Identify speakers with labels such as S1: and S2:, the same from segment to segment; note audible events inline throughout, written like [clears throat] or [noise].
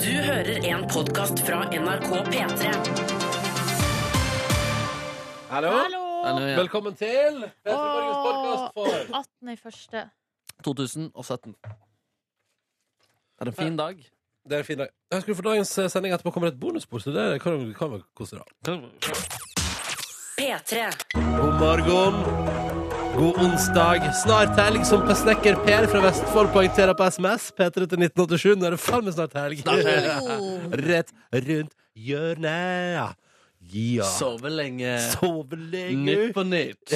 S1: Du hører en podkast fra NRK P3.
S2: Hallo.
S3: Hallo!
S4: Hallo, ja.
S2: Velkommen til P3 Morgens podkast for
S3: 18. i første.
S4: 2017. Det er en fin dag.
S2: Det er en fin dag. Jeg skulle for dagens eh, sending etterpå kommer det et bonusbord, så det kan du kan vel kose deg.
S1: P3.
S2: God morgen. God onsdag. Snart helg, som på snekker Per fra Vestfold poengterer på SMS. P3 til 1987. Nå er det faen meg snart helg. [laughs] Rett rundt hjørnet. Ja.
S4: Sove lenge.
S2: Sove lenge.
S4: Nytt på nytt.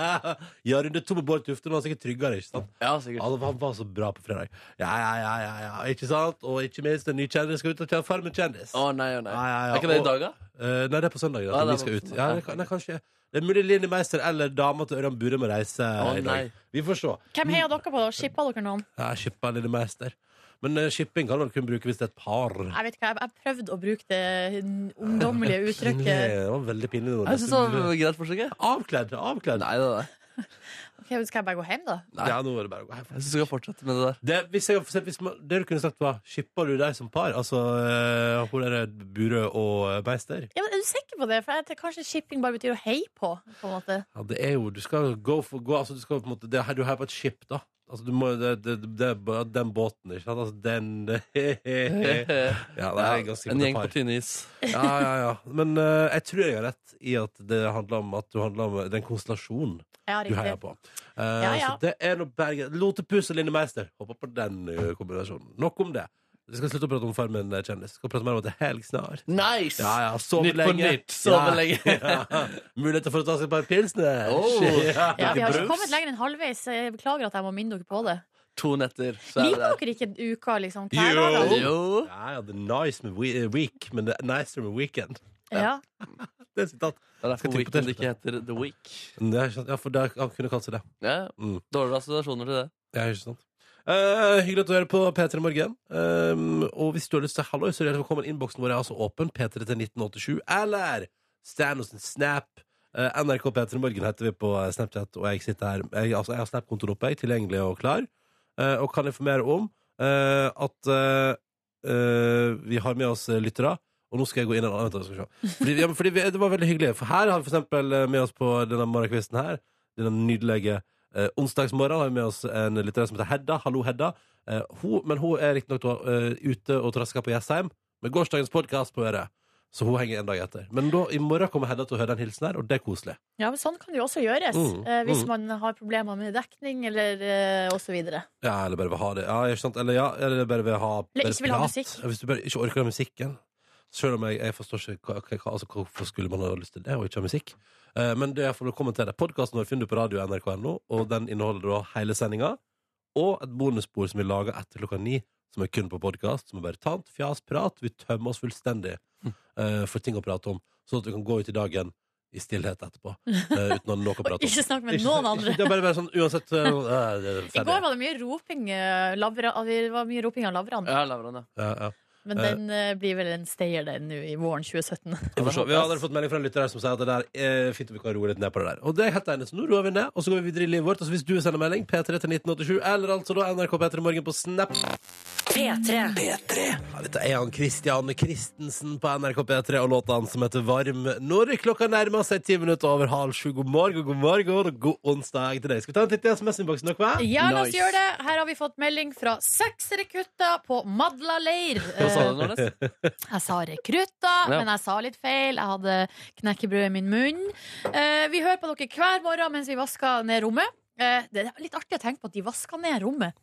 S2: [laughs] ja, runde to med Bård Tufte. Nå er han sikkert tryggere, ikke sant?
S4: Ja, sikkert.
S2: Han var, han var så bra på fredag. Ja, ja, ja, ja, ja. Ikke sant? Og ikke minst en ny kjendis skal ut og kjenne Farmen kjendis.
S4: Å nei, å nei.
S2: Ja, ja, ja.
S4: Er ikke det i
S2: Og-
S4: dag, da?
S2: Eh, nei, det er på søndag.
S4: Ah,
S2: Da, vi
S4: det er
S2: skal
S4: på
S2: ut.
S4: søndag.
S2: Ja, det, kan- nei, kanskje. Det er mulig Linni Meister eller dama til Ørjan Bure må reise
S4: Å,
S2: i dag.
S4: nei.
S2: Vi får se.
S3: Hvem heier dere på? da? Shippa dere noen?
S2: Ja, Shippa Linni Meister. Men eh, shipping kan man kun bruke hvis det er et par.
S3: Jeg vet ikke, jeg, jeg prøvde å bruke det
S2: [laughs]
S3: ungdommelige
S2: Pinlig.
S3: uttrykket.
S2: Det var veldig pinlig. nå.
S4: Jeg syns det var et greit forsøk. jeg.
S2: Avkledd. Avkledd.
S4: Nei, det er det.
S3: Ok, men skal jeg bare gå hjem, da?
S4: nei.
S2: Ja, nå er det bare å gå hjem.
S4: Jeg syns du skal fortsette med det der.
S2: Det, hvis jeg, for eksempel, hvis man, det du kunne sagt var Shipper du deg som par? Altså eh, hun derre Burøe og eh, Meister?
S3: Ja, men er du sikker på det? For jeg, tror kanskje shipping bare betyr å heie på? på en måte.
S2: Ja, det er jo Du skal go for go. Altså, du skal på en måte Det er du er her på et skip, da. Altså, du må Det, det, det er bare den båten, ikke sant? Altså, den [laughs]
S4: [laughs]
S2: Ja, det er ganske
S4: en gjeng på
S2: par.
S4: tynn is.
S2: Ja, ja, ja. Men eh, jeg tror jeg har rett i at det handler om at du handler om den konstellasjonen
S3: Ja,
S2: du heier
S3: riktig.
S2: på. Eh,
S3: ja.
S2: Så det er noe Bergen Lotepus og Linni Meister. Håper på den eh, kombinasjonen. Nok om det. Vi skal slutte å prate om Farmen eh, kjendis. Vi skal prate mer om at det er helg snart.
S4: Nice!
S2: Ja, ja, sove
S4: Nytt på
S2: lenge.
S4: nytt, sove
S2: ja.
S4: lenge.
S2: [laughs] ja. Muligheter for å ta seg et par pilsner.
S4: Oh.
S2: Ja.
S3: Ja, vi har
S4: Brus.
S3: ikke kommet lenger enn halvveis. så Jeg beklager at jeg må minne dere på det.
S4: To netter, så er
S3: Liker
S4: det der.
S3: dere ikke uka liksom
S2: Jo.
S3: hver dag? da?
S4: Jo.
S2: Ja, ja, det er nice med we eh, week, men det er nicer med weekend.
S3: Ja.
S2: Det er sitat. Skal
S4: Det er derfor
S2: trykke på
S4: Weekend
S2: T-skjorte.
S4: ikke heter The Week.
S2: Men det er ikke sant. Ja, for det er, han kunne kalt seg det.
S4: Ja.
S2: Mm.
S4: Dårlige assosiasjoner til det.
S2: Det er ikke sant. Eh, hyggelig at du hører på P3 Morgen. Eh, og hvis du har lyst til halloi, så er det velkommen. Innboksen vår er altså åpen. P3 til 1987. Eller stand oss en snap. Eh, NRK P3 Morgen heter vi på eh, Snapchat, og jeg sitter her. Jeg, altså, jeg har Snap-kontoen oppe, jeg, tilgjengelig og klar. Eh, og kan informere om eh, at eh, eh, vi har med oss eh, lyttere. Og nå skal jeg gå inn i en annen vent, jeg skal se. Fordi, ja, men fordi vi, Det var veldig hyggelig. For her har vi for eksempel eh, med oss på denne morgenkvisten her, denne nydelige Eh, onsdagsmorgen har vi med oss en litterær som heter Hedda. Hallo, Hedda. Eh, hun, men hun er riktignok uh, ute og trasker på Jessheim med gårsdagens podkast på øret. Så hun henger en dag etter. Men da, i morgen kommer Hedda til å høre den hilsen her, og det er koselig.
S3: ja, men sånn kan det jo også gjøres.
S2: Mm,
S3: eh, Hvis
S2: mm.
S3: man har problemer med dekning eller eh, og så videre.
S2: Ja, eller bare vil ha det. Ja, ikke sant? Eller, ja, eller bare vil ha
S3: Eller ikke vil ha
S2: prat.
S3: musikk.
S2: Ja, Hvis du bare ikke orker den musikken. Selv om jeg, jeg forstår ikke hva, hva, hva, altså, hvorfor skulle man ha lyst til det og ikke ha musikk. Eh, men det er for å kommentere. Podkasten vår finner du på radio nrk.no, og den inneholder da hele sendinga. Og et bonusspor som vi lager etter klokka ni, som er kun på podkast. Som er bare tant, fjas, prat. Vi tømmer oss fullstendig
S3: Mm.
S2: eh, for ting å prate om, sånn at vi kan gå ut i dagen i stillhet etterpå.
S3: [laughs]
S2: eh, uten å ha noe å prate om.
S3: Ikke snakk med
S2: Ikke-
S3: noen
S2: ikke-
S3: andre.
S2: Det er bare, bare sånn uansett eh, eh, det er
S3: I
S2: ferdig.
S3: går var det mye roping, eh, labra, ah, det var mye roping av Lavran.
S4: Ja, Lavran, ja.
S2: Ja, ja.
S3: Men den eh, blir vel en stayer, den, nå i våren
S4: [laughs]
S3: 2017.
S2: Vi får se. Vi har allerede fått melding fra en lytter her som sier at det der er fint om vi kan roe litt ned på det der. Og det er jeg helt enig, i, så nå roer vi ned, og så går vi videre i livet vårt. Og så hvis du sender melding, P3 til 1987, eller altså da NRK P3 Morgen på Snap.
S1: P3.
S2: Ja, dette er han Christian Christensen på NRK P3 og låta han som heter Varm. Når klokka nærmer seg ti minutter over halv sju, god morgen, god morgen og god onsdag til deg. Skal vi ta en titt i SMS-innboksen, dere? hva?
S3: Ja, la oss
S4: Nice.
S3: gjøre det. Her har vi fått melding fra seks rekrutter på Madla leir.
S4: Hva sa
S3: Eh,
S4: du nå, Nes?
S3: Jeg sa rekrutter,
S4: Ja.
S3: men jeg sa litt feil. Jeg hadde knekkebrød i min munn. Eh, Vi hører på dere hver morgen mens vi vasker ned rommet. Eh, Det er litt artig å tenke på at de vasker ned rommet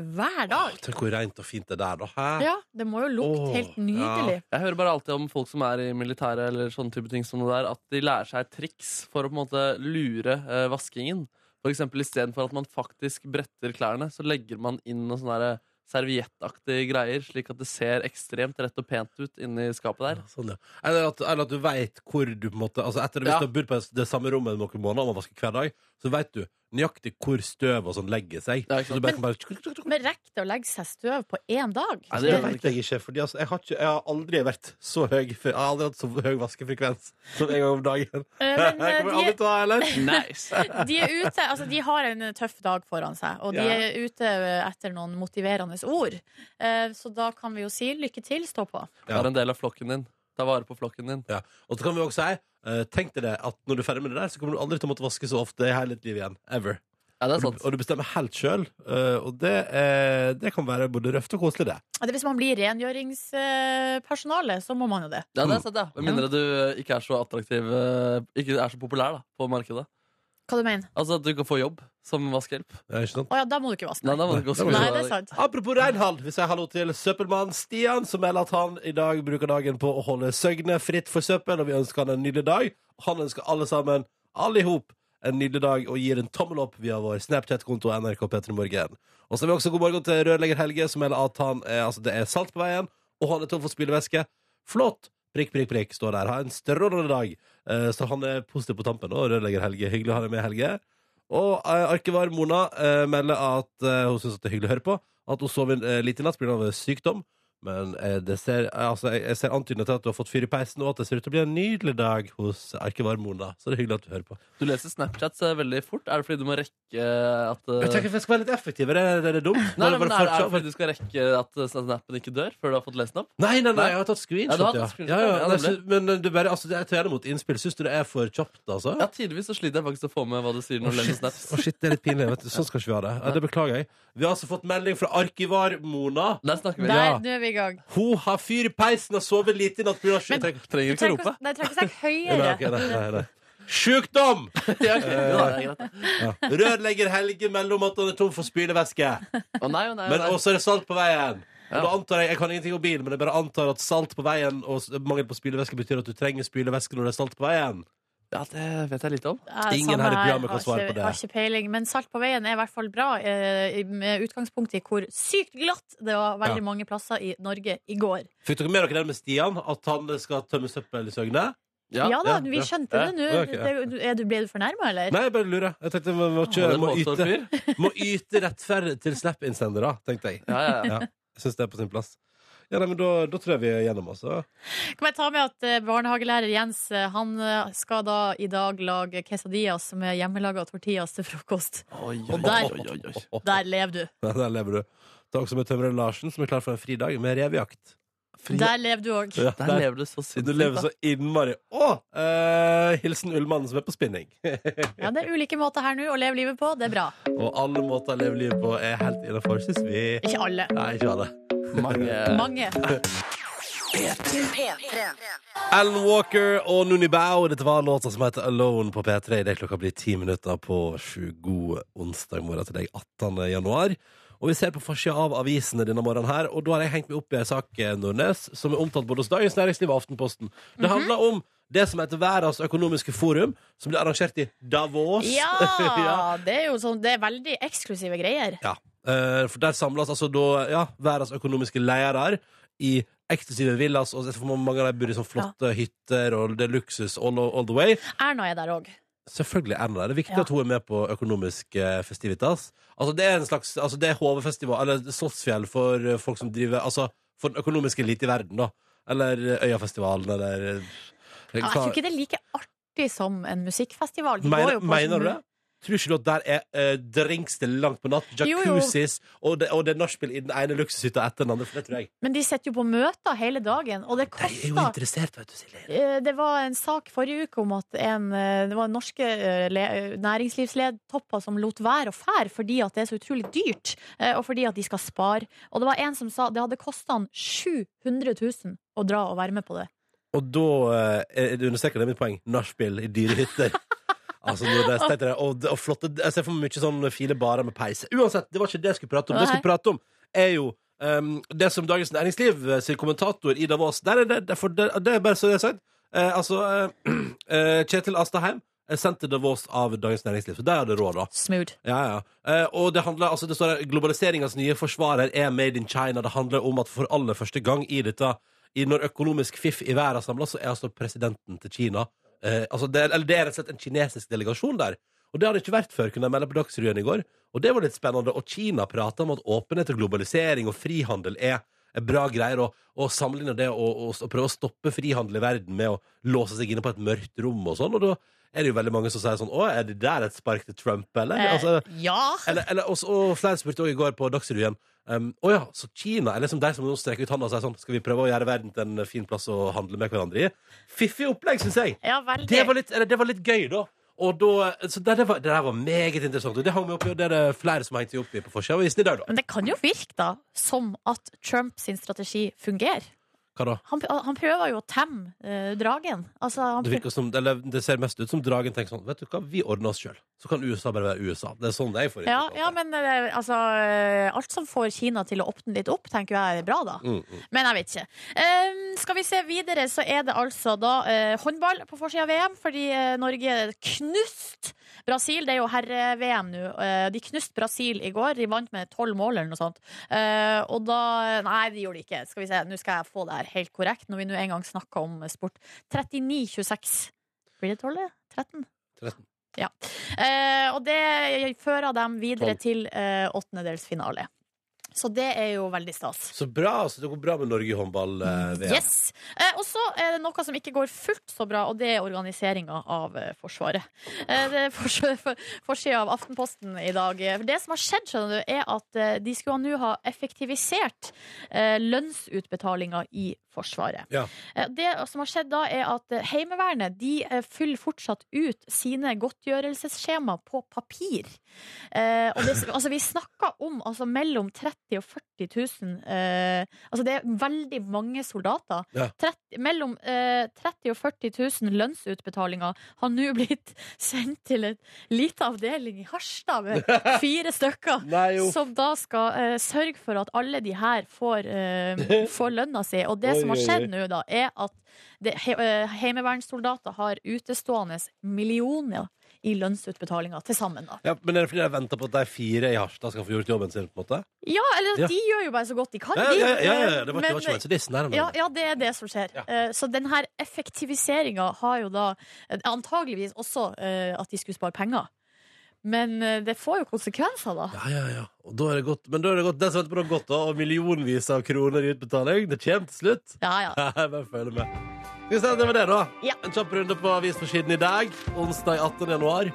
S3: hver dag.
S2: Tenk hvor rent og fint det er der, da. Hæ?
S3: Ja, det må jo lukte
S2: Åh,
S3: helt nydelig.
S4: Jeg hører bare alltid om folk som er i militæret eller sånne type ting som det der, at de lærer seg triks for å på en måte lure eh, vaskingen. For eksempel istedenfor at man faktisk bretter klærne, så legger man inn noe sånn derre serviettaktige greier, slik at det ser ekstremt rett og pent ut inni skapet der.
S2: Ja, Sånn, ja. Eller, at, eller at du veit hvor du på en måte altså Etter Hvis
S4: Ja.
S2: du har bodd på det samme rommet i noen måneder og man vasker hver dag, så veit du nøyaktig hvor støv og sånn legger seg.
S4: Ja, ikke
S2: så
S4: sant.
S2: du bare, kan bare
S3: Men rekker det å legge seg støv på én dag? Eh,
S4: Nei,
S2: Det
S4: gjør man
S2: vet jeg ikke, for altså, jeg, har ikke, jeg har aldri vært så høy fre- Jeg har aldri hatt så høy vaskefrekvens som en gang om dagen.
S4: [laughs]
S3: Eh,
S2: Jeg
S3: men, eh,
S2: kommer aldri
S3: de,
S2: til å ha heller.
S4: Nice.
S3: de er ute Altså, de har en tøff dag foran seg, og de
S2: Ja.
S3: er ute etter noen motiverende ord. Eh, Så da kan vi jo si lykke til, stå på.
S2: Ja.
S4: Vær en del av flokken din. Ta vare på flokken din.
S2: Ja. Og så kan vi også si eh, Tenk deg det at når du er ferdig med det der, så kommer du aldri til å måtte vaske så ofte i hele ditt liv igjen. Ever.
S4: Ja, det er
S2: Og
S4: sant.
S2: du, og du bestemmer helt sjøl, og det, eh, det kan være både røft og koselig, det.
S3: Ja, det er Hvis man blir rengjøringspersonale, så må man jo det.
S4: Ja, det er sant, ja. Med mindre du eh, ikke er så attraktiv eh, Ikke er så populær da, på markedet.
S3: Hva du mener
S4: Altså at du kan få jobb som vaskehjelp.
S2: Ja, ikke sant?
S3: Å ja, da må du ikke vaske
S4: Nei,
S3: deg.
S4: da må du ikke vaske
S2: Nei,
S3: Nei, det
S4: deg.
S3: er sant.
S2: Apropos Reinhard, vi sier hallo til søppelmannen Stian, som melder at han i dag bruker dagen på å holde Søgne fritt for søppel, og vi ønsker han en nydelig dag. Han ønsker alle sammen, alle i hop, en nydelig dag, og gir en tommel opp via vår Snapchat-konto NRK Petremorgen. Og så har vi også god morgen til rørlegger Helge, som melder at han er, altså, det er salt på veien, og han er tom for spylevæske. Flott! Prikk, prikk, prikk, står der. Ha en strålende dag. Eh, Så han er positiv på tampen, og rørlegger Helge. Hyggelig å ha deg med, Helge. Og eh, arkivar Mona eh, melder at eh, hun syns det er hyggelig å høre på. At hun sov eh, lite i natt pga. sykdom. Men eh, det ser, eh, altså, jeg, jeg ser antydninger til at du har fått fyr i peisen, og at det ser ut til å bli en nydelig dag hos arkivar Mona. Så det er hyggelig at du hører på.
S4: Du leser Snapchats eh, veldig fort. Er det fordi du må rekke eh, at eh,
S2: Jeg tenker at jeg skal være litt effektiv. Er det, er det dumt?
S4: Nei,
S2: Bare-
S4: nei,
S2: bare
S4: men er, er det
S2: fortsatt-
S4: fordi du skal rekke at eh, snappen ikke dør før du har fått lest den opp?
S2: Nei, nei, nei,
S4: Nei.
S2: jeg har tatt
S4: Ja, du har
S2: screenshot,
S4: tatt
S2: ja.
S4: screenshot,
S2: ja, ja,
S4: ja,
S2: nei,
S4: nemlig.
S2: så- men eh, du bare, altså, jeg tar gjerne imot innspill. Syns du det er for kjapt, altså?
S4: Ja, tidligvis så sliter jeg faktisk å få med hva du sier når du leser snaps.
S2: Å, shit, det er litt pinlig. Vet du. Sånn skal ikke vi ha det. Ja, det beklager jeg. Vi har altså fått melding fra arkivar Mona.
S4: Der snakker vi.
S3: Der,
S2: Ja.
S3: nå er vi i gang.
S2: Hun har fyr i peisen og sover lite i natt. på grunn av-
S3: Men-
S2: Jeg tenker-
S4: Trenger ikke å
S3: Trenger
S4: rope. [laughs]
S3: ikke å- Nei,
S2: [laughs]
S3: trenger ikke å snakke
S2: Nei,
S3: høyere.
S2: ok, nei, nei, nei. Sjukdom!
S4: Ja, ok, ja, det er greit.
S2: Ja. Rørlegger Helge mellom at han er tom for spylevæske.
S4: Å nei, å nei, å
S2: Men
S4: nei.
S2: også er det salt på veien. Og
S4: Ja.
S2: da antar Jeg jeg kan ingenting om bil, men jeg bare antar at salt på veien og s- mangel på spylevæske betyr at du trenger spylevæske når det er salt på veien.
S4: Ja, det vet jeg lite om.
S3: Ja,
S2: Ingen
S3: samme
S2: her i programmet kan
S3: Altså, sånn Har
S2: svare
S3: ikke-
S2: på det.
S3: Har ikke peiling, men Salt på veien er i hvert fall bra, eh, i- med utgangspunkt i hvor sykt glatt det var veldig
S2: Ja.
S3: mange plasser i Norge i går.
S2: Fikk dere med dere den med Stian? At han skal tømme søppel i Søgne?
S3: Ja,
S4: Ja.
S3: da,
S2: ja,
S3: vi
S2: ja.
S3: skjønte
S4: Ja,
S3: det nå.
S2: ok, ja.
S3: Det- er du- Ble du fornærma, eller?
S2: Nei, jeg bare lurer. Jeg tenkte vi må,
S4: Ja,
S2: ikke,
S4: det
S2: må,
S4: er påstått
S2: yte,
S4: fyr.
S2: må yte rettferd til Snap-innsendere, tenkte jeg.
S4: Ja, ja, ja.
S2: Ja, jeg syns det er på sin plass. Ja, nei, men da, da tror jeg vi er gjennom, altså.
S3: Kan jeg ta med at eh, barnehagelærer Jens eh, Han eh, skal da i dag lage quesadillas med hjemmelaga tortillas til frokost.
S4: Oi,
S2: Og
S4: oi,
S3: der-
S4: oi, oi, oi.
S3: Der lever du.
S2: Ja, [laughs] der lever du. Ta også med tømrer Larsen, som er klar for en fridag med revejakt.
S3: Der lever du òg.
S2: Ja,
S4: Der lever du så
S2: du lever så
S4: sinnssykt.
S2: innmari Å! eh, hilsen Ullmannen som er på spinning.
S3: Ja, det er ulike måter her nå å leve livet på. Det er bra.
S2: Og alle måter å leve livet på er helt innafor, syns vi.
S3: Ikke alle.
S2: Nei, ikke alle.
S4: da. Mange
S3: Mange.
S2: Alan Walker og Nuni Bao. Dette var låta som heter Alone på P3. Det er klokka blir ti minutter på sju. God onsdag morgen til deg, 18. januar. Og vi ser på forsida av avisene denne morgenen her, og da har jeg hengt meg opp i en sak, eh, Nordnes, som er omtalt både hos Dagens Næringsliv og Aftenposten. Det handler om det som heter Verdens økonomiske forum, som blir arrangert i Davos. [laughs]
S3: Ja! Det er jo sånn Det er veldig eksklusive greier.
S2: Ja, eh, for der samles altså da ja, verdens økonomiske ledere i eksklusive villas, og jeg tror mange av dem bor i sånne flotte hytter, og det er luksus all, all the way.
S3: Erna er der òg.
S2: Selvfølgelig er den der. Det er viktig
S3: Ja.
S2: at hun er med på økonomisk eh, festivitas. Altså, det er en slags altså, Det er HV-festival, eller Slottsfjell for eh, folk som driver Altså, for den økonomiske elite i verden, da. Eller eh, Øyafestivalen, eller eh,
S3: Ja, jeg tror ikke det er like artig som en musikkfestival. De går
S2: Mener,
S3: jo på
S2: mener du
S3: sånn-
S2: det? Tror ikke du at der er eh, drinks til langt på natt,
S3: Jo, jo.
S2: jacuzzis, og det, og det er nachspiel i den ene luksushytta etter den andre? For det tror jeg.
S3: Men de sitter jo på møter hele dagen, og det
S2: De er jo
S3: koster
S2: interessert, vet du, Silje.
S3: Eh, Det var en sak forrige uke om at en, eh, det var norske eh, le- næringslivsledtopper som lot være å fære fordi at det er så utrolig dyrt, eh, og fordi at de skal spare. Og det var en som sa det hadde kosta han 700 000 å dra og være med på det.
S2: Og da eh, er- du understreker det er mitt poeng. Nachspiel i dyre [laughs] hytter. Altså, når det, tenkte jeg, og, og flotte, jeg ser for meg mye sånn fine barer med peis. Uansett, det var ikke det jeg skulle prate om. Det jeg skulle prate om, er jo ehm, det som Dagens Næringsliv eh, sin kommentator Ida Waas Der er det, det, er for, det, det er bare så det er sagt. Eh, altså, eh, [clears throat] eh, Kjetil Astaheim eh, er sendt til Davos av Dagens Næringsliv, så der er det råd, da.
S3: Smooth.
S2: Ja, ja. Eh, og det handler, altså det står her, globaliseringens nye forsvarer er made in China. Det handler om at for aller første gang i dette, i når økonomisk fiff i verden samles, så er altså presidenten til Kina eh, altså det, Eller det er rett og slett en kinesisk delegasjon der. Og Og det har det ikke vært før, kunne jeg melde på Dagsrevyen i går. Og det var litt spennende. Og Kina prater om at åpenhet og globalisering og frihandel er er bra greier, og, og sammenligne det og, og, og prøve å stoppe frihandel i verden med å låse seg inne på et mørkt rom og sånn. Og da er det jo veldig mange som sier sånn Å, er det der et spark til Trump, eller? altså,
S3: Eh, ja.
S2: eller, eller og så- og flere spurte også i går på Dagsrevyen um, Å ja, så Kina er liksom de som nå strekker ut handa og sier sånn Skal vi prøve å gjøre verden til en fin plass å handle med hverandre i? Fiffig opplegg, syns jeg.
S3: ja, veldig.
S2: Det var litt, eller, det var litt gøy, da. Og da, så det, det, var, det der var meget interessant. Og det hang vi opp i, og det er det flere som hengte seg opp i på forsida av avisen i dag, da.
S3: Men det kan jo virke da som at Trump sin strategi fungerer.
S2: Hva da?
S3: Han, han prøver jo å temme eh, dragen. Altså, han
S2: Det, virker som, eller, det ser mest ut som dragen tenker sånn Vet du hva, vi ordner oss sjøl. Så kan USA bare være USA. Det er sånn jeg får
S3: Ja,
S2: inntrykk av
S3: ja,
S2: det.
S3: men eh, altså eh, Alt som får Kina til å åpne litt opp, tenker jeg er bra, da.
S2: Mm, mm.
S3: Men jeg vet ikke. Ehm, skal vi se videre, så er det altså da eh, håndball på forsida av VM, fordi eh, Norge knust Brasil. Det er jo herre-VM nå. Eh, de knust Brasil i går. De vant med tolv mål eller noe sånt. Eh, og da Nei, de gjorde det ikke. Skal vi se, nå skal jeg få det her helt korrekt, når vi nå en gang snakker om sport. 39-26. Blir det 12? 13?
S2: 13.
S3: Ja. Eh, og det fører dem videre
S2: 12.
S3: til eh, åttendedelsfinale. Så det er jo veldig stas.
S2: Så bra. Så det går bra med Norge i håndball-VM.
S3: Yes. Eh, og så er det noe som ikke går fullt så bra, og det er organiseringa av eh, Forsvaret. Eh, det er fors- [laughs] for- Forsida av Aftenposten i dag. Eh, Det som har skjedd, skjønner du, er at eh, de skulle nå ha effektivisert eh, lønnsutbetalinga i Forsvaret.
S2: Ja.
S3: Eh, det som har skjedd da, er at eh, Heimevernet de eh, fyller fortsatt ut sine godtgjørelsesskjema på papir. Eh, og det, altså, vi snakker om altså, mellom 30 000 og 40 000 eh, Altså det er veldig mange soldater.
S2: Ja.
S3: 30, mellom eh, 30 000 og 40 000 lønnsutbetalinger har nå blitt [laughs] sendt til en liten avdeling i Harstad med
S2: [laughs]
S3: fire stykker.
S2: Nei, jo.
S3: Som da skal eh, sørge for at alle de her får, eh,
S2: [laughs]
S3: får lønna si. Og det
S2: Oi,
S3: som har
S2: oi,
S3: skjedd
S2: oi.
S3: nå, da, er at det, he, eh, heimevernssoldater har utestående millioner i lønnsutbetalinger til sammen, da.
S2: Ja, men er det fordi jeg venter på at de fire i Harstad skal få gjort jobben sin? på en måte?
S3: Ja, eller
S2: Ja.
S3: de gjør jo bare så godt de kan,
S2: Ja,
S3: de.
S2: ja, ja, ja, det var ikke, det var
S3: Men-
S2: ikke ment, så det er snarere med
S3: Ja,
S2: det.
S3: ja, det er det som skjer.
S2: Ja.
S3: Eh, Så den her effektiviseringa har jo da eh, antageligvis også eh, at de skulle spare penger. Men eh, det får jo konsekvenser, da.
S2: Ja, ja, ja. Og da er det godt. Men da er det godt. Det som venter på noe godt, da. Og millionvis av kroner i utbetaling. Det kommer til slutt.
S3: Ja, ja.
S2: [laughs] Jeg bare følger med. Skal vi se, det var det, da.
S3: Ja.
S2: En kjapp runde på avisforsiden i dag. Onsdag 18. januar.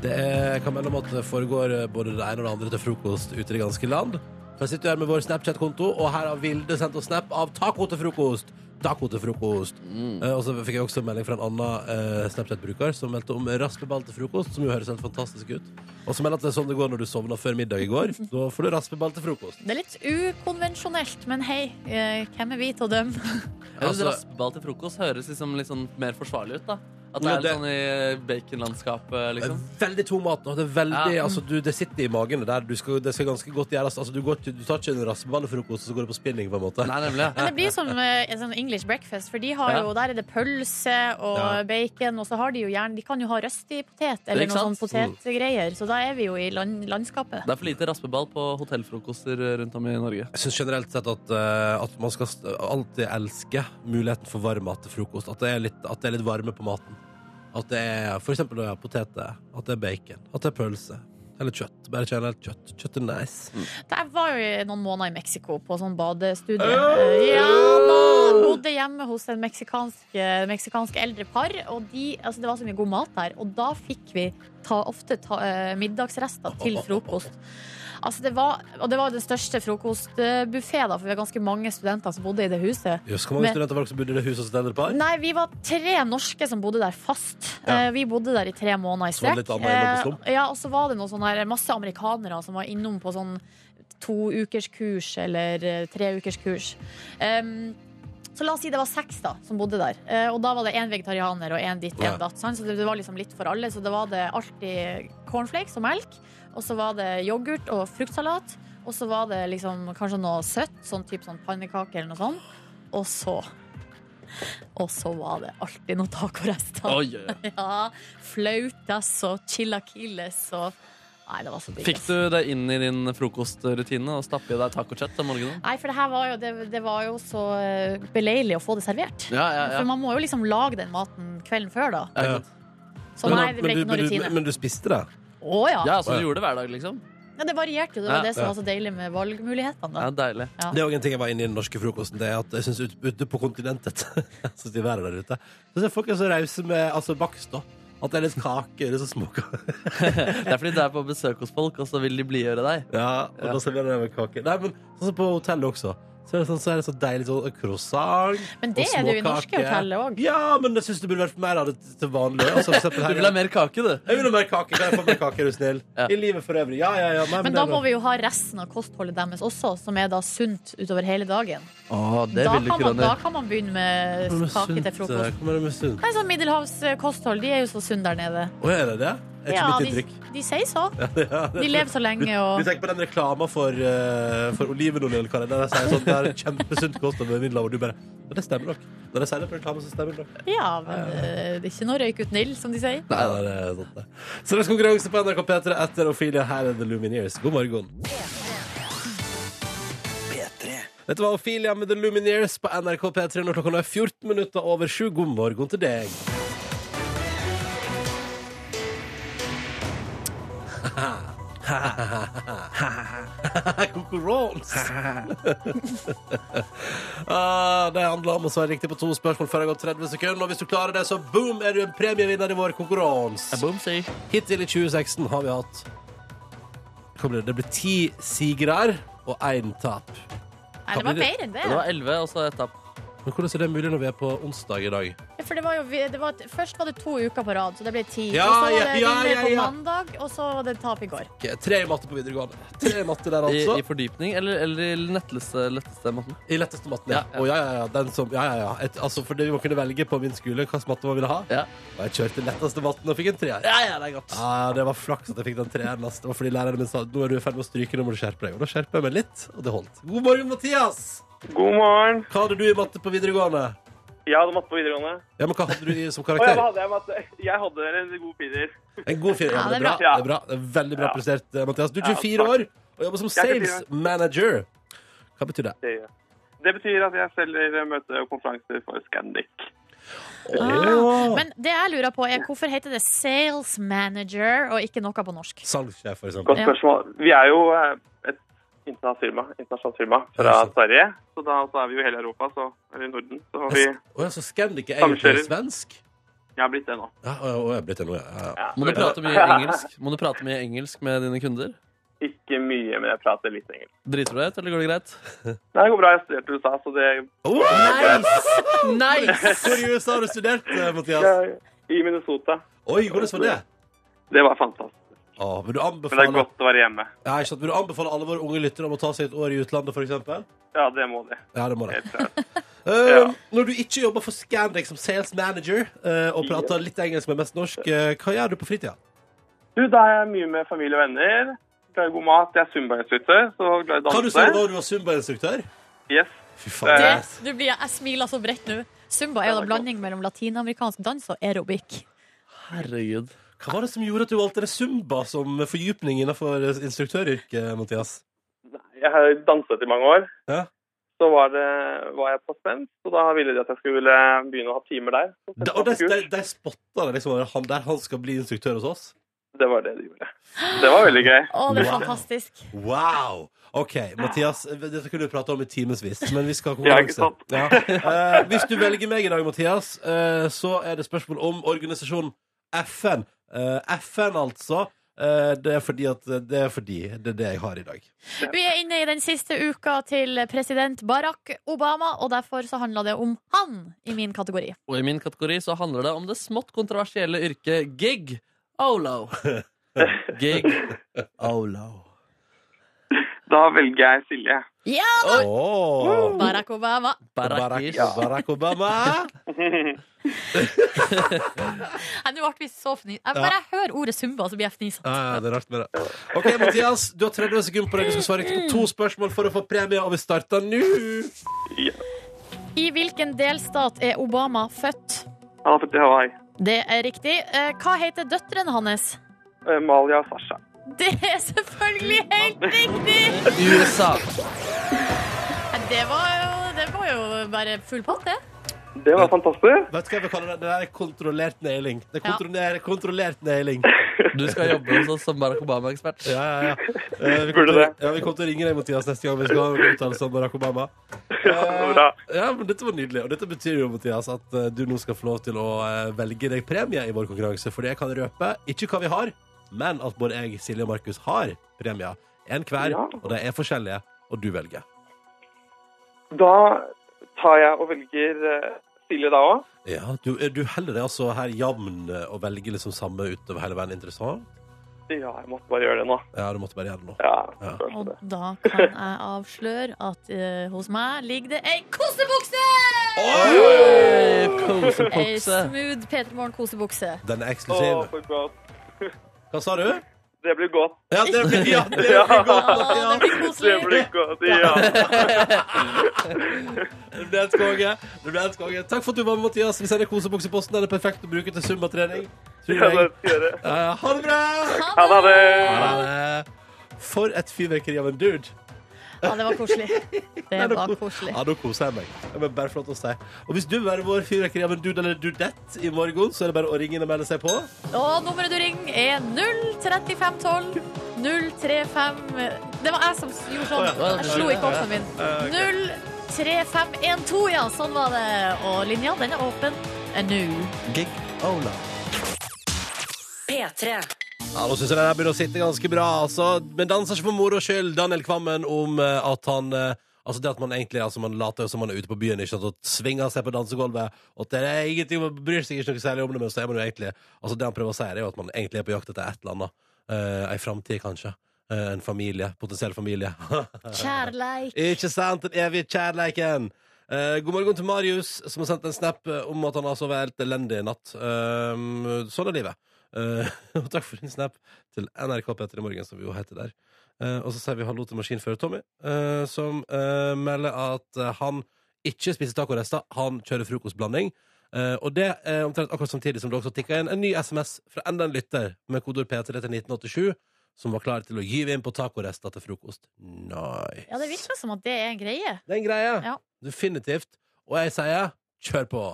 S2: Det er, jeg kan melde om at det foregår eh, både det ene og det andre til frokost ute i det ganske land. For jeg sitter her med vår Snapchat-konto, og her har Vilde sendt oss snap av taco til frokost. Taco til frokost. Eh, og så fikk jeg også en melding fra en annen eh, Snapchat-bruker som meldte om raspeball til frokost, som jo høres helt fantastisk ut. Og så melder at det er sånn det går når du sovna før middag i går. Da får du raspeball til frokost.
S3: Det er litt ukonvensjonelt, men hei, eh, hvem er vi til å dømme?
S2: [laughs]
S4: Jeg synes
S2: Altså-
S4: Raspeball til frokost høres liksom litt sånn mer forsvarlig ut. da At det
S2: Ja,
S4: er
S2: det-
S4: litt sånn i baconlandskapet,
S2: Det
S4: liksom.
S2: er Veldig tung mat nå. Det, er veldig,
S4: Ja.
S2: altså, du, det sitter i magen. det Der. Du skal, det skal ganske godt gjøres. Altså, du, går ikke- du tar ikke en raspeball til frokost, og så går du på spinning, på en måte.
S4: Nei, nemlig.
S3: Men det blir som eh, en sånn English breakfast, for de har
S4: Ja.
S3: jo, der er det pølse og
S2: Ja.
S3: bacon, og så har de jo gjerne De kan jo ha røstig potet eller
S4: ikke
S3: noe sånn
S4: sant?
S3: potetgreier, så da er vi jo i land, landskapet.
S4: Det er for lite raspeball på hotellfrokoster eh, rundt om i Norge.
S2: Jeg syns generelt sett at, eh, at man skal st- alltid elske muligheten for varm mat til frokost. At det er litt, at det er litt varme på maten. At det er for eksempel ja, poteter, at det er bacon, at det er pølse. Eller kjøtt. Bare generelt kjøtt. Kjøtt er nice.
S4: Mm.
S3: Da Jeg var jo i noen måneder i Mexico på sånn badestudie.
S2: Øh!
S3: Ja da! Bodde hjemme hos en meksikansk, meksikansk eldre par. Og de, altså det var så mye god mat der. Og da fikk vi ta, ofte ta, eh, middagsrester til frokost. Altså det var, og det var den største frokostbuffeen, for vi var ganske mange studenter som bodde i det huset.
S2: Jøss, hvor mange
S3: Men-
S2: studenter var det som bodde i det huset hos et eldre par?
S3: Nei, vi var tre norske som bodde der fast.
S2: Ja.
S3: Eh, Vi bodde der i tre måneder i
S2: Så var
S3: strekk.
S2: det litt annet innom på
S3: Eh, ja, og så var det noe sånn her, masse amerikanere som var innom på sånn to ukers kurs eller eh, tre ukers kurs. Em, så la oss si det var seks da, som bodde der. Eh, og da var det én vegetarianer og én ditt, én
S2: Ja.
S3: datt. Sant? Så det, det var liksom litt for alle. Så det var det alltid cornflakes og melk. Og så var det yoghurt og fruktsalat. Og så var det liksom kanskje noe søtt, sånn type sånn pannekake eller noe sånt. Og så Og så var det alltid noen tacorester.
S4: Oi, oi, oi.
S3: Ja, flautas og chilaquiles og Nei, det var så digg.
S4: [laughs]
S3: altså.
S4: Fikk
S3: ass.
S4: du det inn i din frokostrutine og stappe i deg tacokjøtt om morgenen?
S3: Nei, for det her var jo, det, det var jo så eh, beleilig å få det servert.
S4: Ja, ja,
S3: For man må jo liksom lage den maten kvelden før, da.
S4: ja.
S3: Så nei, det ble ikke noen
S2: men, du,
S3: rutine.
S2: men du spiste det?
S3: Å ja.
S4: Ja, så du gjorde det hver dag, liksom?
S3: Ja, Det varierte jo. Det var
S4: Ja,
S3: det som
S2: ja.
S3: var så deilig med valgmulighetene.
S4: Ja,
S3: Da.
S4: deilig.
S3: Ja.
S2: Det er også en ting jeg var inne i den norske frokosten. Det er at jeg synes ut- Ute på kontinentet [laughs] jeg synes de været der ute Så ser folk er så rause med altså, bakst. da At det er litt kaker og så småkaker.
S4: Det er fordi du er på besøk hos folk, og så vil de blidgjøre deg.
S2: [laughs] Ja, og
S4: Ja.
S2: da serverer de med kake. Nei, men sånn som på hotellet også. Så er det sånn, så er det så deilig sånn croissant
S3: Men det
S2: og
S3: er det jo i
S2: småkake.
S3: norske hotellet òg.
S2: Ja, men jeg syns det burde vært mer av det til vanlig. Altså, for eksempel
S4: Du
S2: her,
S4: vil ha mer kake, du.
S2: Jeg vil ha mer kake. Kan jeg få mer kake, er du snill?
S4: Ja.
S2: I livet for øvrig. Ja, ja, ja. Nei,
S3: Men da
S2: det er
S3: må
S2: bra.
S3: vi jo ha resten av kostholdet deres også, som er da sunt utover hele dagen.
S4: Å, det
S3: Da
S4: vil du
S3: kan,
S4: ikke,
S3: man, da
S4: Ronny.
S3: kan man begynne med
S2: Hva med
S3: kake til
S2: sunt, eh,
S3: frokost.
S2: hva med det med sunt?
S3: Hva er sånn middelhavskosthold? De er jo så sunne der nede.
S2: Å, er det det? Er ikke mitt
S3: de,
S2: inntrykk. [laughs]
S3: de sier så.
S2: Ja, det-
S3: De lever så lenge
S2: Du
S3: og
S2: tenker på den reklama for, uh, for olivenolje eller hva det er. Der jeg sier sånn, det er kjempesunt kost over middelhavet. Og du bare Ja, det stemmer nok. Når jeg sier det på reklame, så stemmer det nok.
S3: Ja, men eh, det er ikke noe røyk uten ild, som de sier.
S2: Nei, da, det er sant, det. Så det er konkurranse på NRK P3 etter Ophelia. Her er The Lumineers. God morgen. Dette var Ophelia med The Lumineers på NRK P3 når klokka nå er 14 minutter over sju. God morgen til deg. [laughs] Konkurranse! [laughs] Ah, det handler om å svare riktig på to spørsmål før det har gått 30 sekunder. Og hvis du klarer det, så boom, er du en premievinner i vår konkurranse.
S4: Boom, sier.
S2: Hittil i 2016 har vi hatt Hva blir det? Det blir ti sigere og én tap.
S3: Nei, det var mer enn det.
S4: Det var elleve, og så ett tap.
S2: Men hvordan er det mulig når vi er på onsdag i dag?
S3: For det var jo, det var, først var det to uker på rad, så det ble ti.
S2: Ja,
S3: og så var det
S2: ja, ja,
S3: vinner
S2: ja,
S3: på
S2: ja.
S3: mandag, og så var det tap i går.
S2: Ok, Tre i matte på videregående. Tre i matte der,
S4: I,
S2: altså.
S4: I fordypning eller, eller i letteste, letteste måten?
S2: I letteste matten, ja.
S4: Ja, ja.
S2: Å, ja, ja, ja. Den som, ja, ja, ja. Et, altså, for det vi må kunne velge på min skole hva slags matte man ville ha.
S4: Ja. Ah.
S2: Og jeg kjørte letteste matten og fikk en treer.
S4: Ja, ja, det er godt.
S2: Ja, det var flaks at jeg fikk den treeren. ass. Det var fordi læreren min sa nå er du i ferd med å stryke, nå må du skjerpe deg. Og da skjerper jeg meg litt, og det holdt. God morgen, Mathias!
S5: God morgen.
S2: Hva hadde du i matte på videregående?
S5: Jeg hadde matte på videregående.
S2: Ja, men hva hadde du i, som
S5: Og jeg
S2: karakter?
S5: hadde, jeg, matte. jeg hadde en god firer.
S2: En god fire. Ja, men det er bra. Det
S5: Ja.
S2: er bra. Det er veldig bra
S5: Ja.
S2: prestert, eh, Mathias. Du er
S5: Ja,
S2: 24 år og jobber som
S5: Jeg er 24
S2: sales manager. Hva betyr det?
S5: Det, det betyr at jeg selger møte og konferanser for Scandic.
S3: Ah, men det jeg lurer på er hvorfor heter det sales manager og ikke noe på norsk?
S2: Salgssjef, for eksempel.
S5: Godt spørsmål. Vi er jo eh, et internasjonalt firma, internasjonalt firma fra
S2: Ja, sant.
S5: Sverige, så da så er vi jo i hele Europa, så, eller i Norden. Så har vi
S2: Å ja, så Scandic er
S5: Samkjører.
S2: egentlig svensk?
S5: jeg har blitt det nå.
S2: Ja, å, ja, å, jeg er blitt det nå, ja. ja.
S5: Ja.
S4: Må du prate mye engelsk Må du prate mye engelsk med dine kunder?
S5: Ikke mye, men jeg prater litt engelsk.
S4: Driter du deg ut, eller går det greit?
S5: Nei, det går bra. Jeg studerte i USA, så det
S2: Oh, nice! Hvor i USA har du studert, eh, Mathias?
S5: jeg, I Minnesota.
S2: Oi, hvordan var det?
S5: Det var fantastisk.
S2: Å, vil du
S5: Men det
S2: anbefale
S5: er godt å være hjemme.
S2: Ja, ikke sant? Vil du anbefale alle våre unge lyttere om å ta seg et år i utlandet, for eksempel?
S5: Ja, det må det.
S2: Ja, det må det.
S5: Helt klart.
S2: Eh, Når du ikke jobber for Scandic som sales manager, eh, og prater litt engelsk, men mest norsk, eh, hva gjør du på fritida?
S5: Du, da er jeg mye med familie og venner. Glad i god mat. Jeg er zumba-instruktør, så glad i å
S2: Kan du si
S5: danse.
S2: når du var zumba-instruktør?
S5: Yes.
S2: Fy
S5: Det-
S3: Du,
S2: faen. ass.
S3: du blir, jeg smiler så bredt nå. Zumba er jo en blanding mellom latinamerikansk dans og aerobic.
S4: Herregud.
S2: Hva var det som gjorde at du valgte det zumba som fordypning innenfor eh, instruktøryrket, Mathias?
S5: Jeg har danset i mange år.
S2: Ja.
S5: Så var, det, var jeg på spenst, og da ville de at jeg skulle begynne å ha timer der. Så
S2: Da, og de,
S5: kurs.
S2: de, de spotta det liksom han der han skal bli instruktør hos oss.
S5: Det var det de gjorde. Det var veldig gøy.
S3: Å, det er
S2: Wow.
S3: fantastisk.
S2: Wow! OK, Mathias, dette kunne du prate om i timevis, men vi skal ha
S5: [laughs] Ja,
S2: konkurranse.
S5: ikke sant?
S2: Ja. Eh, hvis du velger meg i dag, Mathias, eh, så er det spørsmål om organisasjonen FN. Eh, FN, altså. Eh, det er fordi at Det er fordi det er det jeg har i dag.
S3: Vi er inne i den siste uka til president Barack Obama, og derfor så handla det om han i min kategori.
S4: Og i min kategori så handler det om det smått kontroversielle yrket gig.
S2: [laughs]
S4: Olo. Gig.
S5: Da velger jeg Silje.
S3: Ja!
S2: Åh.
S3: Barack Obama.
S2: Barack,
S4: Barakish.
S2: Barack [laughs] Obama.
S3: Nei, nå ble vi så fnis. Jeg bare jeg hører ordet Zumba, så blir jeg fnisete.
S2: Ja, ja, det er rart med det. OK, Mathias, du har 30 sekunder på deg. Du skal svare riktig på to spørsmål for å få premie, og vi starter nå.
S5: Ja.
S3: I hvilken delstat er Obama født?
S5: Han har født i Hawaii.
S3: Det er riktig. Eh, Hva heter døtrene hans?
S5: Eh, Malia og Sasha.
S3: Det er selvfølgelig helt riktig!
S4: USA.
S3: Det var jo, det var jo bare full pott, det.
S5: Det var fantastisk.
S2: Vet du hva jeg vil kalle det? Det der er kontrollert nailing. Det er
S3: Ja.
S2: kontroller, kontrollert nailing.
S4: Du skal jobbe hos oss som Barack Obama-ekspert.
S2: Ja, ja, ja. Eh, vi, kommer
S5: Burde
S2: til,
S5: det.
S2: ja vi kommer til å ringe deg, Mathias, neste gang vi skal ha en uttalelse om Barack Obama. Eh,
S5: Ja, bra.
S2: Ja, men Dette var nydelig, og dette betyr jo Mathias, at eh, du nå skal få lov til å eh, velge deg premie i vår konkurranse. For jeg kan røpe ikke hva vi har, men at både jeg, Silje og Markus har premier. En hver,
S5: Ja.
S2: og de er forskjellige, og du velger.
S5: Da tar jeg og velger eh, Silje da òg.
S2: Ja, Du, eh, du heller deg altså her jevn eh, og velger liksom samme utover hele veien. Interessant.
S5: Ja, jeg måtte bare gjøre det nå.
S2: Ja, du måtte bare gjøre det nå.
S5: Ja,
S2: Ja.
S5: følte
S3: Og
S5: det.
S3: da kan jeg avsløre at eh, hos meg ligger det ei kosebukse!
S4: Oi!
S3: Ei
S4: Kosepokse.
S3: smooth P3 Morgen-kosebukse.
S2: Den er
S5: Å,
S2: eksklusiv.
S5: for godt.
S2: Hva sa du?
S5: Det blir godt.
S2: Ja, det blir, ja, det
S5: [laughs] Ja.
S2: blir godt.
S3: Å, det blir
S5: Det
S3: koselig.
S5: blir godt, ja.
S2: Det ble helt konge. Det ble helt konge. Takk for at du var med, Mathias. Vi sender kosebukseposten. Den er perfekt å bruke til summatrening. Tror
S5: Ja, det
S2: jeg.
S5: skal jeg gjøre.
S2: Eh, ha det bra!
S5: Ha det, ha det.
S2: Ha det. For et fyrverkeri av en dude.
S3: Ja, det var koselig. [laughs] Det
S2: Nei, nå
S3: var
S2: ko-
S3: koselig.
S2: Ja, nå koser jeg meg. Det er bare flott å si. Og hvis du vil være vår fyrverkeri av en dude eller dudette i morgen, så er det bare å ringe inn og melde seg på.
S3: Og nummeret du ringer er 03512 035 Det var jeg som gjorde sånn. Jeg slo i kopsen min. 03512, ja. Sånn var det. Og linja, den er åpen eh, nå.
S2: Gig Ola.
S1: P3.
S2: Ja, nå synes jeg den her begynner å sitte ganske bra, altså. Men danser ikke for moro skyld. Daniel Kvammen om eh, at han eh, Altså det at man egentlig altså man later jo som man er ute på byen ikke sant, og svinger seg på dansegulvet. Og at det er ingenting man bryr seg ikke noe særlig om det, men så er man jo egentlig Altså det han prøver å si, er jo at man egentlig er på jakt etter et eller annet. Uh, Ei framtid, kanskje. Eh, en familie. Potensiell familie. [laughs]
S3: Kjærleik.
S2: Ikke sant? Den evige kjærleiken. Eh, god morgen til Marius, som har sendt en snap eh, om at han har sovet helt elendig i natt. Ehm, sånn er livet. Eh, [laughs] og takk for din snap til NRK Petter i morgen, som vi jo heter der. Eh, og så sier vi hallo til maskinfører Tommy, eh, som eh, melder at eh, han ikke spiser tacorester, han kjører frokostblanding. Eh, og det er omtrent akkurat samtidig som det også tikka inn en ny SMS fra enda en lytter med kodeord P3 til 1987, som var klar til å gyve inn på tacorester til frokost. Nice.
S3: Ja, det virker som at det er en greie.
S2: Det er en greie.
S3: Ja.
S2: Definitivt. Og jeg sier kjør på.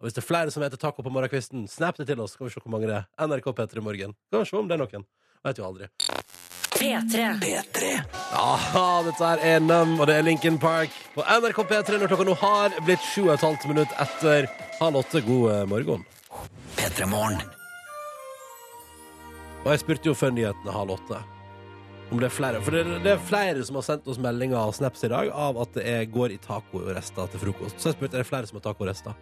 S2: Og hvis det er flere som heter taco på morgenkvisten, snap det til oss. Skal vi se hvor mange det er. NRK P3 i morgen. Skal vi se om det er noen. Vet jo aldri.
S1: P3.
S2: Aha, dette her er Nam, og det er Lincoln Park på NRK P3 når klokka nå har blitt sju og et halvt minutt etter halv åtte. God eh, morgen. Og jeg spurte jo før nyhetene halv åtte om det er flere. For det, det er flere som har sendt oss meldinger og snaps i dag av at det er, går i tacorester til frokost. Så jeg spurte er det flere som har tacorester.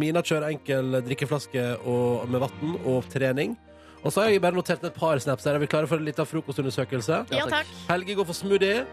S2: Mina kjører enkel drikkeflaske og, med vann og trening. Og så har jeg bare notert et par snaps her. Er vi klare for en liten frokostundersøkelse?
S3: Ja takk.
S2: Helge går for smoothie.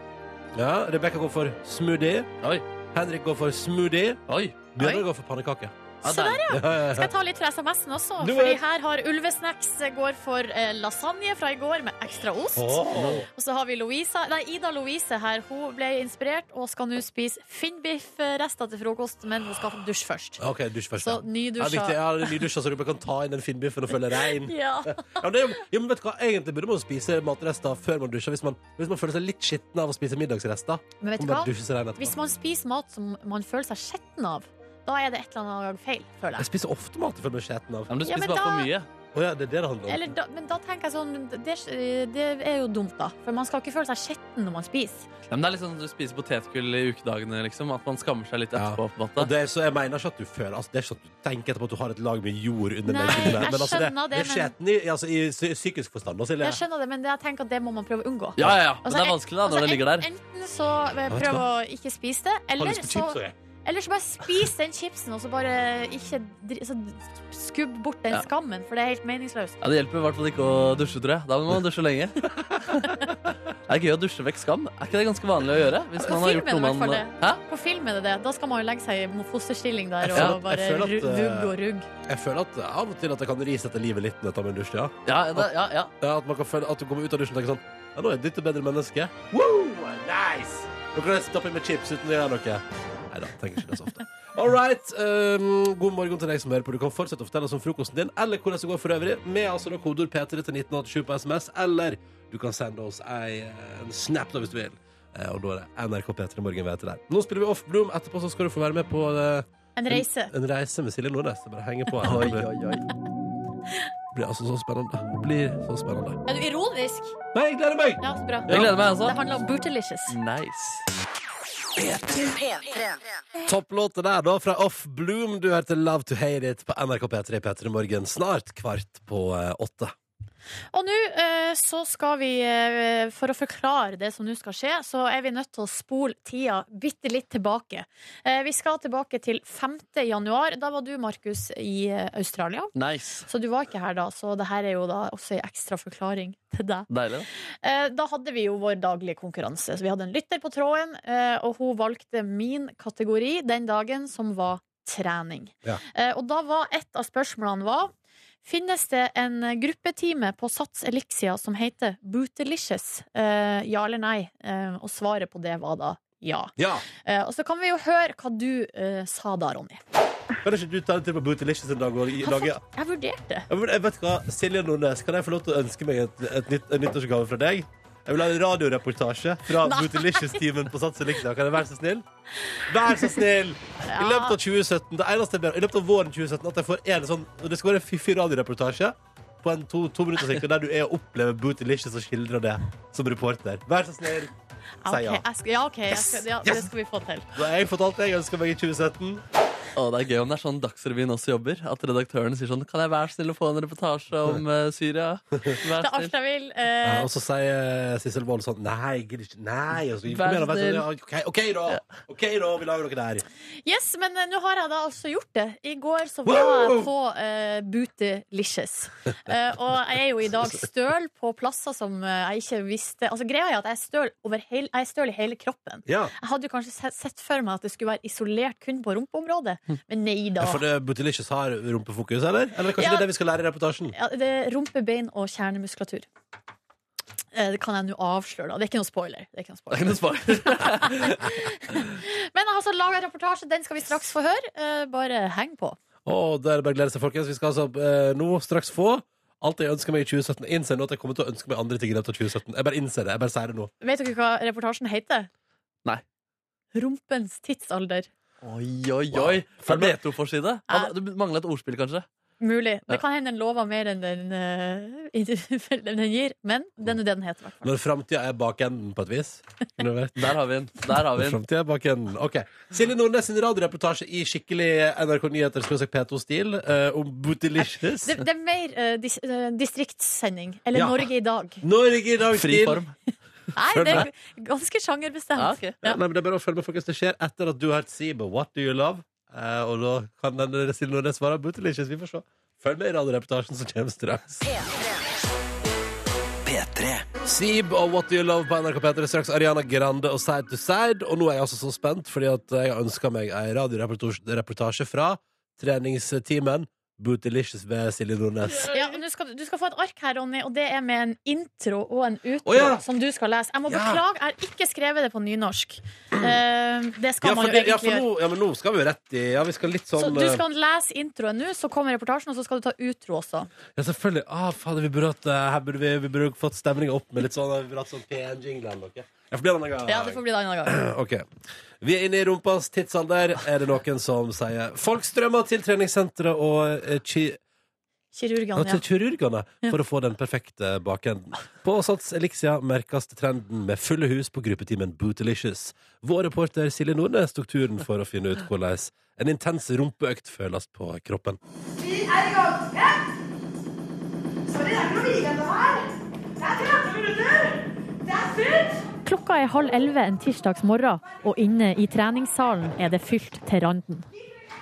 S2: Ja, Rebekka går for smoothie.
S4: Oi,
S2: Henrik går for smoothie.
S4: oi.
S2: Bjørnar går for pannekake.
S4: Ja,
S3: Så der,
S4: deilig.
S3: ja.
S2: Ja, ja,
S3: Skal jeg ta litt fra SMS-en også?
S2: Du
S3: Fordi
S2: vet.
S3: her har Ulvesnacks eh, går for eh, lasagne fra i går med ekstra ost.
S2: Åh.
S3: Og så har vi Louisa, nei, Ida Louise her. Hun ble inspirert og skal nå spise finnbiff-rester til frokost, men hun skal dusje først.
S2: OK, dusj først. ja.
S3: Så
S2: Ja,
S3: nydusja.
S2: viktig. Ja, nydusja, så altså, du bare kan ta inn den finnbiffen og føle
S3: [laughs]
S2: rein.
S3: Ja.
S2: Ja, men det, er jo- ja, men vet du hva? Egentlig burde man jo spise matrester før man dusjer, hvis man, hvis man føler seg litt skitten av å spise middagsrester.
S3: Men vet
S2: Kan
S3: du
S2: bare
S3: hva?
S2: dusje seg rein
S3: Hvis
S2: etterpå.
S3: man spiser mat som man føler seg skitten av, da er det et eller annet feil, føler
S2: Jeg
S3: jeg.
S2: spiser ofte mat jeg føler meg skitten av.
S4: Ja, men du
S3: Ja,
S4: spiser
S3: men
S4: bare
S3: da-
S4: for mye.
S2: Å ja, det er det det handler om.
S3: Eller da, men da tenker jeg sånn det, det er jo dumt, da. For man skal ikke føle seg skitten når man spiser.
S4: Ja, men det er litt sånn at du spiser potetgull i ukedagene, liksom. At man skammer seg litt
S2: Ja.
S4: etterpå. på en
S2: Og
S4: måte.
S2: det, er- så jeg mener ikke at du føler altså, Det er ikke at du tenker etterpå at du har et lag med jord under
S3: Nei,
S2: leggene.
S3: jeg
S2: Men altså, det,
S3: skjønner det,
S2: det er skjeten i, altså, i psy- psykisk forstand. da, Silje.
S3: Jeg skjønner det, men det, jeg tenker at det må man prøve å unngå.
S4: Ja, ja, ja. Men
S3: Altså,
S4: det er
S3: en-
S4: vanskelig da,
S3: altså,
S4: når det
S3: en-
S4: ligger der.
S3: Enten så eh,
S2: vet
S3: prøv
S2: hva.
S3: å ikke spise det,
S2: Har
S3: eller
S2: lyst på chips,
S3: så,
S2: jeg.
S3: eller så bare spis den chipsen og så bare ikke dri- så skubb bort den
S4: Ja.
S3: skammen, for det er helt meningsløst.
S4: Ja, Det hjelper i hvert fall ikke å dusje, tror jeg. Da må man dusje lenge. [laughs] Det er gøy å dusje vekk skam. Er ikke det ganske vanlig å gjøre? Hvis
S3: På
S4: man har gjort
S3: Altså, filmen,
S4: noe
S3: i hvert
S4: man...
S3: fall
S4: Hæ?
S3: På film er det det. Da skal man jo legge seg i mo- fosterstilling der og
S2: Jeg føler-
S3: bare
S2: jeg føler at,
S3: ru-
S2: eh,
S3: rugg og rugg.
S2: Jeg føler at av og til at jeg kan ri sette livet litt når jeg tar meg en dusj. Ja.
S4: Ja, ja, det- ja, ja.
S2: Ja, at, man kan føle, at du kommer ut av dusjen og tenker sånn Ja, nå er jeg dytt et bedre menneske. Wow, nice! Nå kan jeg stappe i meg chips uten å gjøre noe. Nei da, tenker ikke det så ofte. All right. Um, god morgen til deg som hører på. Du kan fortsette å fortelle oss om frokosten din eller hvordan det går for øvrig, med altså da kodeord P3 til 1987 på SMS, eller du kan sende oss ei, en snap da hvis du vil. Eh, Og da er det NRK P3 Morgen vi heter der. Nå spiller vi Off Bloom. Etterpå så skal du få være med på eh,
S3: En reise.
S2: En reise med Silje Nordnes. Jeg Bare henger på her.
S4: Oi,
S2: Det blir-
S4: oi, oi.
S2: blir altså så spennende. Det Blir så spennende.
S3: Er du ironisk?
S2: Nei, jeg gleder meg!
S3: Ja, så bra.
S4: Jeg gleder meg,
S3: Det
S4: altså.
S3: handler om Bootelicious.
S4: Nice.
S2: Topplåta der, da, fra Off Bloom. Du hørte Love to Hate It på NRK P3 P3 Morgen snart kvart på eh, åtte.
S3: Og nå eh, så skal vi, eh, for å forklare det som nå skal skje, så er vi nødt til å spole tida bitte litt tilbake. Eh, Vi skal tilbake til 5. januar. Da var du, Markus, i eh, Australia.
S4: nice.
S3: Så du var ikke her da, så det her er jo da også en ekstra forklaring til deg.
S4: Deilig, da.
S3: Eh, Da hadde vi jo vår daglige konkurranse. Så vi hadde en lytter på tråden, eh, og hun valgte min kategori den dagen, som var trening.
S2: Ja.
S3: Eh, Og da var et av spørsmålene var Finnes det en gruppetime på Sats Elixia som heter Bootelicious? Eh, Ja eller nei? Eh, Og svaret på det var da ja.
S2: Ja!
S3: Eh, Og så kan vi jo høre hva du eh, sa da, Ronny.
S2: Kan ikke du ta en tur på Bootylicious en dag? Og i-
S3: Jeg,
S2: lage
S3: har fått, jeg vurderte.
S2: Ja, men Jeg vet hva, Silje Nordnes, kan jeg få lov til å ønske meg et, et nytt, en nyttårsgave fra deg? Jeg vil ha en radioreportasje fra Bootylicious-teamen på Sats Elixia. Kan jeg være så snill? Vær så snill! I løpet av 2017, det eneste jeg ber om, i løpet av våren 2017, at jeg får en sånn Det skal være en fiffig radioreportasje på en to, to minutter sikkert, der du er og opplever Bootylicious og skildrer det som reporter. Vær så snill!
S3: Ja,
S2: Si ja.
S3: ok, jeg skal, ja, ok, jeg skal, ja, det skal vi få til.
S2: Da har jeg fått alt jeg ønsker meg i 2017.
S4: Å, det er gøy om det er sånn Dagsrevyen også jobber. At redaktøren sier sånn Kan jeg være snill å få en reportasje om eh, Syria?
S3: Det
S4: Vær
S3: er alt
S4: snill.
S3: jeg vil. eh,
S2: Ja, og så sier Sissel Wold sånn Nei, jeg gidder ikke. Nei. Og så,
S4: Vær
S2: kom igjen, da, vet du,
S4: snill.
S2: ja, OK, OK, da. OK, da. Vi lager noe der.
S3: Yes, men eh, nå har jeg da altså gjort det. I går så var jeg
S2: Wow!
S3: på uh, Bootylicious. Eh, og jeg er jo i dag støl på plasser som eh, jeg ikke visste Altså Greia er at jeg er støl, over hele, jeg er støl i hele kroppen.
S2: Ja.
S3: Jeg hadde jo kanskje se- sett for meg at det skulle være isolert kun på rumpeområdet, men nei
S2: Hm.
S3: da.
S2: Ja, for det Bootylicious har rumpefokus, eller? Eller kanskje
S3: Ja.
S2: det er det vi skal lære i reportasjen?
S3: Ja, det er rumpe, bein og kjernemuskulatur. Eh, Det kan jeg nå avsløre, da. Det er ikke noe spoiler. Det er ikke noe
S4: Det
S3: spoiler.
S4: er ikke noe [laughs] svar.
S3: Men jeg har altså laga en reportasje, den skal vi straks få høre. Eh, Bare heng på.
S2: Å, det er det bare å glede seg, folkens. Vi skal altså eh, nå straks få alt jeg ønsker meg i 2017. Jeg Innser nå at jeg kommer til å ønske meg andre ting i løpet av 2017. Jeg bare innser det. Jeg bare sier det nå.
S3: Vet dere hva reportasjen heter?
S4: Nei.
S3: Rumpens tidsalder.
S4: Oi, oi, oi.
S2: For
S4: Er det E2-forside?
S3: Ja.
S4: Du mangla et ordspill, kanskje?
S3: Mulig.
S4: Ja.
S3: Det kan hende den lover mer enn den, eh, [laughs] den gir, men den er det den heter. i hvert fall.
S2: Når framtida er bakenden, på et vis. Kunne
S3: [laughs]
S2: det vært?
S4: Der har vi den. Der har
S2: Når
S4: vi den.
S2: fremtiden er bakenden. Ok. Silje Nordnes sin radioreportasje i skikkelig NRK Nyheter skråstrek P2-stil eh, om Bootylicious.
S3: Det, det er mer eh, dis, eh, distriktssending. Eller
S2: Ja.
S3: Norge i dag.
S2: Norge i dag
S4: Fri
S2: til
S4: form.
S3: Nei, det er g- ganske sjangerbestemt.
S4: Ja, ok.
S2: Ja. Nei, men det er bare å følge med, folkens. Det skjer etter at du har hørt Sibo, What Do You Love? Eh, og da kan den eh, stille noen svare Bootylicious. Vi får se. Følg med i radioreportasjen som kommer straks. Sieb og What Do You Love på NRK P3. Straks Ariana Grande og Side to Side. Og nå er jeg altså så spent, fordi at jeg har ønska meg ei radioreportasje fra treningstimen Bootylicious ved Silje Nordnes.
S3: Ja, men du, skal, du skal få et ark her, Ronny, og det er med en intro og en utro
S2: Å, ja.
S3: som du skal lese. Jeg må
S2: Ja.
S3: beklage, jeg har ikke skrevet det på nynorsk. Eh, det skal
S2: Ja, for,
S3: man jo
S2: det,
S3: egentlig
S2: ja, for
S3: gjøre.
S2: nå, ja, men nå skal vi jo rett i Ja, vi skal litt sånn
S3: Så du
S2: eh,
S3: skal lese introen nå, så kommer reportasjen, og så skal du ta utro også.
S2: Ja, selvfølgelig. Ah, fader, vi burde, hatt, eh, her burde vi, vi burde fått stemninga opp med litt sånn Vi burde hatt sånn pen jingle eller noe. Ja, for det er en annen gang.
S3: Ja, det får bli det en annen gang.
S2: Ok. Vi er inne i rumpas tidsalder. Er det noen som sier Folk strømmer til treningssenteret og eh, ki ja,
S3: [clears throat] Kirurgene, ja.
S2: til kirurgene for å få den perfekte bakenden. På Sats Elixia merkes trenden med fulle hus på gruppetimen Bootylicious. Vår reporter Silje Nordnes tok turen for å finne ut hvordan en intens rumpeøkt føles på kroppen.
S6: Vi er i gang. Vent! Sorry, det er ikke noe hvile ennå her. Det er 30 minutter. Det er slutt.
S3: Klokka er halv elleve en tirsdags morgen, og inne i treningssalen er det fylt til randen.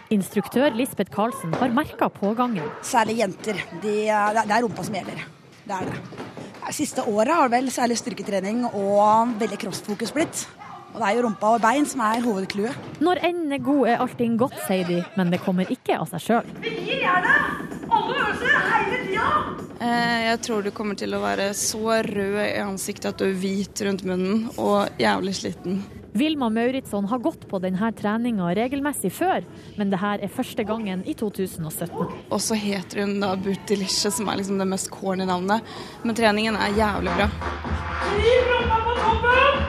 S3: Instruktør Lisbeth Karlsen har merka pågangen.
S7: Særlig jenter. De, eh, det er rumpa som gjelder. Det er det. Det Siste året har vel særlig styrketrening og veldig kroppsfokus blitt. Og det er jo rumpa og bein som er hovedclouet.
S3: Når enden er god, er allting godt, sier de, men det kommer ikke av seg sjøl.
S6: Vi gir jernet. Alle øvelser hele tida.
S8: Eh, Jeg tror du kommer til å være så rød i ansiktet at du er hvit rundt munnen og jævlig sliten.
S3: Vilma Mauritsson har gått på denne treninga regelmessig før, men det her er første gangen i 2017.
S8: Og så heter hun da Bootylicious, som er liksom det mest corny navnet. Men treningen er jævlig bra.
S6: Hiv rumpa på toppen.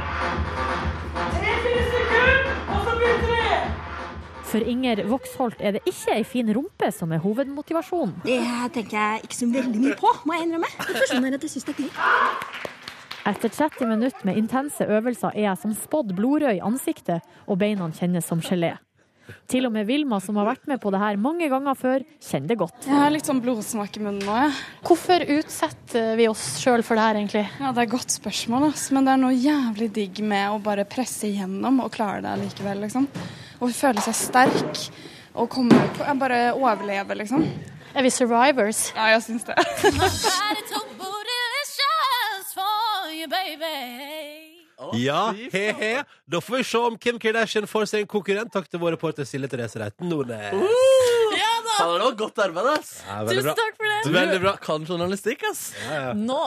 S6: Tre-fire stykker, og så begynner vi.
S9: For Inger Voksholt er det ikke ei fin rumpe som er hovedmotivasjonen.
S10: Det tenker jeg ikke så veldig mye på, må jeg innrømme. Jeg skjønner at jeg syns det er gøy.
S9: Etter 30 minutter med intense øvelser er jeg som spådd blodrød i ansiktet, og beina kjennes som gelé. Til og med Vilma, som har vært med på det her mange ganger før, kjenner det godt.
S8: Jeg har litt sånn blodsmak i munnen nå, jeg.
S3: Hvorfor utsetter vi oss sjøl for det her, egentlig?
S8: Ja, det er et godt spørsmål, ass. men det er noe jævlig digg med å bare presse igjennom og klare det likevel, liksom. Og føle seg sterk og komme på, ja, bare overleve, liksom.
S3: Er vi survivors?
S8: Ja, jeg syns det.
S2: Ja, he-he. Da får vi se om Kim Kardashian får seg en konkurrent. Takk til vår reporter Silje Therese Reiten Nordnes.
S4: Fader, det var godt arbeid, ass.
S2: Ja, veldig bra.
S3: takk for det!
S4: Du
S2: Veldig bra.
S4: kan journalistikk, ass.
S3: Nå!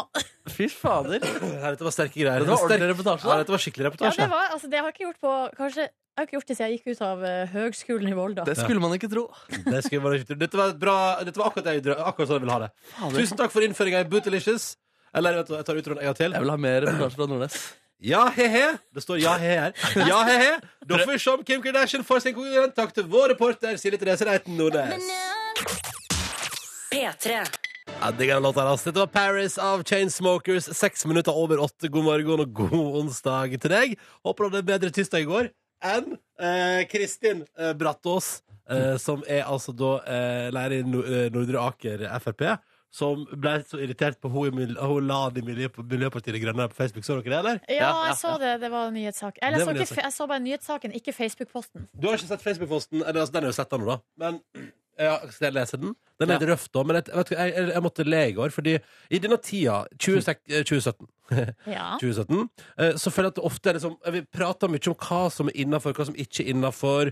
S4: Fy fader.
S2: Ja, Dette var sterke greier.
S4: Dette var ordentlig
S2: Sterk-
S4: reportasje, da.
S2: Ja, dette var skikkelig
S3: Ja,
S2: reportasje.
S3: det var, altså, det har jeg ikke gjort på Kanskje jeg har ikke gjort det siden jeg gikk ut av eh, høgskolen i Volda.
S4: Det skulle man ikke tro.
S2: Det skal vi bare ikke tro. Dette var, et bra, dette var akkurat, det jeg, drø- akkurat sånn jeg ville ha det. Tusen takk for innføringa i Bootilicious. Eller vet du hva, jeg tar utroen en gang til.
S4: Jeg vil ha mer reportasje fra Nordnes.
S2: Ja, he-he. Det står ja, he-he her. Ja, he-he. Da får vi se om Kim Kardashian får sin konkurrent. Takk til vår reporter Silje Therese Reiten Nordnes.
S1: P3.
S2: Jeg digger den låta. ass. Dette var Paris av Chainsmokers. Seks minutter over åtte. God morgen og god onsdag til deg. Håper du hadde en bedre tirsdag i går enn eh, Kristin eh, Brattås, eh, som er altså da eh, lærer i Nor- eh, Nordre Aker Frp. Som ble så irritert på hun, i mil- hun la det i miljø, Miljøpartiet De Grønne på Facebook. Så dere det, eller?
S3: Ja,
S4: ja,
S3: jeg så det. Det var en nyhetssak. Eller
S2: Det
S3: jeg
S2: var en
S3: så, ikke,
S2: nyhetssak.
S3: fe- jeg så bare nyhetssaken, ikke Facebook-posten.
S2: Du har ikke sett Facebook-posten? Eller, altså, Den har du sett ennå, da. Men ja, skal jeg lese den? Den er
S4: Ja.
S2: litt røff, da. Men jeg, vet du, jeg, jeg, jeg måtte le i går, fordi i denne tida, 20, sek- eh, 2017
S3: Ja.
S2: 2017. eh, Så føler jeg at det ofte er liksom Vi prater mye om hva som er innafor, hva som ikke er innafor.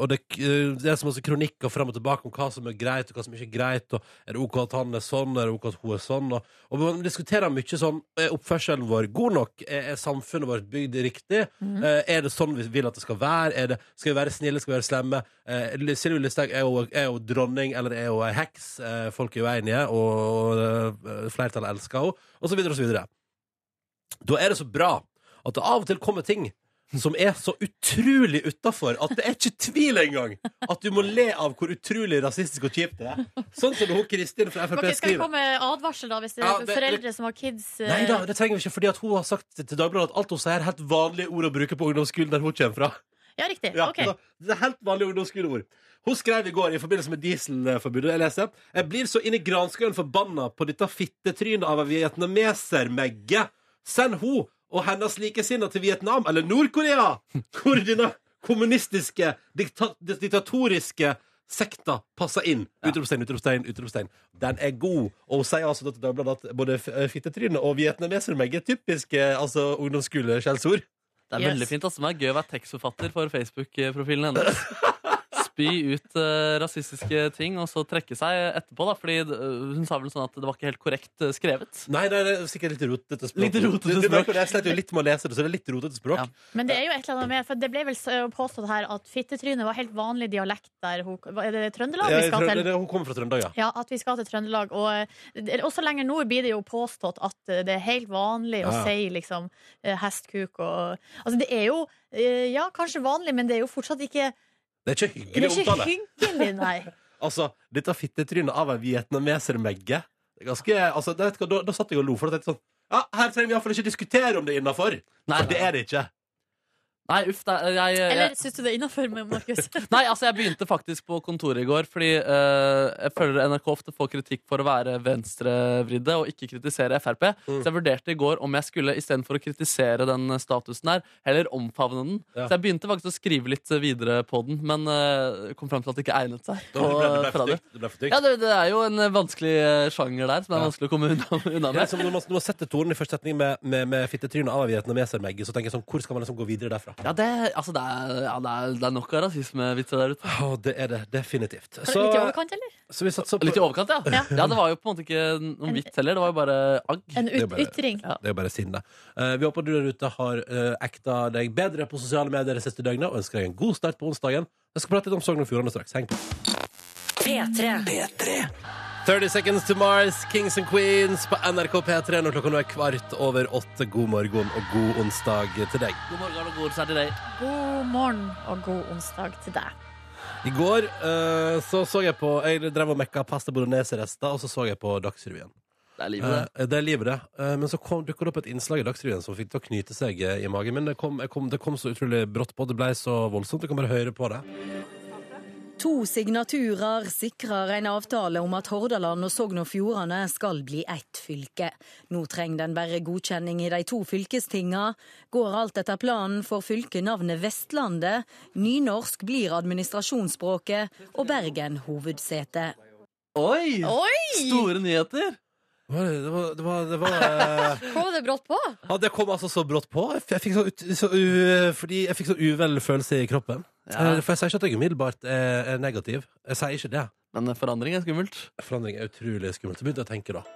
S2: Og det, eh, det er så masse kronikker fram og tilbake om hva som er greit og hva som ikke er greit. Og er det OK at han er sånn, er det OK at hun er sånn? Og, og man diskuterer mye sånn Er oppførselen vår god nok? Er, er samfunnet vårt bygd riktig? Eh, Er det sånn vi vil at det skal være? Er det, skal vi være snille? Skal vi være slemme? Eh, Sylvi Listhaug er, jo- er jo dronning, eller er jo ei heks. Eh, Folk er uenige, og eh, flertallet elsker henne. Og så videre og så videre. Da er det så bra at det av og til kommer ting som er så utrolig utafor at det er ikke tvil engang at du må le av hvor utrolig rasistisk og kjipt det er. Sånn som hun Kristin fra Frp
S3: Ok, skal vi
S2: skriver.
S3: komme med advarsel, da, hvis det er
S2: Ja, det-
S3: foreldre som har kids? eh,
S2: Nei da, det trenger vi ikke, fordi at hun har sagt til Dagbladet at alt hun sier, er helt vanlige ord å bruke på ungdomsskolen der hun kommer fra.
S3: Ja, riktig.
S2: Ja,
S3: ok.
S2: så Det er helt vanlige ungdomsskoleord. Hun skrev i går i forbindelse med dieselforbudet. Jeg leser Jeg blir så inn i granskauen forbanna på dette fittetrynet av en vietnameser-megge. Send hun og hennes likesinnede til Vietnam eller Nord-Korea! Hvor denne kommunistiske, dikta diktatoriske sekta passer inn. Utropstegn, utropstegn, utropstegn. Den er god. Og hun sier altså da til Dagbladet at både f- fittetryne og vietnameser-megge er typiske altså, ungdomsskole-skjellsord.
S4: Det er
S3: Yes.
S4: veldig fint. ass. Det er gøy å være tekstforfatter for Facebook-profilen hennes. Spy ut eh, rasistiske ting, og så trekke seg etterpå. da Fordi eh, hun sa vel sånn at det var ikke helt korrekt eh, skrevet.
S2: Nei, nei, det er sikkert litt rotete språk.
S4: Litt rotete
S2: Det- det-
S4: språk.
S2: Jeg slet jo litt med å lese det, så det er litt rotete språk.
S4: Ja.
S3: Men det er jo et eller annet med For det ble vel så- påstått her at fittetryne var helt vanlig dialekt der hun hva- Er det Trøndelag vi
S2: Jeg,
S3: skal
S2: tror-
S3: til?
S2: det- hun kommer fra Trøndelag, ja.
S3: Ja, at vi skal til Trøndelag. Og eh, det- også lenger nord blir det jo påstått at eh, det er helt vanlig å
S2: Ja.
S3: si liksom eh, hestkuk og Altså det er jo eh, ja, kanskje vanlig, men det er jo fortsatt ikke
S2: Det er ikke
S3: Det
S2: hyggelig
S3: er ikke
S2: omtale.
S3: hyggelig, nei.
S2: [laughs] Altså, dette fittetrynet av en vietnameser-megge det er ganske, altså, det, vet du hva, da, da satt jeg og lo, for det er sånn Ja, her trenger vi iallfall ikke diskutere om det er innafor.
S4: Nei,
S2: Det er det ikke.
S4: nei uff. Det er, jeg, jeg,
S3: Eller syns du det er innafor, Markus?
S4: Nei, altså jeg begynte faktisk på kontoret i går Fordi eh, jeg føler NRK ofte får kritikk for å være venstrevridde Og ikke kritisere FRP
S2: Mm.
S4: Så jeg vurderte i går om jeg skulle I stedet for å kritisere den eh, statusen her Heller omfavne den
S2: Ja.
S4: Så jeg begynte faktisk å skrive litt eh, videre på den Men eh, kom frem til at det ikke egnet seg
S2: Da, det
S4: på,
S2: ble, det ble
S4: fra
S2: for
S4: det.
S2: dykt. Det ble for dykt.
S4: Ja, det, det er jo en eh, vanskelig eh, sjanger der Som det er
S2: Ja.
S4: vanskelig å komme unna, [laughs] unna
S2: Det er
S4: med
S2: som når man, når man setter tonen i første setning med, med, med fittetrynet av en vietnameser-megge, så tenker jeg sånn Hvor skal man liksom gå videre derfra?
S4: ja, det, altså, det, er, ja, det, er, det er nok av rasismevitser der ute
S2: Å, det er det definitivt.
S3: Litt i
S2: Så,
S3: overkant, eller?
S2: så vi satser på
S4: Litt i overkant, ja
S3: Ja.
S4: [laughs] Ja, det var jo på en måte ikke noen vits heller Det var jo bare agg
S3: En
S2: er
S3: ut
S2: bare-
S3: ytring.
S2: Det er jo bare sinne. Eh, vi håper du der ute har eh, ekta deg bedre på sosiale medier det siste døgnet, og ønsker deg en god start på onsdagen. Jeg skal prate litt om Sogn og Fjordane straks. Heng på.
S1: P3.
S2: 30 Seconds to Mars, Kings and Queens på NRK P3 når klokka nå er kvart over åtte. God morgen og god onsdag til deg.
S4: God morgen og god sær til deg
S3: God morgen og god onsdag til deg.
S2: I går eh, så så jeg på Jeg drev og mekka pasta bolognese-rester, og så så jeg på Dagsrevyen.
S4: Det er livet,
S2: det. det er livet, det. Eh, men så kom, dukket det opp et innslag i Dagsrevyen som fikk det til å knyte seg eh, i magen. Men det kom, jeg kom, det kom så utrolig brått på. Det ble så voldsomt. Du kan bare høre på det.
S11: To signaturer sikrer en avtale om at Hordaland og Sogn og Fjordane skal bli ett fylke. Nå trenger den bare godkjenning i de to fylkestinga. Går alt etter planen, får fylket navnet Vestlandet, nynorsk blir administrasjonsspråket og Bergen hovedsete.
S4: Oi! Store nyheter!
S2: Det var, det var, det var, det
S3: [laughs]
S2: var eh,
S3: Kom det brått på?
S2: ja, Det kom altså så brått på. Jeg f- jeg fikk så, ut, så, u- fordi jeg fikk så uvel følelse i kroppen. Eh, For jeg sier ikke at jeg umiddelbart er, er negativ. Jeg sier ikke det.
S4: Men eh, forandring er skummelt.
S2: Forandring er utrolig skummelt. Så begynte jeg å tenke, da.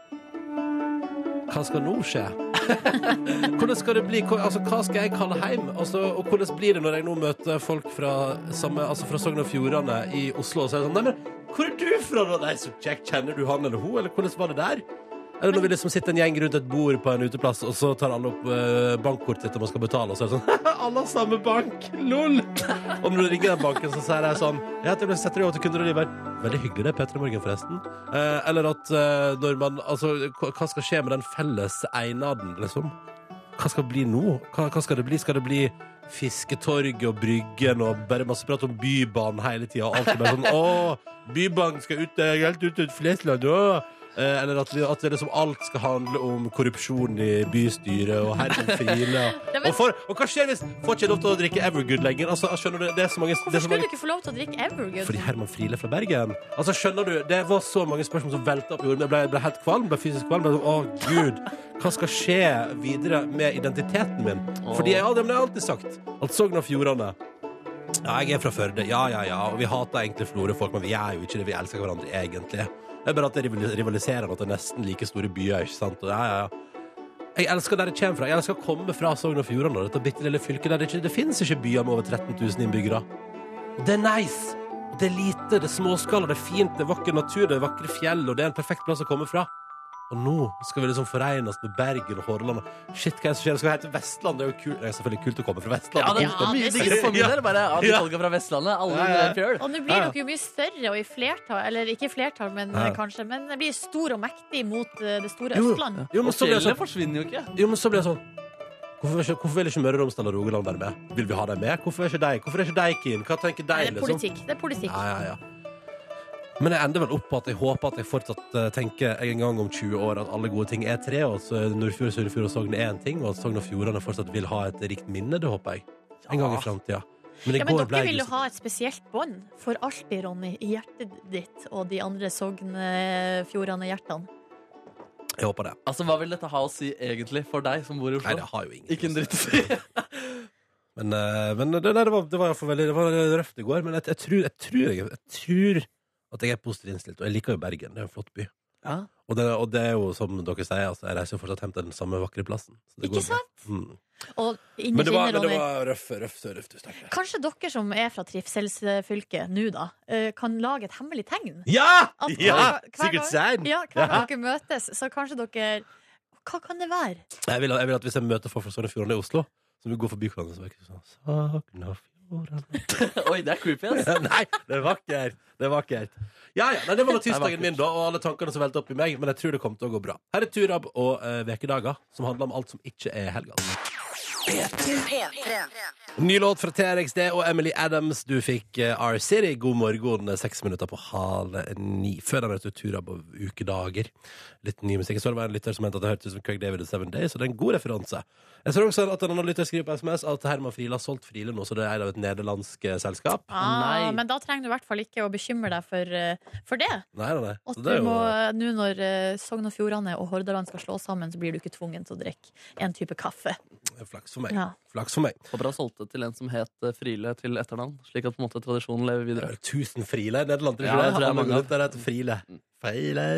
S2: Hva skal nå skje? [laughs] hvordan skal det bli? Hva, altså, hva skal jeg kalle heim? Altså, og hvordan blir det når jeg nå møter folk fra, samme, altså, fra Sogn og Fjordane i Oslo og sier sånn Nei, men hvor er du fra, da? Nei, så kjekt. Kjenner du han eller hun, eller hvordan var det der? Eller når vi liksom sitter en gjeng rundt et bord på en uteplass, og så tar alle opp eh, bankkortet sitt og man skal betale, og så er det sånn [laughs] Alle har samme bank! Lol! Og når du ringer den banken, så sier jeg sånn Jeg heter Bjørn, setter deg over til kunder og de bare Veldig hyggelig det, Petter i morgen, forresten. Eh, eller at eh, når man Altså, hva hva skal skje med den felles einaden, liksom? Hva skal det bli nå? Hva, hva skal det bli? Skal det bli Fisketorget og Bryggen og bare masse prat om Bybanen hele tida? Og alt er bare sånn Å, Bybanen skal ut, eh, helt ut til Flesland, å! Eh, Eller at, vi, at det liksom alt skal handle om korrupsjon i bystyret og herrefile.
S3: [laughs] Ja,
S2: og,
S3: men-
S2: for, og hva skjer hvis Får ikke jeg lov til å drikke Evergood lenger? Altså, skjønner du, det er så mange, det
S3: Hvorfor
S2: er så
S3: skulle
S2: mange
S3: du ikke få lov til å drikke Evergood?
S2: fordi Herman Friele fra Bergen. Altså, skjønner du, Det var så mange spørsmål som velta opp i hodet. Jeg ble, jeg ble helt kvalm. ble fysisk kvalm. Ble sånn, Å, gud, hva skal skje videre med identiteten min? Fordi jeg, aldri, men jeg har alltid sagt at Sogn og Fjordane Ja, jeg er fra Førde. Ja, ja, ja. Og vi hater egentlig Florø-folk, men vi er jo ikke det. Vi elsker hverandre egentlig. Det er bare at det rival- rivaliserer at det er nesten like store byer, ikke sant? Og ja, ja, ja. Jeg elsker der jeg kommer fra. Jeg elsker å komme fra Sogn og Fjordane, dette bitte lille fylket der det, ikke, det finnes ikke byer med over 13 000 innbyggere. Og det er nice. Og Det er lite, det er småskala, det er fint, det er vakker natur, det er vakre fjell, og det er en perfekt plass å komme fra. Og nå skal vi liksom forenes med Bergen og Hordaland. og Shit, hva er det som skjer? Det skal hete Vestland. Det er jo kult. Det er selvfølgelig kult å komme fra Vestland.
S4: Ja, det er mye diggere for min del. Bare ja, de folka fra Vestlandet. Alle
S2: Ja, ja, ja.
S4: er fjøl.
S3: Og nå blir dere jo mye større og i flertall, eller ikke i flertall, men
S2: Ja.
S3: kanskje, men det blir stor og mektig mot eh, det store
S2: Jo,
S3: Østland.
S2: jo, men så blir det sånn-
S4: forsvinner jo ikke.
S2: Jo, men så blir det sånn Hvorfor, er ikke, hvorfor vil ikke Møre og Romsdal og Rogaland være med? Vil vi ha dem med? Hvorfor er ikke de Hvorfor er ikke de keen? Hva tenker de, liksom?
S3: Nei, det er politikk.
S2: altså.
S3: Det er politikk.
S2: Ja, ja, ja. Men jeg ender vel opp på at jeg håper at jeg fortsatt eh, tenker en gang om 20 år at alle gode ting er tre, og at eh, Nordfjord, Sørfjord og Sogn er én ting, og at Sogn og Fjordane fortsatt vil ha et rikt minne, det håper jeg. En gang i framtida. Men i
S3: Ja, men
S2: går
S3: dere
S2: ble jeg
S3: vil jo
S2: liksom-
S3: ha et spesielt bånd for alltid, Ronny, i hjertet ditt og de andre eh, Sognefjordane-hjertene.
S2: Jeg håper det.
S4: Altså, Hva vil dette ha å si egentlig for deg som bor i Oslo?
S2: Nei, det har jo ingenting
S4: Ikke en dritt å si. [laughs]
S2: Men, eh, men det, nei, det, var, det var i hvert fall veldig Det var røft i går, men jeg, jeg, tror, jeg, tror, jeg, jeg tror at jeg er positivt innstilt. Og jeg liker jo Bergen. Det er en flott by.
S4: Ja.
S2: Og, det, og det er jo som dere sier, altså, jeg reiser jo fortsatt hjem til den samme vakre plassen. Så det
S3: Ikke
S2: går bra.
S3: sant?
S2: Mm.
S3: Og
S2: Men det var,
S3: innerst inne,
S2: men det
S3: Ronny.
S2: var røff, røff, røff, du snakker.
S3: Kanskje dere som er fra trivselsfylket nå, da, eh, kan lage et hemmelig tegn?
S2: Ja!
S3: At hver-
S2: ja!
S3: hver
S2: Sikkert
S3: gang-
S2: sein.
S3: Ja, hver gang dere møtes, så kanskje dere Hva kan det være?
S2: Jeg, vil, jeg vil at hvis jeg møter folk fra Sogn og Fjordane i Oslo, så vil vi gå forbi hverandre så vil jeg sånn Sogn og Fjordane
S4: Oi, det er creepy, ass.
S2: [laughs] Nei, det er vakkert. Det er vakkert. Ja, ja, nei, Det var nå
S4: Det er
S2: tirsdagen min, da, og alle tankene som velta opp i meg. Men jeg tror det kommer til å gå bra. Her er Turab og eh, Vekedager, som handler om alt som ikke er helga. Ny låt fra TRXD og Emily Adams. Du fikk eh, R City. God morgen, eh, seks minutter på halv ni. Før den hørte du Turab og Ukedager. Litt ny musikk. Jeg så det var en lytter som mente at det hørtes ut som Craig David og Seven Days, så det er en god referanse. Jeg så også at en annen lytter skriver på SMS at Herman Friele har solgt Friele nå, så det er eid av et nederlandsk eh, selskap.
S3: Ah,
S4: Nei.
S3: men da trenger du i hvert fall ikke å bekymre deg for, eh, for det.
S2: Nei, nei, nei.
S3: At
S2: Så
S3: du
S2: det er jo-
S3: må, nå når eh, Sogn og Fjordane og Hordaland skal slå sammen, så blir du ikke tvungen til å drikke en type kaffe.
S2: Flaks for meg.
S3: Ja.
S2: Flaks for meg.
S4: Håper han solgte til en som het eh, Friele til etternavn, slik at på en måte tradisjonen lever
S2: Det
S4: videre.
S2: er tusen Friele i Nederland. tror
S4: Ja,
S2: jeg
S4: det tror jeg mange Mm.
S2: mange
S4: av.
S2: rundt der heter Friele. Feile.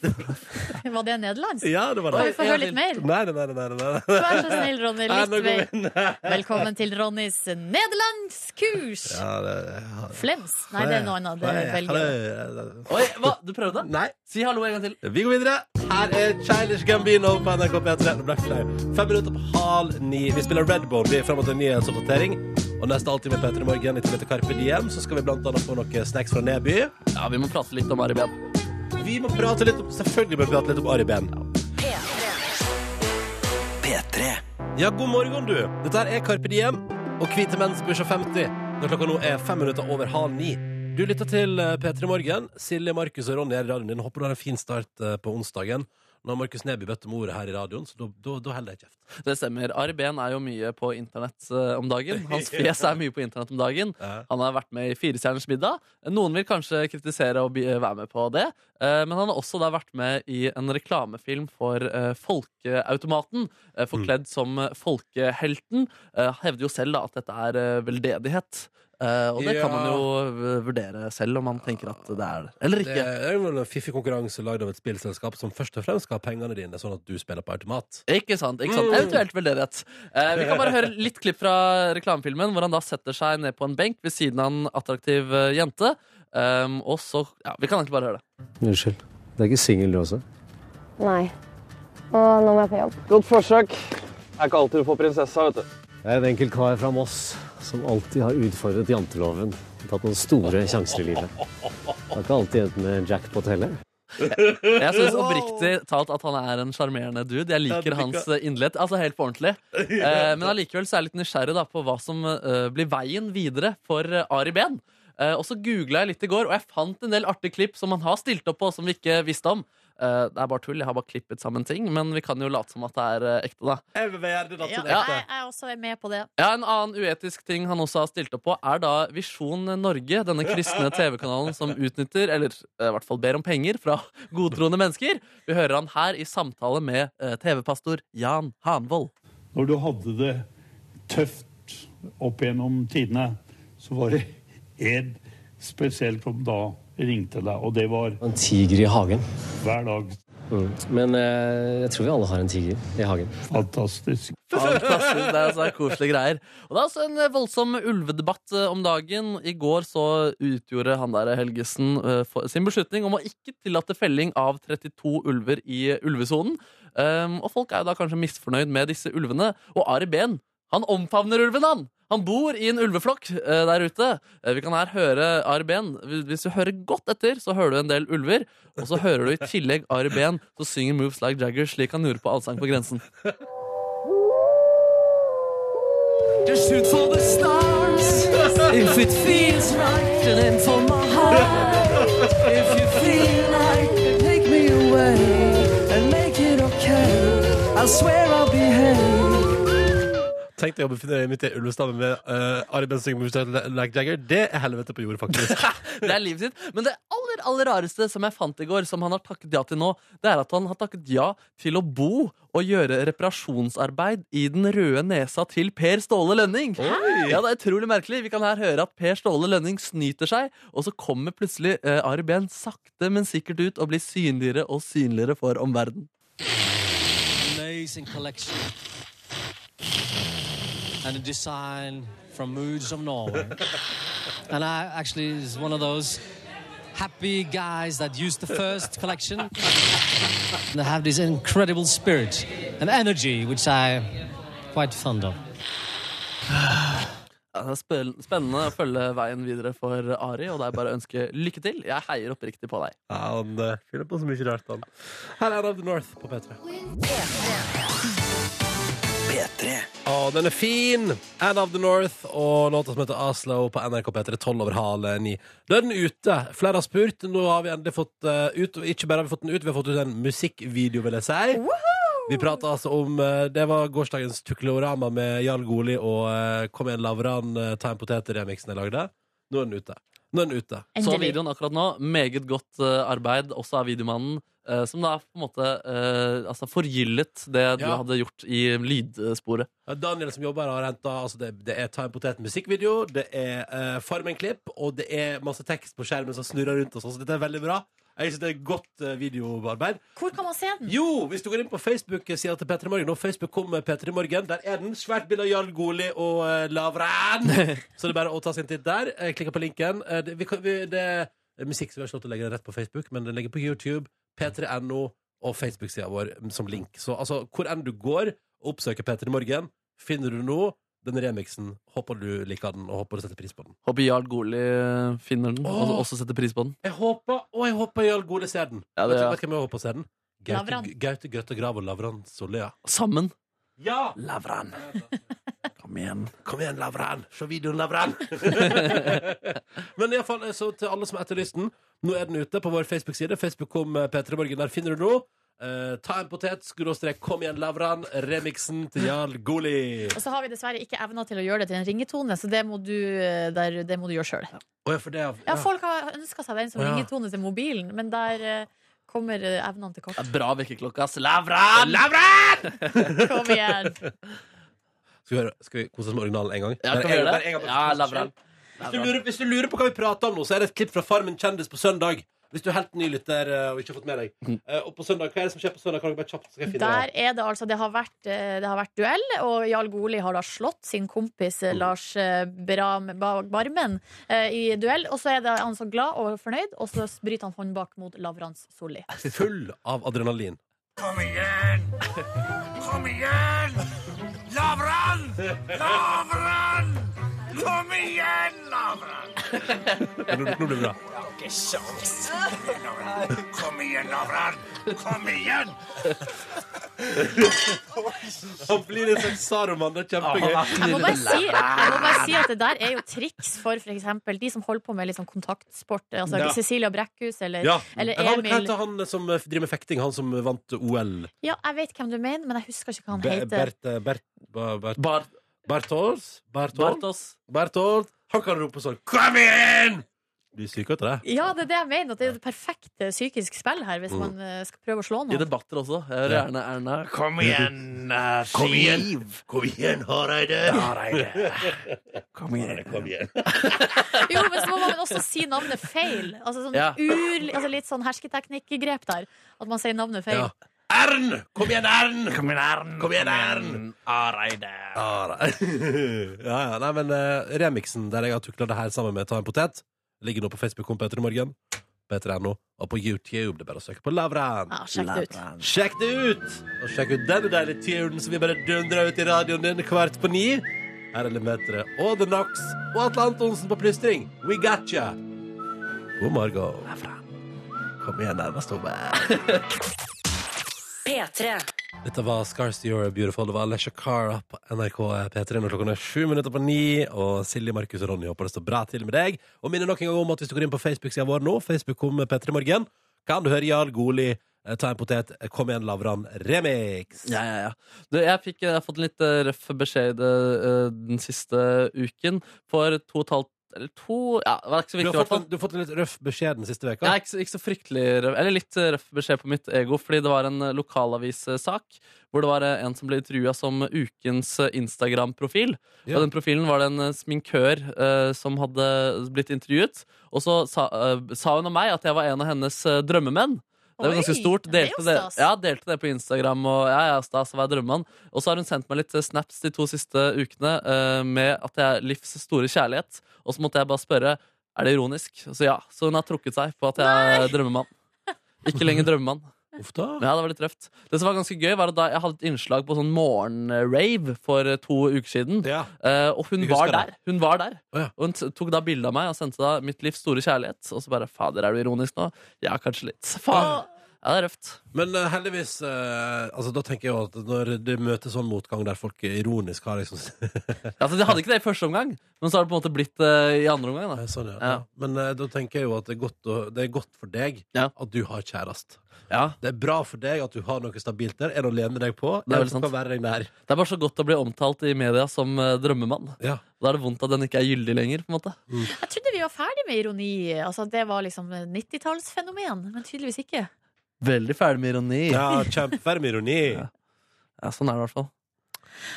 S3: [laughs] Var det nederlandsk?
S2: Ja, det var
S3: Kan
S2: det.
S3: vi få høre litt mer?
S2: Nei, nei, nei. nei, nei, nei.
S3: Vær så snill,
S2: [laughs]
S3: Ronny.
S2: Nei,
S3: Litt
S2: nå går
S3: mer.
S2: vi inn. [laughs]
S3: Velkommen til Ronnys nederlandskurs!
S2: Ja, det-
S3: Flems. Nei, det er noe annet. Det er
S2: Nei,
S3: Belgia.
S2: hallo.
S4: Oi, hva? Du prøvde?
S2: Nei.
S4: Si hallo en gang til.
S2: Vi går videre. Her er Childish Gambino på NRK P3. Nå ble jeg flau. Fem minutter på halv ni. Vi spiller Red Bone. Vi er frem mot en nyhetsoppdatering. Og neste halvtime i Petter i morgen i tillegg til Carpe Diem så skal vi blant annet få noen snacks fra Neby. Ja, vi må prate litt om Ari Behn. Vi må prate litt om, selvfølgelig må vi prate litt om Ari Behn. P3. Ja, god morgen, du. Dette her er Carpe Diem og Hvite menns bursdag 50. Når klokka nå er fem minutter over halv ni. Du lytter til eh, P3 Morgen. Silje, Markus og Ronny er i radioen din. Håper du har en fin start eh, på onsdagen. Nå har Markus Neby bedt om ordet her i radioen, så da- da da holder jeg kjeft.
S4: Det stemmer. Ari Behn er jo mye på internett eh, om dagen. Hans fjes er mye på internett om dagen. Han har vært med i Firestjerners middag. Noen vil kanskje kritisere og be- være med på det, eh, men han har også da vært med i en reklamefilm for eh, Folkeautomaten,
S2: Mm.
S4: eh, forkledd som eh, Folkehelten. Eh, Hevder jo selv da at dette er eh, veldedighet. Eh, Og det kan man
S2: Ja.
S4: jo eh, vurdere selv om man tenker at det er det. Eller ikke.
S2: Det er jo en fiffig konkurranse lagd av et spillselskap som først og fremst skal ha pengene dine, sånn at du spiller på automat.
S4: Ikke sant, ikke sant.
S2: Mm.
S4: Eventuelt veldedighet. Eh, vi kan bare høre litt klipp fra reklamefilmen, hvor han da setter seg ned på en benk ved siden av en attraktiv eh, jente. Um, og så Ja, vi kan egentlig bare høre det.
S12: Unnskyld. Det er ikke singel, du også?
S13: Nei. Og nå må jeg på jobb.
S14: Godt forsøk. Det er ikke alltid du får prinsessa, vet du.
S12: Jeg er en enkelt kar fra Moss som alltid har utfordret janteloven. og Tatt noen store sjanser i livet. Det har ikke alltid endt med jackpot heller.
S4: Jeg, jeg syns oppriktig talt at han er en sjarmerende dude. Jeg
S12: Ja, det
S4: liker
S12: liker
S4: hans
S12: jeg.
S4: eh, innledd. Altså helt
S12: [laughs]
S4: på ordentlig. Eh, men allikevel så er jeg litt nysgjerrig da på hva som eh, blir veien videre for eh, Ari Behn. Eh, og så googla jeg litt i går, og jeg fant en del artige klipp som han har stilt opp på, som vi ikke visste om. Eh, det er bare tull, jeg har bare klippet sammen ting, men vi kan jo late som at det er eh, ekte, da.
S2: Jeg vil gjerne da
S3: Ja,
S4: til
S3: jeg,
S4: dette.
S3: jeg også er med på det.
S4: Ja, En annen uetisk ting han også har stilt opp på, er da Visjon Norge, denne kristne TV-kanalen som utnytter, eller eh, i hvert fall ber om penger fra godtroende mennesker. Vi hører han her i samtale med eh, TV-pastor Jan Hanvold.
S15: Når du hadde det tøft opp gjennom tidene, så var det én spesielt som da ringte deg, og det var
S12: En tiger i hagen.
S15: hver dag.
S12: Mm. Men eh, jeg tror vi alle har en tiger i hagen.
S15: Fantastisk.
S4: Fantastisk, altså, det er så koselige greier. Og det er også en eh, voldsom ulvedebatt eh, om dagen. I går så utgjorde han der Helgesen eh, for- sin beslutning om å ikke tillate felling av 32 ulver i ulvesonen. Um, og folk er jo da kanskje misfornøyd med disse ulvene. Og Ari Behn, han omfavner ulven, han! Han bor i en ulveflokk eh, der ute. Eh, vi kan her høre Ari Behn. Hvis du hører godt etter, så hører du en del ulver. Og så hører du i tillegg Ari Behn som synger Moves Like Jagger, slik han gjorde på Allsang på grensen.
S6: Just shoot for the stars if it feels right and aim for my heart. If you feel like take me away and make it okay, I swear I'll behave.
S2: Tenk deg å befinne deg midt i ulvestammen med uh, Ari Bensing med Like Jagger. Det er helvete på jord, faktisk.
S4: Det er livet sitt. Men det aller aller rareste som jeg fant i går, som han har takket ja til nå, det er at han har takket ja til å bo og gjøre reparasjonsarbeid i den røde nesa til Per Ståle Lønning.
S2: Oi!
S4: Ja, det er utrolig merkelig. Vi kan her høre at Per Ståle Lønning snyter seg, og så kommer plutselig eh, Ari Behn sakte, men sikkert ut og blir synligere og synligere for omverdenen.
S16: amazing collection and a design from Moods of Norway. and I actually is one of those happy guys that used the first collection. And they have this incredible spirit and energy, which I quite fond of.
S4: Ja, det er spen- spennende å følge veien videre for Ari, og det er bare å ønske lykke til. Jeg heier oppriktig på deg.
S2: Ja, han eh, fyller på så mye rart, han. Her er Out of the North på P3. Å, den er fin! Ann of the North og låta som heter Aslo på NRK P3, 12 over halv eh, ni. Da er den ute. Flere har spurt. Nå har vi endelig fått eh, ut og Ikke bare har vi fått den ut, vi har fått ut en musikkvideo, vil jeg si. Vi prata altså om eh, Det var gårsdagens Tuklorama med Jarl Goli og eh, Kom igjen, Lavran, uh, Ta en potet-remiksen jeg lagde. Nå er den ute. Nå er den ute.
S4: Så videoen akkurat nå, meget godt eh, arbeid også av videomannen, eh, som da på en måte eh, altså forgyllet det du
S2: Ja.
S4: hadde gjort i lydsporet.
S2: Ja, Daniel som jobber her har hentet, altså det, det er Ta en potet musikkvideo, det er uh, Farmen-klipp, og det er masse tekst på skjermen som snurrer rundt og sånn, så dette er veldig bra. Jeg synes det er godt eh, videoarbeid.
S3: Hvor kan man se den?
S2: Jo, hvis du går inn på Facebook-sida til Petter i Morgen, og Facebook kom med Petter i Morgen, der er den. Svært bilde av Jarl Goli og eh,
S4: [laughs]
S2: Lavran. så det er bare å ta sin titt der. Uh, Klikk på linken. Eh, det, vi, kan- vi, det er musikk som vi har slått å legge rett på Facebook, men den ligger på YouTube, p3.no og Facebook-sida vår mm, som link. Så altså, hvor enn du går, oppsøker Petter i Morgen, finner du nå den remixen. Håper du liker den, og håper du setter pris på den.
S4: Håper Jarl Goli eh, finner den og
S2: Åh.
S4: også setter pris på den.
S2: Jeg håper, og jeg håper Jarl Gole ser den.
S4: Ja, det
S2: vet, du,
S4: gjør jeg.
S2: vet du hvem jeg håper ser den? Gaute,
S4: Lavran.
S2: Gaute Grøtte Grav og Lavran Solea.
S4: Sammen.
S2: Ja!
S4: Lavran. Kom igjen.
S2: Kom igjen, Lavran! Se videoen, Lavran! [laughs] Men iallfall, så til alle som har etterlyst den, nå er den ute på vår Facebook-side. Facebook kom P3 Morgen, der finner du den nå. Eh, ta en potet, skråstrek 'Kom igjen, Lavran', remixen til Jarl Goli.
S3: Og så har vi dessverre ikke evna til å gjøre det til en ringetone, så det må du, eh, der, det må du gjøre sjøl.
S2: Å ja, for det,
S3: Ja, folk har ønska seg den som
S2: Å, ja.
S3: ringetone til mobilen, men der eh, kommer eh, evnene til kort.
S4: Bra vekkerklokke, ass. Lavran! Lavran!
S3: Kom igjen.
S2: [laughs] Skal vi, høre, skal vi kose oss med originalen en gang?
S4: Ja,
S2: Bare
S4: kan vi
S2: en-
S4: gjøre det?
S2: bare en gang, bare-
S4: Ja, Lavran.
S2: Hvis du, lurer, hvis du lurer på hva vi prater om nå, så er det et klipp fra Farmen kjendis på søndag. Hvis du er helt ny lytter eh, og ikke har fått med deg.
S4: Mhm.
S2: Eh, Og på søndag, Hva er det som skjer på søndag? Kan dere bare kjapt skal jeg finne
S3: Der er det altså Det har vært, eh, det har vært duell, og Jarl Goli har da slått sin kompis
S2: Mm.
S3: eh, Lars eh, Bram Ba- Barmen eh, i duell. Og så er det han så glad og fornøyd, og så bryter han hånd bak mot Lavrans Solli.
S2: det? Full av adrenalin.
S6: Kom igjen! Kom igjen! Lavran! Lavran! Kom igjen, Lavran!
S2: Nå blir nå blir det bra.
S6: Jeg har ikke sjans. Kom igjen, Lavran! Kom igjen!
S2: Han blir en slags Saruman. Det er kjempegøy.
S3: Jeg må, bare si, jeg må bare si at det der er jo triks for f.eks. de som holder på med litt sånn kontaktsport. Altså
S2: Ja.
S3: Cecilia Brekkhus eller,
S2: Ja.
S3: eller
S2: Men han, hva
S3: Emil.
S2: heter han som eh, driver med fekting? Han som vant OL?
S3: Ja, jeg vet hvem du mener, men jeg husker ikke hva han
S2: Be-
S3: heter.
S2: Bert, eh, Bert, ba- Bert, Bartos? Bartol?
S4: Bartos.
S2: Bartol? Han kan rope sånn Kom igjen! Du er syk etter det?
S3: Ja, det er det jeg mener. At det er det perfekte psykisk spill her, hvis man eh, skal prøve å slå
S4: I
S3: noen.
S4: debatter også. Jeg hører
S2: Ja.
S4: gjerne Erna.
S2: Kom igjen, Kom igjen, kom igjen, Hareide! Kom igjen. Kom igjen.
S3: Jo, men så må man også si navnet feil. Altså, sånn
S2: Ja.
S3: ur, altså litt sånn hersketeknikkgrep der. At man sier navnet feil.
S2: Ja. Ern! Kom igjen, Ern! Kom igjen, Ern! Kom igjen, Ern!
S6: Areide.
S2: ja, [laughs] ja, nei, men eh, remixen der jeg har tukla det her sammen med Ta en potet, ligger nå på Facebook-kom Peter i morgen. P3.no. Og på YouTube. Det er bare å søke på Lavran.
S6: Ja, sjekk det ut. Lavran.
S2: Sjekk det ut! Og sjekk ut denne deilige turen som vi bare dundrer ut i radioen din kvart på ni. Her er Lemetere og The Knox og Atle Antonsen på plystring. We got ya! God morgen. Kom igjen, nærmest over.
S1: P3.
S2: [laughs] Dette var Scars You're Beautiful. Det var Alessia Cara på NRK P3 når klokken er sju minutter på ni. Og Silje, Markus og Ronny håper det står bra til med deg. Og minner nok en gang om at hvis du går inn på Facebook-sida vår nå, Facebook kom P3 Morgen, kan du høre Jarl Goli eh, ta en potet, eh, kom igjen, Lavran, remix.
S4: Ja, ja, ja. Du, jeg, fikk, jeg har fått en litt eh, røff beskjed eh, den siste uken. For to og et halvt eller to ja, det var ikke så
S2: Du
S4: viktig,
S2: har,
S4: i hvert
S2: fått
S4: fall.
S2: en, du har fått en litt røff beskjed den siste veka.
S4: Ja, ikke, så- ikke så fryktelig røff, eller litt eh, røff beskjed på mitt ego, fordi det var en eh, lokalavissak hvor det var eh, en som ble intervjua som ukens eh, Instagram-profil.
S2: Ja.
S4: Og den profilen var det en eh, sminkør eh, som hadde blitt intervjuet. Og så sa, eh, sa hun om meg at jeg var en av hennes eh, drømmemenn. Det var
S2: Oi,
S4: ganske stort.
S2: det er jo
S4: Delte det,
S2: stas.
S4: ja, delte det på Instagram. Og ja, ja, stas å være drømmemann Og så har hun sendt meg litt eh, snaps de to siste ukene eh, med at jeg er livs store kjærlighet. Og så måtte jeg bare spørre er det ironisk. Så ja, så hun har trukket seg på at jeg er drømmemann. Ikke lenger drømmemann.
S2: Uff da.
S4: Ja, Det var litt røft. Det som var ganske gøy, var at da jeg hadde et innslag på sånn morgenrave for eh, to uker siden. Eh, og hun
S2: Jeg
S4: var
S2: husker
S4: der.
S2: det.
S4: Hun var der. Og hun t- tok da bilde av meg og sendte da 'Mitt livs store kjærlighet'. Og så bare 'Fader, er du ironisk nå?' Ja, kanskje litt. Faen. Ja, det er røft.
S2: Men eh, heldigvis eh, altså, Da tenker jeg jo at når det møter sånn motgang der folk ironisk har liksom [laughs]
S4: Altså, de hadde ikke det i første omgang, men så har det på en måte blitt eh, i andre omgang. Da.
S2: Sånn, ja. Men eh, da tenker jeg jo at det er godt, å, det er godt for deg at du har kjæreste. Det er bra for deg at du har noe stabilt der. En å lene deg på.
S4: Det
S2: en
S4: er vel sånn
S2: som
S4: sant.
S2: kan være deg nær.
S4: Det er bare så godt å bli omtalt i media som eh, drømmemann.
S2: Ja.
S4: Da er det vondt at den ikke er gyldig lenger. på en måte
S3: Jeg trodde vi var ferdig med ironi. Altså, det var liksom 90-tallsfenomen, men tydeligvis ikke.
S4: Veldig ferdig med ironi.
S2: Ja, kjempeferdig med ironi.
S4: ja. ja, sånn er det i hvert fall.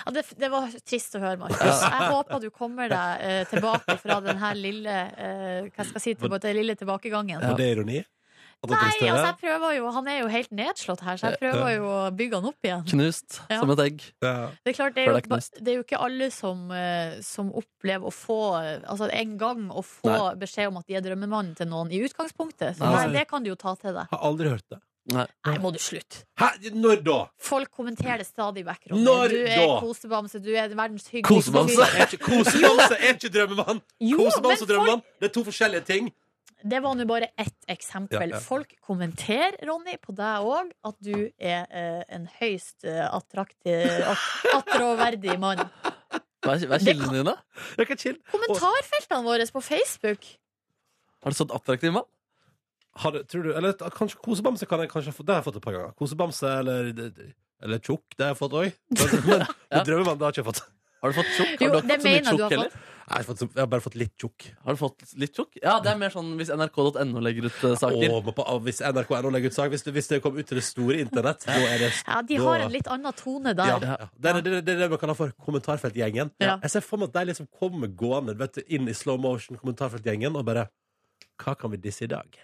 S3: Ja, det, det var trist å høre, Markus.
S4: Ja.
S3: Jeg håper du kommer deg eh, tilbake fra den her lille eh, Hva skal jeg si, tilba- den lille tilbakegangen.
S2: Var det ironi? At det
S3: Nei,
S2: er trist å
S3: altså,
S2: høre?
S3: jeg prøver jo, han er jo helt nedslått her, så jeg prøver jo å bygge han opp igjen.
S4: Knust
S3: Ja.
S4: som et egg.
S3: Det er klart, det
S4: Før
S3: er
S4: det er
S3: jo,
S4: knust.
S3: det er jo ikke alle som, eh, som opplever å få eh, Altså en gang å få
S2: Nei.
S3: beskjed om at de er drømmemannen til noen i utgangspunktet. Så
S2: Nei.
S3: nei, det kan du jo ta til deg.
S2: Har aldri hørt det.
S4: Nei.
S3: Nei, må du slutte.
S2: Hæ? Når da?
S3: Folk kommenterer det stadig vekk. Ronny.
S2: Når
S3: du er
S2: da?
S3: kosebamse, du er verdens hyggeligste
S2: Kosebamse er
S3: fyr.
S2: ikke, kosebamse er ikke drømmemann!
S3: Jo, men
S2: Kosebamse og
S3: folk-
S2: drømmemann Det er to forskjellige ting.
S3: Det var nå bare ett eksempel.
S2: Ja, ja.
S3: Folk kommenterer, Ronny, på deg òg, at du er eh, en høyst eh, attraktiv, at- attråverdig
S2: [laughs]
S3: mann.
S4: Hva er, hva er kilden din, da?
S3: Kommentarfeltene våre på Facebook.
S4: Har du sånn attraktiv mann?
S2: Har det- tror du, eller, kanskje kosebamse kan jeg kanskje få Det har jeg fått et par ganger. Kosebamse eller, eller tjukk, det har jeg fått
S3: [laughs]
S2: òg. Men, men drømmemann, det har jeg ikke fått.
S4: Har du fått tjukk?
S3: Jo, det mener du har fått.
S2: Nei, jeg har, fått, så- jeg har bare fått litt tjukk.
S4: Har du fått litt tjukk? Ja, det er mer sånn hvis nrk.no legger ut eh, saker.
S2: Og på, hvis NRK.no legger ut sak, hvis, det- hvis det kommer ut til det store internett, da er det
S3: Ja, de
S2: da-
S3: har en litt annen tone der.
S2: Ja, ja. Det, er, det, er- det er det man kaller for kommentarfeltgjengen.
S3: Ja.
S2: Jeg ser for meg at de liksom kommer gående vet du, inn i slow motion, kommentarfeltgjengen, og bare Hva kan vi disse i dag?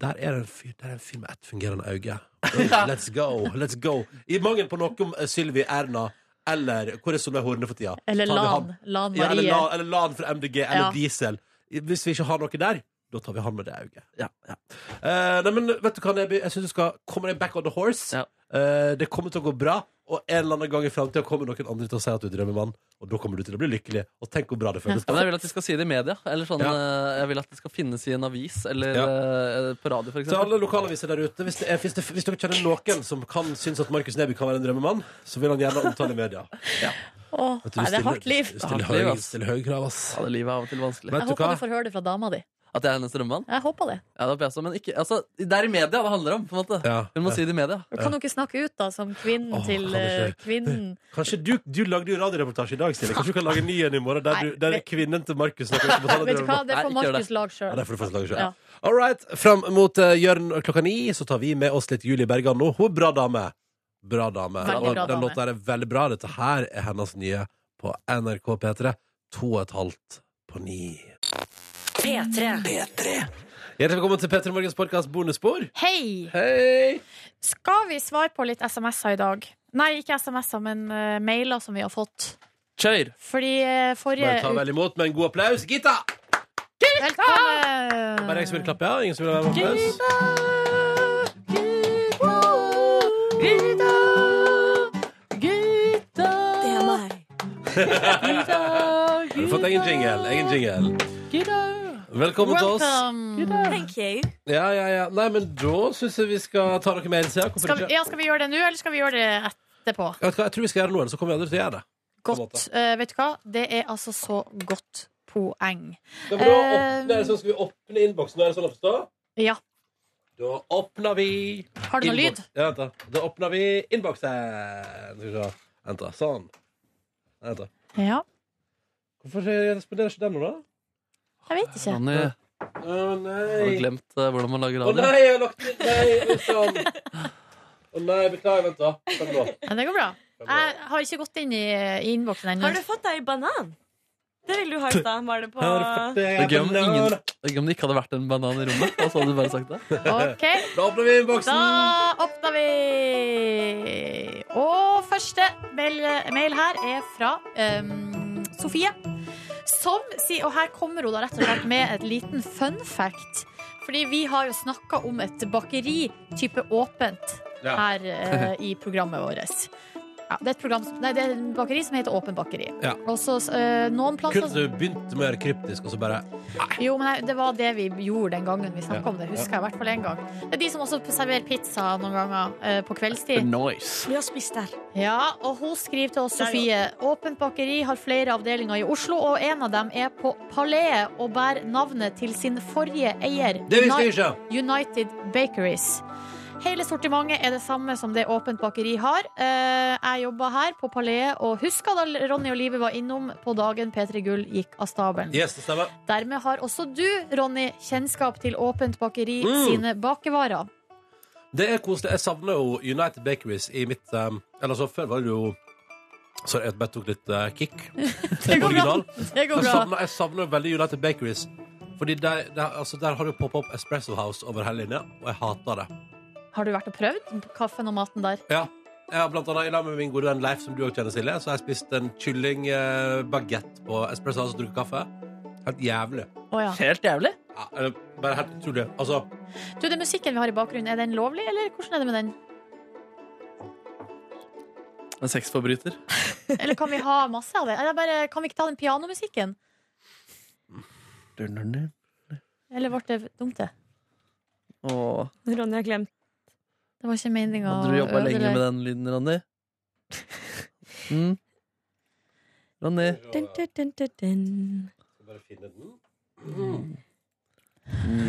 S2: Der er det en fyr, der er en fyr med ett fungerende
S3: [laughs]
S2: øye. Oh, Let's go! Let's go! I mangel på noe om eh, Sylvi Erna eller Hvor er Solveig Horne for tida?
S3: Eller
S2: Tar vi
S3: Lan.
S2: han.
S3: Lan
S2: Ja, eller,
S3: Marie.
S2: Lan, eller Lan fra MDG, eller
S3: Ja.
S2: Diesel. Hvis vi ikke har noe der, da tar vi han med det øyet. Eh, nei, men vet du hva, Neby? Jeg synes du skal komme deg back on the horse. Eh, det kommer til å gå bra, og en eller annen gang i fremtiden kommer noen andre til å si at du er drømmemann, og da kommer du til å bli lykkelig. Og tenk hvor bra det
S4: Ja,
S2: føles.
S4: Men jeg vil at de skal si det i media. Eller sånn, eh, Jeg vil at det skal finnes i en avis eller eh, på radio, for
S2: Til
S4: eksempel.
S2: alle lokalaviser der ute, hvis, det er, hvis, det, hvis dere kjenner noen som kan synes at Markus Neby kan være en drømmemann, så vil han gjerne omtale i media.
S3: Åh,
S2: Vet du,
S3: nei, det
S2: stiller-
S3: er hardt liv.
S2: stiller høy- stiller høye krav, ass.
S4: Ja, det livet er av og til vanskelig.
S3: Jeg håper du får høre det fra dama di.
S4: At jeg er hennes drømmemann?
S3: Jeg håper det.
S4: Ja, det håper jeg også, men ikke altså, Det er i media det handler om, på en måte. Hun må si det i media.
S3: Du kan jo ikke snakke ut, da, som kvinnen
S2: Åh,
S3: til
S2: kan ikke.
S3: eh, kvinnen.
S2: Kanskje du, du lagde jo radioreportasje i dag, Silje. Kanskje du kan lage en ny en i morgen der, du, der kvinnen til Markus snakker om å betale
S3: Vet du hva,
S2: drømmemann?
S3: det
S2: Nei,
S3: får
S2: ikke gjør det.
S3: Markus lage
S2: Ja,
S3: sjøl.
S2: det får du faktisk lage selv.
S3: Ja.
S2: All right, Fram mot eh, Jørn klokka ni så tar vi med oss litt Julie Bergan nå. Hun er bra dame. Bra dame.
S3: Veldig
S2: Og
S3: bra
S2: Den
S3: dame.
S2: låta her er veldig bra. Dette her er hennes nye på NRK P3. To og et halvt på ni.
S1: P3.
S2: Hjertelig velkommen til P3 Morgens podkast bonusspor.
S3: Hei! Skal vi svare på litt SMS-er i dag? Nei, ikke SMS-er, men eh, mailer som vi har fått.
S4: Kjør!
S3: Fordi eh, forrige
S2: Bare ta vel imot med en god applaus. Gita!
S3: uke Velkommen!
S2: Bare jeg som vil klappe, ja. Ingen som vil ha en applaus?
S3: Gita, Gita. Det er meg.
S2: Har du fått egen jingle? Egen jingle. Velkommen til oss.
S3: Thank you.
S2: Ja, ja, ja. Nei, men da syns jeg vi skal ta noe mer. Sia. Hvorfor
S3: Skal vi,
S2: ikke?
S3: ja, skal vi gjøre det nå, eller skal vi gjøre det etterpå?
S2: Jeg, vet hva, jeg tror vi skal gjøre noe, eller så kommer vi aldri til å gjøre det. På en
S3: Godt.
S2: måte.
S3: Eh, vet du hva? Det er altså så godt poeng.
S2: Det er bra å
S3: Eh,
S2: åpne, så skal vi åpne innboksen. Er det sånn å forstå?
S3: ja.
S2: Da åpner vi
S3: Har du noe
S2: innbok-
S3: lyd?
S2: Ja, vent da. Da åpner vi innboksen. Skal vi se. Vent, da. Sånn. Vent, da.
S3: ja.
S2: Hvorfor responderer ikke den nå, da?
S3: Jeg vet ikke.
S4: Ronny,
S2: Å
S4: har du
S2: nei.
S4: glemt eh, hvordan man lager
S2: Å
S4: radio?
S2: nei, jeg har lagt inn Nei, vent sånn. Å nei, beklager. Vent, da. Vent nå.
S3: Men det går bra. Jeg har ikke gått inn i, i innboksen ennå.
S17: Har du fått deg banan? Det ville du ha i stad. Var det på
S4: Det er gøy om ingen- det er gøy om det ikke hadde vært en banan i rommet. Og så hadde du bare sagt [laughs] det.
S3: Ok.
S2: Da åpner vi
S3: Da åpner vi! Og første mail, mail her er fra ehm, Sofie. Som sier, og her kommer hun da rett og slett med et liten fun fact. Fordi vi har jo snakka om et bakeri type åpent
S6: Ja.
S3: her eh, i programmet vårt. Ja, det er et program, som- nei, det er et bakeri som heter Åpen bakeri.
S2: Ja.
S3: Og så eh, noen plasser
S2: Kult at du begynte med å gjøre kryptisk, og så bare
S3: jo, men her- det var det vi gjorde den gangen vi snakka
S2: Ja,
S3: om det.
S2: ja.
S3: Husker jeg i hvert fall en gang. Det er de som også serverer pizza noen ganger eh, på kveldstid.
S17: Vi har spist der.
S3: Ja, og hun skriver til oss, Sofie. Åpent bakeri har flere avdelinger i Oslo, og en av dem er på Paleet og bærer navnet til sin forrige eier,
S2: Det visste
S3: Uni-
S2: jeg ikke.
S3: United Bakeries. Hele sortimentet er det samme som det Åpent bakeri har. Eh, Jeg jobba her på Paleet, og husker da Ronny og Live var innom på dagen P3 Gull gikk av stabelen.
S2: Yes, det stemmer.
S3: Dermed har også du, Ronny, kjennskap til Åpent bakeri
S2: Mm.
S3: sine bakevarer.
S2: Det er koselig. Jeg savner jo United Bakeries i mitt um, Eller så før var det jo Sorry, jeg bare tok litt uh, kick.
S3: går bra.
S2: Original.
S3: [laughs] Det går
S2: Jeg
S3: bra.
S2: savner, jeg savner veldig United Bakeries. Fordi der, der, altså der har det jo poppa opp Espresso House over hele linja, og jeg hater det.
S3: Har du vært og prøvd kaffen og maten der?
S2: Ja. Jeg har blant annet i lag med min gode venn Leif, som du også kjenner, Silje, så har jeg spist en eh, kyllingbaguett på Espresso House og drukket kaffe. Helt jævlig.
S3: Å ja.
S4: Helt jævlig?
S2: Ja, ja, eller bare helt utrolig. Altså,
S3: Du, den musikken vi har i bakgrunnen, er den lovlig, eller hvordan er det med den?
S4: En sexforbryter.
S3: Eller kan vi ha masse av det? Eller bare, kan vi ikke ta den pianomusikken? Eller ble det dumt, det?
S4: Åh.
S3: Ronny har glemt. Det var ikke meninga
S4: Hadde du jobba lenge med den lyden, Ronny? Mm. Ronny.
S10: Dun, dun, dun, dun, dun.
S2: Bare finne den.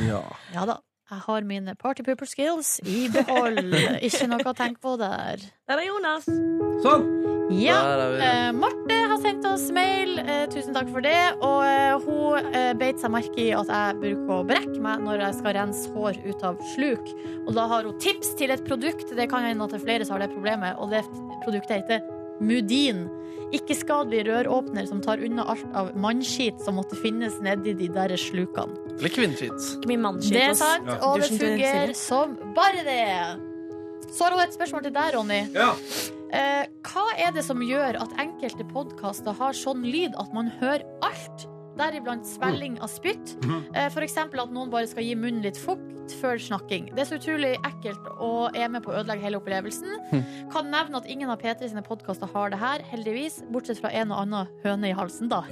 S4: Ja.
S3: Ja da. Jeg har mine party pooper skills i behold. Ikke noe å tenke på der.
S17: Der er Jonas.
S2: Sånn!
S3: Ja.
S17: Der er vi.
S3: Eh, Marte har sendt oss mail. Eh, tusen takk for det. Og eh, hun eh, beit seg merke i at jeg bruker å brekke meg når jeg skal rense hår ut av sluk. Og da har hun tips til et produkt. Det kan hende at det er flere som har det problemet. Og det produktet heter Mudin. Ikke-skadelig røråpner som tar unna alt av mannskit som måtte finnes nedi de der slukene.
S4: Eller kvinnskitt.
S17: Ikke mye mannskitt.
S3: Det er
S17: ass.
S3: sant, og det
S17: Dusjen til
S3: fungerer
S17: Silje.
S3: som bare det. Så har hun et spørsmål til deg, Ronny. Eh, hva er det som gjør at enkelte podkaster har sånn lyd at man hører alt? Deriblant svelling av spytt.
S6: Mhm.
S3: Eh, for eksempel at noen bare skal gi munnen litt fukt før snakking. Det er så utrolig ekkelt og er med på å ødelegge hele opplevelsen.
S2: Hm.
S3: Kan nevne at ingen av P3 sine podkaster har det her, heldigvis. Bortsett fra en og annen høne i halsen, da.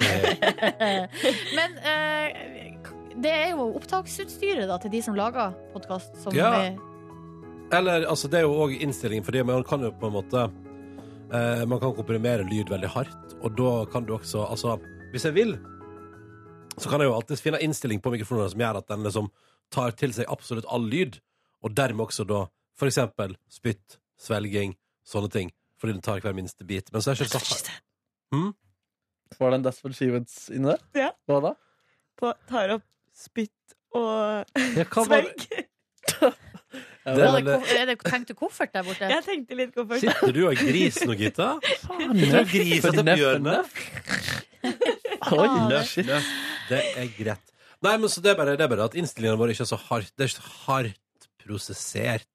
S3: [laughs] Men eh, det er jo opptaksutstyret da, til de som lager podkast. Som
S2: Ja.
S3: er-
S2: Eller, altså, det er jo òg innstillingen for det, men man kan jo på en måte eh, Man kan komprimere lyd veldig hardt, og da kan du også Altså, hvis jeg vil, så kan jeg jo alltids finne innstilling på mikrofonen som gjør at den liksom tar til seg absolutt all lyd, og dermed også da for eksempel spytt, svelging, sånne ting, fordi den tar hver minste bit. Men så er det ikke så Hm?
S4: Var det en Desperate She-Woods inni der?
S17: Ja.
S4: Hva da?
S17: På, tar opp spytt og
S4: hva var
S17: svelg. [laughs]
S2: Det
S3: er,
S2: vel-
S3: det, er det tenkte koffert der borte?
S17: Jeg tenkte litt koffert.
S2: Sitter du og er gris nå, Gitta?
S17: Faen,
S2: Sitter du og griser til
S4: Nøff,
S2: bjørnene?
S10: [laughs]
S4: Oi, nøff,
S2: Nøff, nøff. Det er greit. Nei, men så det er bare, det er bare at innstillingene våre ikke er så hardt Det er ikke så hardt prosessert.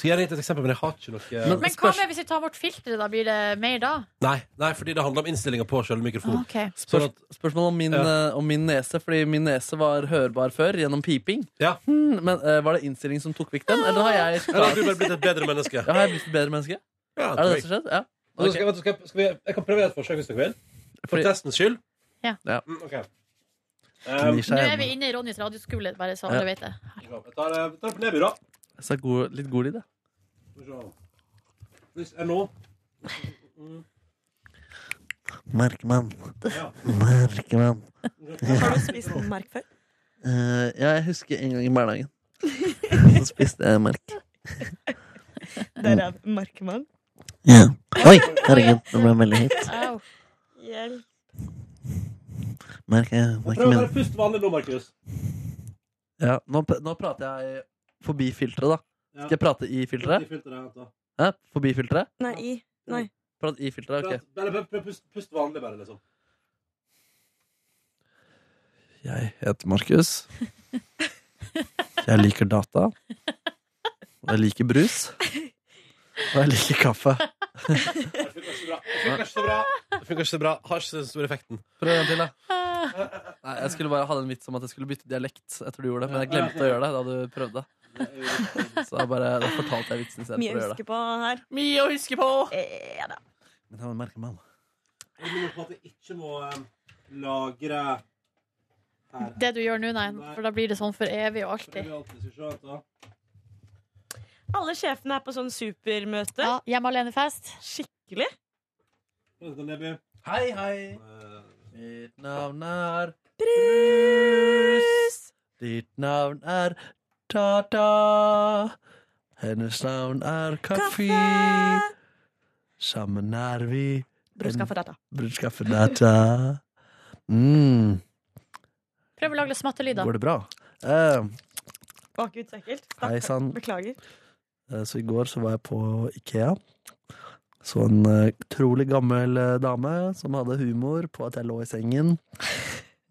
S2: Skal jeg gi deg et eksempel, men jeg har ikke noe
S3: Men hva med hvis vi tar bort filteret, da? Blir det mer da?
S2: Nei, nei, fordi det handler om innstillinga på selve
S4: Ah,
S2: mikrofonen.
S3: Ok.
S2: Sånn at
S4: Spørsmål om min, eh, om min nese, fordi min nese var hørbar før gjennom piping. Hmm, men eh, Var det innstillingen som tok vekk den, eller har jeg
S2: Eller har du bare blitt et bedre menneske?
S4: Ja, har jeg blitt et bedre menneske?
S2: Ja, tror
S4: er det det
S2: jeg.
S4: som skjedde? Ja.
S2: Og så skal, vet du, skal, skal vi, jeg kan prøve et forsøk hvis dere vil. For
S4: Fordi-
S2: testens skyld.
S3: Ja.
S2: Mm, ok.
S4: Gnir
S2: Um,
S4: seg
S3: Nå er vi inne i Ronnys radioskole, bare så alle
S4: Ja.
S3: vet det.
S2: Jeg tar, eh, tar på nedbyrå.
S4: Jeg sa god, litt god lyd, jeg.
S2: Skal vi se. Hvis jeg nå
S4: Merkemann.
S2: Ja.
S4: Merkemann.
S17: Har du spist noen merk før?
S4: Eh, ja, jeg husker en gang i [laughs] barnehagen. Så spiste jeg merk.
S17: Der er Markmann.
S4: Ja. Oi, herregud, nå ble jeg veldig hit.
S3: Au.
S17: Hjelp.
S4: Merk er
S2: Prøv å bare puste vanlig nå, Markus.
S4: Ja, nå, p- nå prater jeg forbi filteret, da.
S2: Ja.
S4: Skal jeg prate i filteret?
S2: Prøv å filtre, vent da.
S4: Hæ? Forbi filteret?
S17: Nei, i. Nei.
S4: Prat i filteret, ok.
S2: Prøv- Bare prøv- prøv å puste- puste vanlig, bare, liksom.
S4: Jeg heter Markus. Jeg liker data. Og jeg liker brus. Og jeg liker kaffe.
S2: Det funker ikke så bra. Det funker ikke så bra. Det funker ikke så bra. Har ikke den store effekten.
S4: Prøv en til, da. Nei, jeg skulle bare ha en vits om at jeg skulle bytte dialekt etter du gjorde det, men jeg glemte å gjøre det da du prøvde. Så jeg bare, da fortalte jeg vitsen
S17: Mye
S4: istedenfor
S17: å
S4: å gjøre
S17: huske
S4: det.
S17: på her.
S4: Mye å huske på!
S17: Ja da.
S4: Men han merker meg,
S2: Jeg lurer på at jeg ikke må eh, lagre her.
S3: Det du gjør nå, nei. For da blir det sånn for evig og
S2: Skal
S3: alltid.
S2: vi alltid se, vent da.
S17: Alle sjefene er på sånn supermøte.
S3: Ja, Hjemme alene-fest.
S17: Skikkelig.
S2: Vent da, Nebby.
S4: Hei, hei. Mitt navn er Brus. Ditt navn er Tata. Hennes navn er Kaffi. Sammen er vi
S17: Brudskaffedata.
S4: Brudskaffedata. Mm,
S3: Prøv å lage litt smattelyder.
S4: går det bra? Eh,
S17: Bakut, så ekkelt.
S4: Hei, sann.
S17: Beklager.
S4: Eh, Så i går så var jeg på Ikea. Så en eh, utrolig gammel eh, dame som hadde humor på at jeg lå i sengen.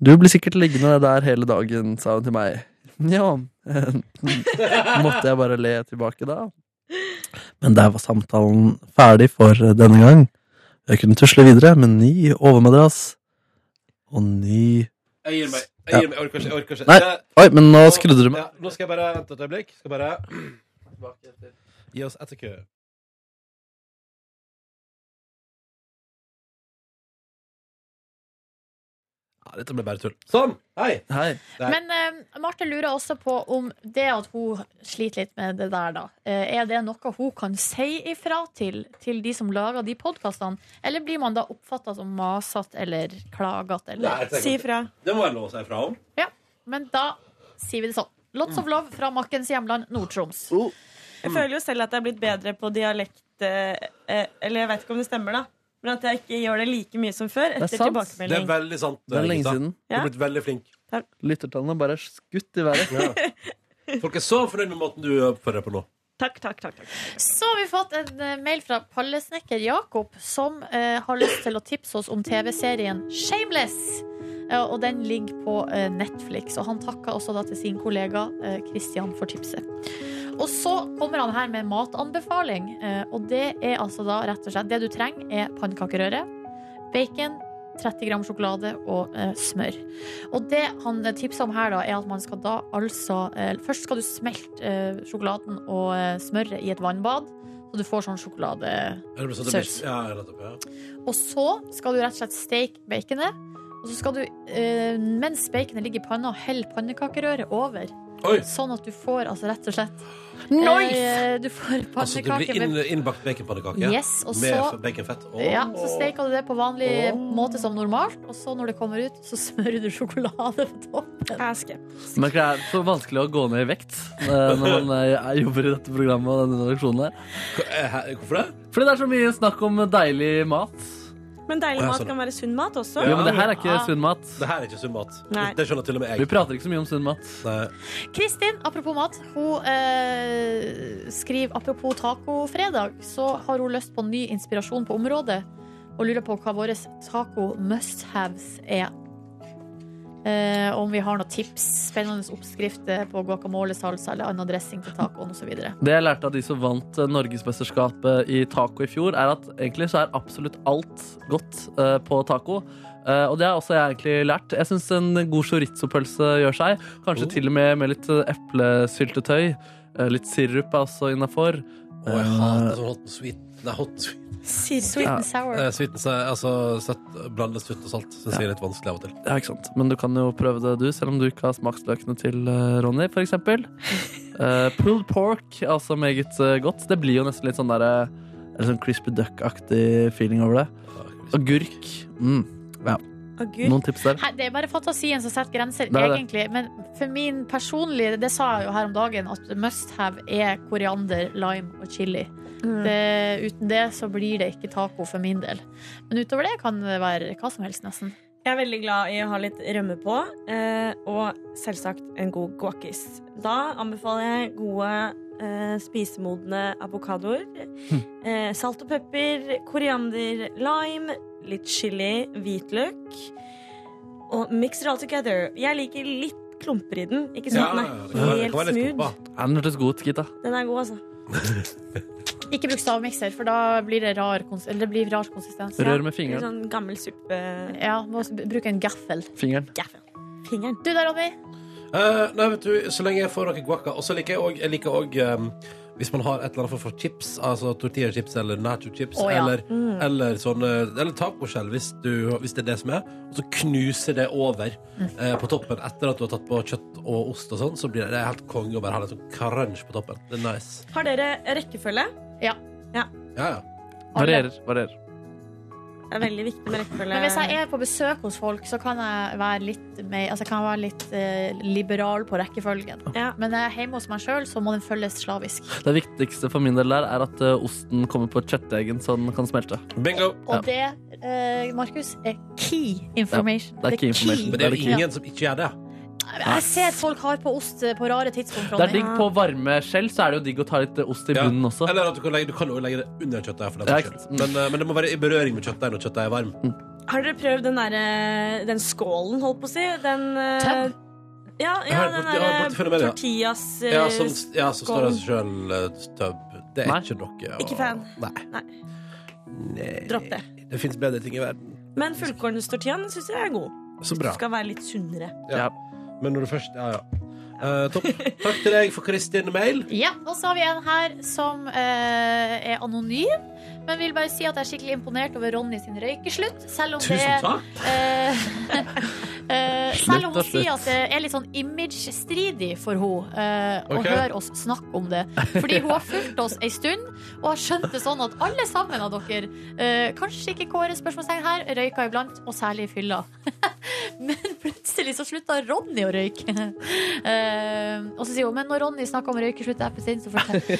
S4: Du blir sikkert liggende der hele dagen, sa hun til meg. Ja. [laughs] Måtte jeg bare le tilbake da. Men der var samtalen ferdig for eh, denne gang. Jeg kunne tusle videre med ny overmadrass og ny
S2: Jeg gir meg. Jeg gir meg, jeg orker ikke. Jeg orker ikke.
S4: Nei.
S2: Det-
S4: Oi, men nå skrudde du meg.
S2: Ja, nå skal jeg bare vente et øyeblikk. Skal bare Gi oss ett sekund. Ja, dette ble bare tull. Sånn! Hei! Der.
S3: Men eh, Marte lurer også på om det at hun sliter litt med det der, da, eh, er det noe hun kan si ifra til til de som lager de podkastene? Eller blir man da oppfatta som masete eller klagete?
S2: Nei, jeg
S3: Eller?
S2: tenker- Det må jeg lov å si fra om.
S3: Ja, men da sier vi det sånn. Lots of love fra makkens hjemland Nord-Troms.
S2: Mm.
S17: Jeg føler jo selv at jeg er blitt bedre på dialekt eh, eh, Eller jeg vet ikke om det stemmer, da. Men at jeg ikke gjør det like mye som før etter
S2: Det er
S17: tilbakemelding.
S2: veldig sant.
S4: Det er lenge
S2: Rita.
S4: siden.
S2: Du er
S17: Ja.
S2: blitt veldig flink.
S4: Lyttertallene bare er skutt i været.
S2: Folk er så fornøyd med måten du oppfører deg på nå.
S17: Takk, takk, takk. takk.
S3: Så har vi fått en eh, mail fra pallesnekker Jakob, som eh, har lyst til å tipse oss om TV-serien Shameless. Eh, og den ligger på eh, Netflix. Og han takker også da til sin kollega eh, Christian for tipset. Og så kommer han her med en matanbefaling, eh, og det er altså da rett og slett Det du trenger, er pannekakerøre, bacon, 30 gram sjokolade og eh, smør. Og det han tipser om her, da, er at man skal da altså eh, Først skal du smelte eh, sjokoladen og eh, smøret i et vannbad, så du får sånn
S2: Er det sånn at det
S3: sjokoladesaus.
S2: blir- Ja, ja, nettopp, ja.
S3: Og så skal du rett og slett steke baconet. Og så skal du, eh, mens baconet ligger i panna, helle pannekakerøret over. Sånn at du får altså rett og slett
S2: Nice!
S3: eh, Du får
S2: Altså, det blir
S3: pannekaker
S2: inn,
S3: med
S2: innbakt baconpannekake
S3: Yes, og
S2: med
S3: så-
S2: f- baconfett. Åh.
S3: ja, Så steker du det på vanlig måte som normalt, og så når det kommer ut, så smører du sjokolade på toppen.
S4: Men det er så vanskelig å gå ned i vekt eh, når man eh, jobber i dette programmet og denne redaksjonen her.
S2: Hvorfor det?
S4: Fordi det er så mye snakk om deilig mat.
S17: Men
S4: Å,
S17: deilig
S4: ja,
S17: mat
S4: sånn.
S17: kan være sunn mat også.
S4: Jo, men det her er ikke sunn mat.
S2: Det her er ikke sunn mat.
S17: Nei.
S2: Det skjønner til og med jeg.
S4: Vi prater ikke så mye om sunn mat.
S3: Kristin, apropos mat, hun eh, skriver apropos tacofredag, så har hun lyst på ny inspirasjon på området, og lurer på hva våre taco must-haves er. Eh, om vi har noen tips, spennende oppskrifter på guacamole, salsa eller annen dressing til tacoen osv.
S4: Det jeg lærte av de som vant eh, norgesmesterskapet i taco i fjor, er at egentlig så er absolutt alt godt eh, på taco. Eh, og det har også jeg egentlig lært. Jeg syns en god chorizo-pølse gjør seg. Kanskje
S2: Oh.
S4: til og med med litt eh, eplesyltetøy. Eh, litt sirup er også innafor.
S2: Å, jeg hater sånn hot and sweet. Nei, hot and sweet.
S3: Sweet and sour.
S2: Eh, sweet and sour altså, søtt- blandet søtt og salt syns jeg er litt vanskelig av og til.
S4: Ja, ikke sant. Men du kan jo prøve det, du, selv om du ikke har smaksløkene til eh, Ronny, for
S3: [laughs]
S4: eksempel. Eh, pulled pork er også meget eh, godt. Det blir jo nesten litt sånn derre eller sånn crispy duck-aktig feeling over det. Agurk. Mm. Ja.
S17: Agurk.
S4: Noen tips der?
S3: Nei, det er bare fantasien som setter grenser,
S4: Det er det.
S3: egentlig. Men for min personlige Det sa jeg jo her om dagen, at must have er koriander, lime og chili. Det, uten det så blir det ikke taco for min del. Men utover det kan det være hva som helst, nesten.
S17: Jeg er veldig glad i å ha litt rømme på, eh, og selvsagt en god guacis. Da anbefaler jeg gode eh, spisemodne avokadoer.
S4: Hm.
S17: Eh, salt og pepper, koriander, lime, litt chili, hvitløk. Og mix it all together. Jeg liker litt klumper i den. Ikke sånn
S4: Ja,
S17: at
S4: det
S17: den
S4: kan være-
S17: er
S4: det
S17: helt
S4: kan være litt
S17: smooth.
S4: Ja, den hørtes god ut, Gitta.
S17: Den er god, altså.
S3: Ikke bruk stavmikser, for da blir det rar, kons eller det blir rar konsistens.
S4: Rør med fingeren.
S17: Sånn gammel suppe
S3: Ja, må s- bruke en gaffel.
S4: Fingeren.
S17: Fingeren.
S3: Du da, Ronny?
S2: Eh, nei, vet du, så lenge jeg får noe guacca. Og så liker jeg òg- jeg liker òg ehm, hvis man har et eller annet form for chips, altså tortillachips eller nacho-chips,
S6: Å, ja.
S2: eller,
S6: Mm.
S2: eller sånne Eller tacoskjell, hvis, du- hvis det er det som er. Og så knuse det over
S6: Mm.
S2: eh, på toppen etter at du har tatt på kjøtt og ost og sånn. Så blir det, det er helt konge å bare ha litt sånn crunch på toppen. Det er nice.
S17: Har dere rekkefølge?
S3: Ja.
S2: Ja, ja.
S4: Varierer. varierer.
S17: Det er veldig viktig med rekkefølge.
S3: Men hvis jeg er på besøk hos folk, så kan jeg være litt, mer- altså, kan jeg være litt eh, liberal på rekkefølgen. Men når jeg er hjemme hos meg sjøl, så må den følges slavisk.
S4: Det viktigste for min del der er at eh, osten kommer på kjøttdeigen, så den kan smelte.
S2: Bingo!
S3: Og det, eh, Markus, er key information.
S4: Ja, det er key information.
S2: Men det er
S4: Det
S2: jo
S4: er
S2: ingen
S4: key.
S2: som ikke gjør det.
S3: Ja. Jeg ser folk har på ost eh, på rare tidspunkt.
S4: Det er
S3: Ronny.
S4: digg på varme skjell, så er det jo digg å ta litt eh, ost i
S2: Ja.
S4: bunnen også.
S2: Eller at du kan legge, du kan jo legge det under kjøttet. her, For den saks
S4: Ja, ikke
S2: skyld.
S4: sant.
S2: men, eh, men det må være i berøring med kjøttdeigen når kjøttet er varm.
S17: Har dere prøvd den derre Den skålen, holdt på å si? Den eh, Ja,
S2: Jeg
S17: ja
S2: har fått-
S17: den
S2: jeg har fått
S17: derre
S2: fenomenet, ja.
S17: tortillas eh,
S2: Ja, sånn- som, ja, som står
S17: skålen.
S2: av seg sjøl stubb. Det er ikke noe å
S17: Ikke fan.
S2: Nei. Nei.
S17: Dropp det.
S2: Det fins bedre ting i verden.
S17: Men fullkornstortillaen syns jeg er god.
S2: Så bra.
S17: Du skal være litt sunnere.
S2: Ja. Men når du først Ja, ja. Eh, topp. Takk til deg for Kristin Mail.
S3: Ja, og så har vi en her som eh, er anonym, men vil bare si at jeg er skikkelig imponert over Ronny sin røykeslutt, selv om det
S6: Tusen takk.
S3: eh, [laughs] eh,
S6: Slutt
S3: selv om
S6: og
S3: hun sier
S6: slutt.
S3: at det er litt sånn image-stridig for henne eh, å
S6: Ok.
S3: høre oss snakke om det. Fordi hun har fulgt oss ei stund, og har skjønt det sånn at alle sammen av dere, eh, kanskje ikke Kåre spørsmålstegn her, røyker iblant, og særlig i fylla. [laughs] Men plutselig så slutta Ronny å røyke. Eh, og så sier hun men når Ronny snakka om røykeslutt-appen sin, så fortalte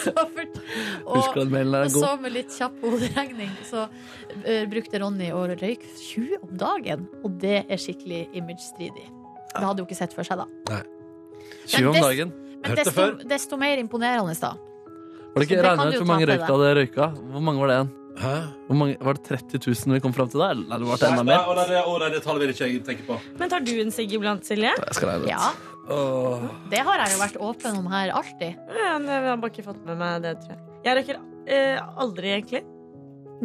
S3: [laughs]
S4: Husker du at mailen er
S3: og
S4: god?
S3: så med litt kjapp hoderegning så eh, brukte Ronny å røyke 20 om dagen. Og det er skikkelig image-stridig. Det hadde hun ikke sett for seg, da.
S2: Nei.
S4: 20 om
S3: des-
S4: dagen.
S3: Men desto, desto mer imponerende, da.
S4: Var det
S3: Så
S4: ikke
S3: det kan
S4: regna
S3: du
S4: ut
S3: jo
S4: hvor
S3: ta
S4: mange
S3: til
S4: røyk du hadde røyka? Hvor mange var det igjen? Hvor mange, var det 30 000 vi kom fram til da? Eller nei, det var det enda
S2: Nei,
S4: mer?
S2: å, nei, det- å, nei, det tallet vil ikke jeg tenke på.
S17: Men tar du en sigg iblant, Silje?
S4: Jeg skal regne ut.
S3: Ja,
S2: Åh.
S3: det har jeg jo vært åpen om her alltid.
S17: Ja, men jeg har bare ikke fått med meg det, tror jeg. Jeg røyker eh, aldri, egentlig.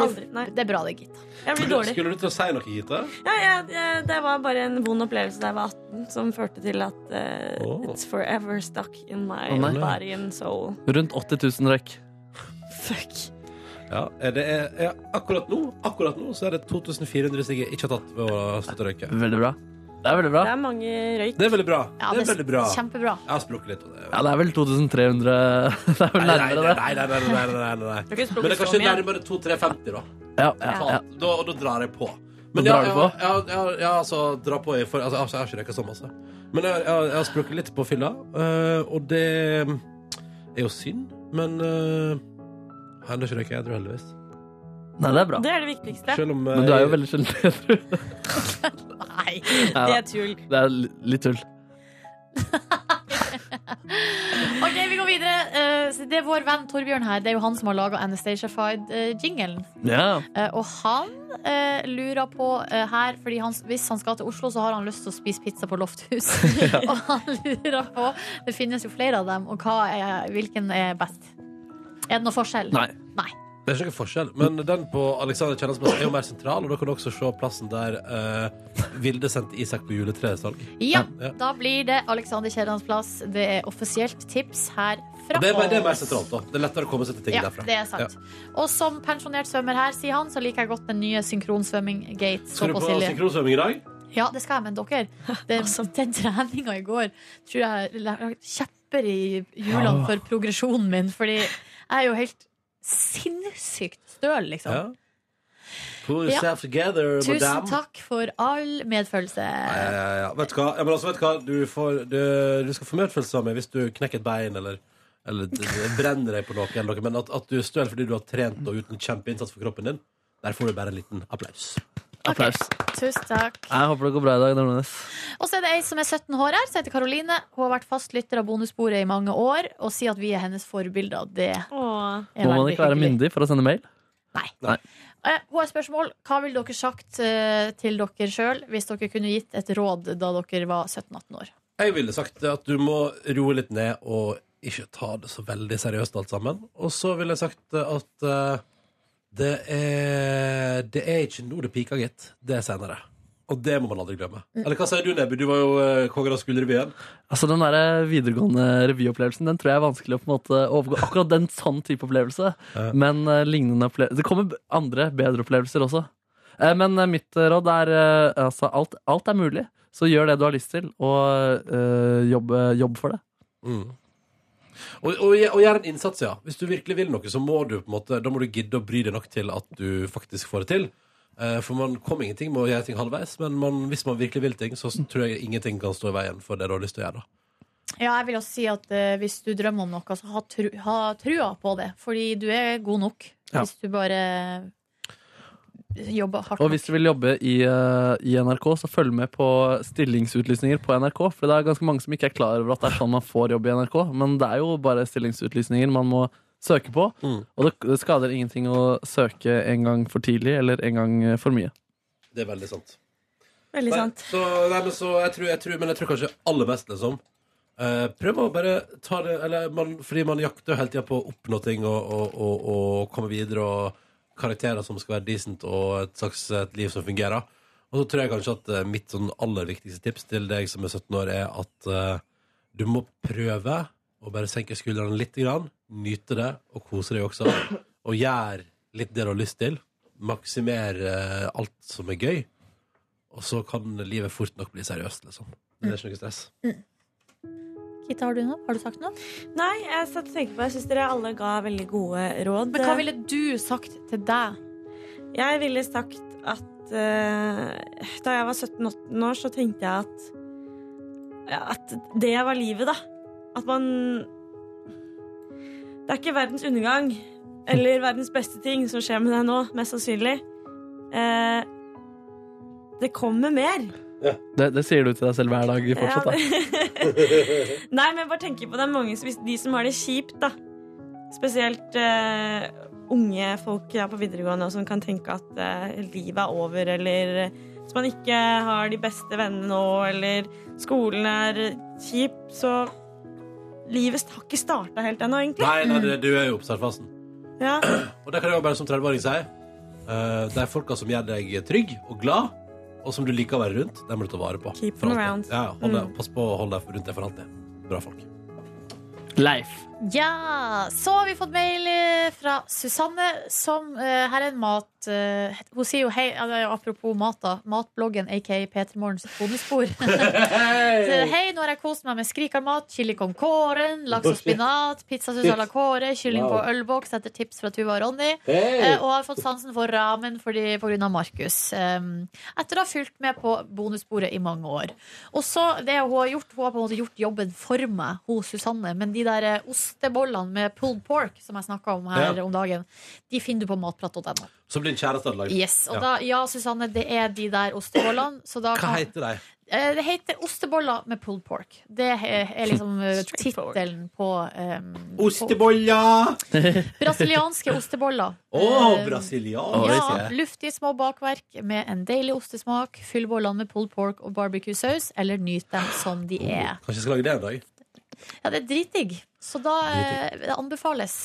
S17: Aldri. Nei.
S3: Det er bra, det, gitt.
S17: Jeg blir dårlig.
S2: Skulle du til å si noe, Gita?
S17: Ja, jeg, jeg, det var bare en vond opplevelse da jeg var 18, som førte til at eh, it's forever stuck in my
S4: Å, nei.
S17: body and soul.
S4: Rundt 80 000 røyk.
S2: Ja, er Eh, det, er, er, akkurat, nå, akkurat nå så er det 2400 som jeg ikke har tatt ved å slutte å røyke.
S4: Veldig bra. Det er veldig bra.
S17: Det er mange røyk.
S2: Det er veldig bra.
S17: Ja,
S2: det er
S17: det er
S2: veldig bra.
S3: kjempebra.
S2: Jeg har sprukket litt. og det er-
S4: Ja, det er vel 2300 [laughs] Det er
S2: Nei,
S4: vel
S2: nei,
S4: nærmere det.
S2: nei, nei, nei, nei, nei, nei, nei.
S4: Du kan språke
S2: Men det er kanskje
S4: så mye.
S2: nærmere 2350, da.
S4: Ja, ja, ja.
S2: Da, og da drar jeg på. Men
S4: Da drar
S2: ja,
S4: du på?
S2: Ja, ja, ja, ja, altså, dra på i for, altså, altså, Jeg har ikke røyka så masse. Men jeg, jeg, jeg har sprukket litt på fylla, øh, og det er jo synd, men øh, jeg har ennå ikke røyka edru, heldigvis.
S4: Nei, det er bra.
S17: Det er det viktigste.
S2: Selv om, eh,
S4: Men du er jo veldig sjelden edru.
S17: [laughs] Nei,
S4: Nei
S17: det
S4: da.
S17: er tull.
S4: Det er li- litt tull.
S3: OK, vi går videre. Eh, så det er vår venn Torbjørn her. Det er jo han som har laga eh, Anastacia-fied-jingelen.
S4: Ja.
S3: Eh, Og han eh, lurer på eh, her Fordi han, hvis han skal til Oslo, så har han lyst til å spise pizza på
S2: [laughs]
S3: Lofthus. [laughs] og han lurer på Det finnes jo flere av dem, og hva er, hvilken er best? Er det noe forskjell?
S2: Nei. Det er ikke noen forskjell, men den på Alexander Kiellands plass er jo mer sentral, og da kan du også se plassen der eh, Vilde sendte Isak på juletresalg.
S3: Ja, da blir det Alexander Kiellands plass. Det er offisielt tips her fra
S2: Og Det er, mer- det er mer
S3: oss.
S2: sentralt, da. Det er lettere å komme seg til ting
S3: Ja,
S2: derfra.
S3: det er sant.
S2: Ja.
S3: Og som pensjonert svømmer her, sier han, så liker jeg godt den nye synkronsvømming-gate.
S2: Skal du på synkronsvømming i dag?
S3: Ja, det skal jeg, men dere Den, den treninga i går tror jeg la- kjepper i hjulene
S4: Ah.
S2: Ja.
S3: for progresjonen min, fordi jeg er jo helt sinnssykt støl,
S2: Ja.
S3: liksom.
S2: Pull
S3: Ja.
S2: yourself together,
S3: Tusen
S2: madame.
S3: takk for all medfølelse.
S2: Ja, ja, ja, ja. Vet du hva? Ja, men altså, vet du, hva? Du, får, du, du skal få medfølelse av meg hvis du knekker et bein eller, eller d- d- brenner deg på noe, eller noe. men at, at du er støl fordi du har trent og gjort en kjempeinnsats for kroppen din, der får du bare en liten applaus.
S4: Applaus.
S3: Tusen takk.
S4: Jeg håper det går bra i dag. Nordnes.
S3: Og så er det ei som er 17 år her, som heter Karoline. Hun har vært fast lytter av Bonussporet i mange år og sier at vi er hennes forbilder. Det er
S4: Må man
S3: veldig
S4: ikke være
S3: hyggelig.
S4: myndig for å sende mail?
S3: Nei.
S4: Nei.
S3: Eh, Hun har et spørsmål. Hva ville dere sagt eh, til dere sjøl hvis dere kunne gitt et råd da dere var 17-18 år?
S2: Jeg ville sagt at du må roe litt ned og ikke ta det så veldig seriøst alt sammen. Og så ville jeg sagt at eh, det er, det er ikke nå det piker, gitt. Det er senere. Og det må man aldri glemme. Eller hva sier du, Nebby? Du var jo eh, kongen av skolerevyen.
S4: Altså Den der videregående revyopplevelsen Den tror jeg er vanskelig å på en måte overgå. Akkurat den sånn type opplevelse. Men eh, lignende opple- Det kommer b- andre, bedre opplevelser også. Eh, men eh, mitt eh, råd er eh, altså alt, alt er mulig. Så gjør det du har lyst til, og eh, jobb, jobb for det.
S2: Mm. Og, og, gje- og gjør en innsats, ja. Hvis du virkelig vil noe, så må du på en måte, da må du gidde å bry deg nok til at du faktisk får det til. Eh, For man kommer ingenting med å gjøre ting halvveis, men man, hvis man virkelig vil ting, så tror jeg ingenting kan stå i veien for det du har lyst til å gjøre. da.
S3: Ja, jeg vil også si at eh, Hvis du drømmer om noe, så ha, tru, ha trua på det. Fordi du er god nok
S4: Ja.
S3: hvis du bare jobber hardt
S4: Og hvis du vil jobbe i, eh, i NRK, så følg med på stillingsutlysninger på NRK. For det er ganske mange som ikke er klar over at det er sånn man får jobb i NRK. Men det er jo bare stillingsutlysninger man må søke på.
S2: Mm.
S4: Og det, det skader ingenting å søke en gang for tidlig eller en gang eh, for mye.
S2: Det er veldig sant.
S17: Veldig
S2: Nei,
S17: sant.
S2: Så, nei, men, så jeg tror, jeg tror, men jeg tror kanskje aller mest, liksom. eh, prøv å bare ta det eller man, Fordi man jakter jo hele tida på å oppnå ting og, og, og, og komme videre og karakterer som skal være decent, og et slags et liv som fungerer. Og så tror jeg kanskje at eh, mitt sånn aller viktigste tips til deg som er 17 år, er at eh, du må prøve å bare senke skuldrene litt, grann, nyte det og kose deg også. Og gjør litt det du har lyst til. Maksimer eh, alt som er gøy. Og så kan livet fort nok bli seriøst, liksom. Det er ikke noe stress.
S3: Gitte, har du noe? Har du sagt noe?
S17: Nei, jeg satt og tenkte på Jeg syns dere alle ga veldig gode råd.
S3: Men hva ville du sagt til deg?
S17: Jeg ville sagt at eh, da jeg var 17-18 år, så tenkte jeg at ja, at det var livet, da. At man Det er ikke verdens
S3: [laughs]
S17: undergang eller verdens beste ting som skjer med deg nå, mest sannsynlig. Eh, det kommer mer.
S4: Det, det sier du til deg selv hver dag fortsatt, da.
S17: Ja. Nei, men jeg bare tenker på det er mange som, hvis de som har det kjipt, da. Spesielt eh, unge folk ja, på videregående og som kan tenke at eh, livet er over, eller eh, hvis man ikke har de beste vennene nå, eller skolen er kjip, så Livet har ikke starta helt ennå, egentlig.
S2: Nei, nei, du- du er jo i oppstartfasen.
S17: Ja.
S2: Og det kan jeg jo bare som 30-åring si. Eh, de folka som gjør deg trygg og glad, og som du liker å være rundt, dem må du ta vare på.
S17: Keep
S2: For
S17: them
S2: alltid.
S17: around.
S2: Ja, hold deg-
S17: Mm.
S2: Pass på å holde deg rundt deg for alltid. Bra folk.
S4: Leif.
S3: Ja! Så har vi fått mail eh, fra Susanne, som eh, Her er en mat eh, Hun sier jo hei, eller, apropos mat, da. Matbloggen, aka P3morgens bonusspor. [laughs] Så, Hei, nå har jeg kost meg med skrikermat, chili con corn, laks og spinat, pizzasaus à la kåre, kylling
S9: Wow.
S3: på ølboks etter tips fra Tuva og Ronny.
S9: Hey!
S3: Eh, Og har fått sansen for ramen fordi, på grunn av Markus. Um, etter å ha fulgt med på bonussporet i mange år. Og så det hun har gjort, hun har på en måte gjort jobben for meg, hun Susanne. Men de der eh, ostebollene med pulled pork som jeg snakka om her
S2: Ja.
S3: om dagen, de finner du på matprat.no.
S2: Som din kjæreste hadde lagd.
S3: Yes, og
S2: Ja.
S3: da, ja, Susanne, det er de der ostebollene. Så da
S2: Hva
S3: kan-
S2: heter de?
S3: Eh, Det heter osteboller med pulled pork. Det er
S2: Mm.
S3: er liksom
S2: [laughs]
S3: eh, tittelen på um,
S2: Osteboller!
S3: [laughs] Brasilianske osteboller.
S2: Å,
S3: Eh,
S2: brasilianske!
S3: Ja, luftige små bakverk med en deilig ostesmak. Fyll bollene med pulled pork og barbecue-saus, eller nyt dem som de er.
S2: Kanskje jeg skal lage det en dag?
S3: Ja, det er dritdigg, så da eh, det anbefales.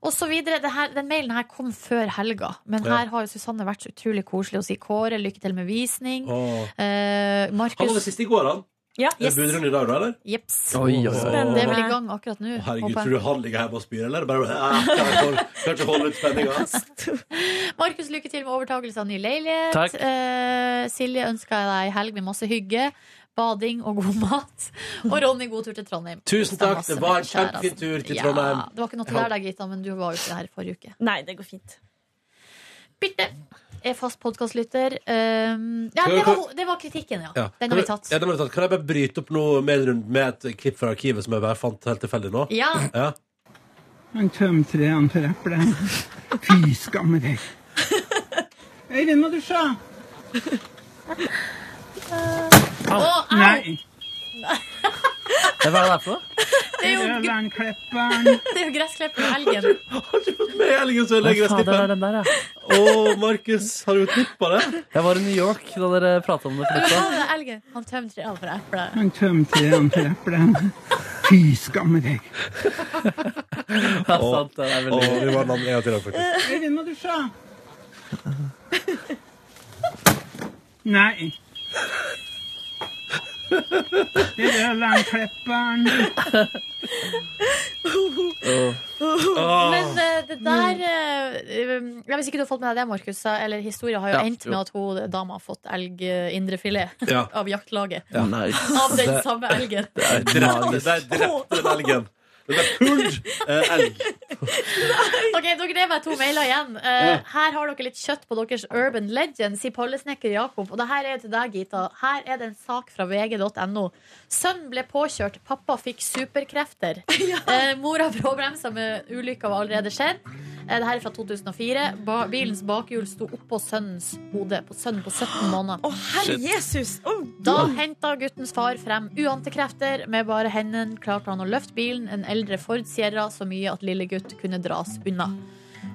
S3: Og så videre, det her, Den mailen her kom før helga, men
S2: Ja.
S3: her har jo Susanne vært så utrolig koselig og si Kåre, lykke til med visning.
S2: Åh.
S3: Eh,
S2: Han var det
S3: Markus
S2: siste i går, han.
S3: Ja,
S2: Er det budrunde i dag, da, eller?
S3: Jeps.
S2: Oi, oi, oi. Spennende.
S3: Det er vel i gang akkurat nå.
S2: Å, herregud,
S3: håper jeg.
S2: tror du han ligger hjemme og spyr, eller? Bare, ah, kan ikke holde- kan ikke holde ut
S3: [laughs]
S2: spenninga.
S3: Markus, lykke til med overtakelse av ny leilighet.
S2: Takk.
S3: Eh, Silje ønsker jeg deg ei helg med masse hygge, bading og god mat. Og Ronny, god tur til Trondheim.
S2: Tusen takk, det var en kjempefin tur til Trondheim.
S3: altså. Ja, det var ikke noe til deg, da, Gita, men du var jo ikke her forrige uke.
S17: Nei, det går fint.
S3: Birte er fast podkastlytter. Um, ja,
S2: Kan-
S3: det var,
S2: kan-
S3: det var kritikken, ja.
S2: Ja. Kan
S3: Den har
S2: du-
S3: vi tatt.
S2: Ja, den har vi tatt. Kan jeg bare bryte opp noe med, en runde med et klipp fra arkivet som jeg bare fant helt tilfeldig nå?
S3: Ja.
S2: ja.
S18: Han tømte han for eplet. Fy skamme deg. Øyvind må dusje.
S3: Å, au!
S18: Nei.
S4: Hva er det her for noe?
S3: Det er jo [laughs] Det er jo gressklipperen og elgen.
S2: Med helgen så legger jeg
S4: Hva faen, det var
S2: snippen.
S4: den der, ja.
S2: Å, Markus, har du klippa det?
S4: Jeg var i New York da dere prata om det.
S3: Det
S4: Filippa.
S3: var den elgen. Han tømte tre av for eplet.
S18: Han tømte han for eplet. Fy skamme deg.
S4: Det er sant, det er veldig
S2: Å, vi var den andre en gang til, da, faktisk.
S18: Øyvind må dusje. Nei. Det er landklipperen.
S2: Åh. Mm.
S3: Men eh, det der eh, um, Jeg Hvis ikke du har fått med deg det, Markus, så- eller historien har jo
S2: Ja,
S3: endt med
S2: jo.
S3: at hun dama har fått elg eh, indrefilet
S2: Ja.
S3: [laughs] av jaktlaget.
S2: Ja. Nice.
S3: Av den
S2: Det-
S3: samme elgen.
S2: Det er drepte, det er drepte den elgen. Den er pulled eh, elg.
S3: [laughs] Ok, Dere er meg to mailer igjen. Eh, Her har dere litt kjøtt på deres Urban Legend, sier pallesnekker Jakob. Og det her er til deg, Gita. Her er det en sak fra vg.no. Sønnen ble påkjørt, pappa fikk superkrefter. Eh, mora bråbremsa med ulykka var allerede skjedd. Eh, det her er fra 2004. Ba bilens bakhjul sto oppå sønnens hode. På sønnen på 17 måneder. Å,
S17: Herre Jesus! Å,
S3: da henta guttens far frem uante krefter. Med bare hendene klarte han å løfte bilen, en eldre Ford Sierra, så mye at lille gutt kunne dras unna.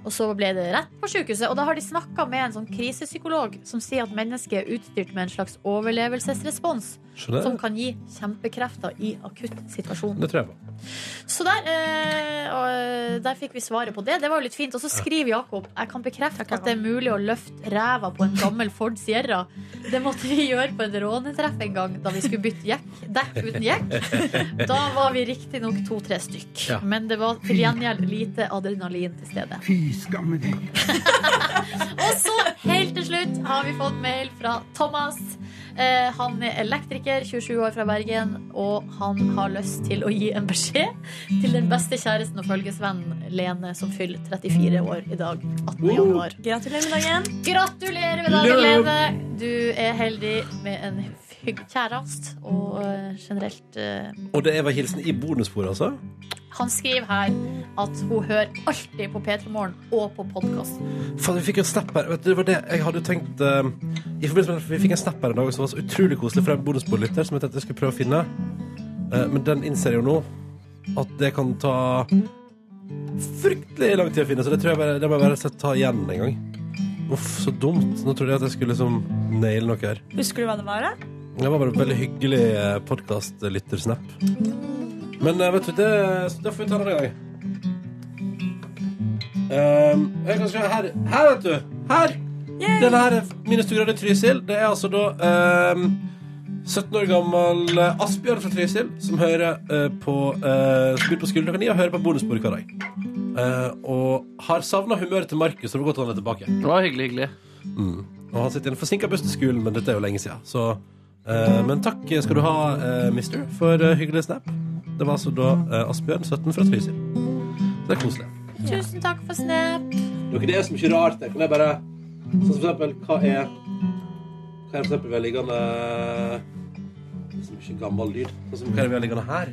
S3: Og så ble det rett på sykehuset. Og da har de snakka med en sånn krisepsykolog som sier at mennesket er utstyrt med en slags overlevelsesrespons
S2: Skjønner.
S3: som kan gi kjempekrefter i akutt situasjon.
S2: Det tror jeg på.
S3: Så der, eh, og der fikk vi svaret på det. Det var jo litt fint. Og så skriver Jakob jeg kan bekrefte at det er mulig å løfte ræva på en gammel Ford Sierra. Det måtte vi gjøre på en rånetreff en gang da vi skulle bytte jekk, dekk uten jekk. Da var vi riktignok to-tre stykk.
S18: Ja.
S3: Men det var til gjengjeld lite adrenalin til stede.
S18: Fy skamme deg.
S3: [laughs] Og så, helt til slutt, har vi fått mail fra Thomas. Eh, han er elektriker, 27 år fra Bergen, og han har lyst til å gi en beskjed til den beste kjæresten og følgesvennen Lene, som fyller 34 år i dag. 18. januar.
S17: Gratulerer med dagen.
S3: Gratulerer med dagen, Lene! Du er heldig med en hygg kjæreste, og eh, generelt eh,
S2: Og det var hilsen i bonussporet, altså?
S3: Han skriver her at hun hører alltid på P3 Morgen og på podkast.
S2: Faen, vi fikk en snap her. Vet du, det var det jeg hadde jo tenkt eh, I forbindelse med at Vi fikk en snap her en dag som var så utrolig koselig fra en bonusbordlytter som jeg tenkte jeg skulle prøve å finne. Eh, men den innser jeg jo nå at det kan ta fryktelig lang tid å finne, så det tror jeg bare, det må jeg bare sette- ta igjen en gang. Uff, så dumt. Nå trodde jeg at jeg skulle liksom naile noe her.
S17: Husker du hva det var, da?
S2: Det var bare en veldig hyggelig eh, podkast-lyttersnap. Men eh, vet du, det, så det får vi ta en annen gang. Um, jeg kan se her, her, vet du. Her! Denne her er minus to grader i Trysil. Det er altså da um, 17 år gammel eh, Asbjørn fra Trysil som hører eh, på eh, Som begynte på skolen klokka ni og hører på bonusbordet hver dag. Eh, og har savna humøret til Markus, så det var godt han er tilbake.
S4: Det var hyggelig, hyggelig.
S2: Mm. Og han sitter i en forsinka buss til skolen, men dette er jo lenge siden. Så, eh, men takk skal du ha, eh, mister, for eh, hyggelig snap. Det var altså da eh, Asbjørn, 17, fra Trysil. Det er koselig.
S3: Tusen takk for snap.
S2: Dere, det er så mye rart der. Kan jeg bare Sånn som for eksempel, hva er Hva er for eksempel vi har liggende Det er så mye gammel lyd. Sånn som hva er det vi har liggende her?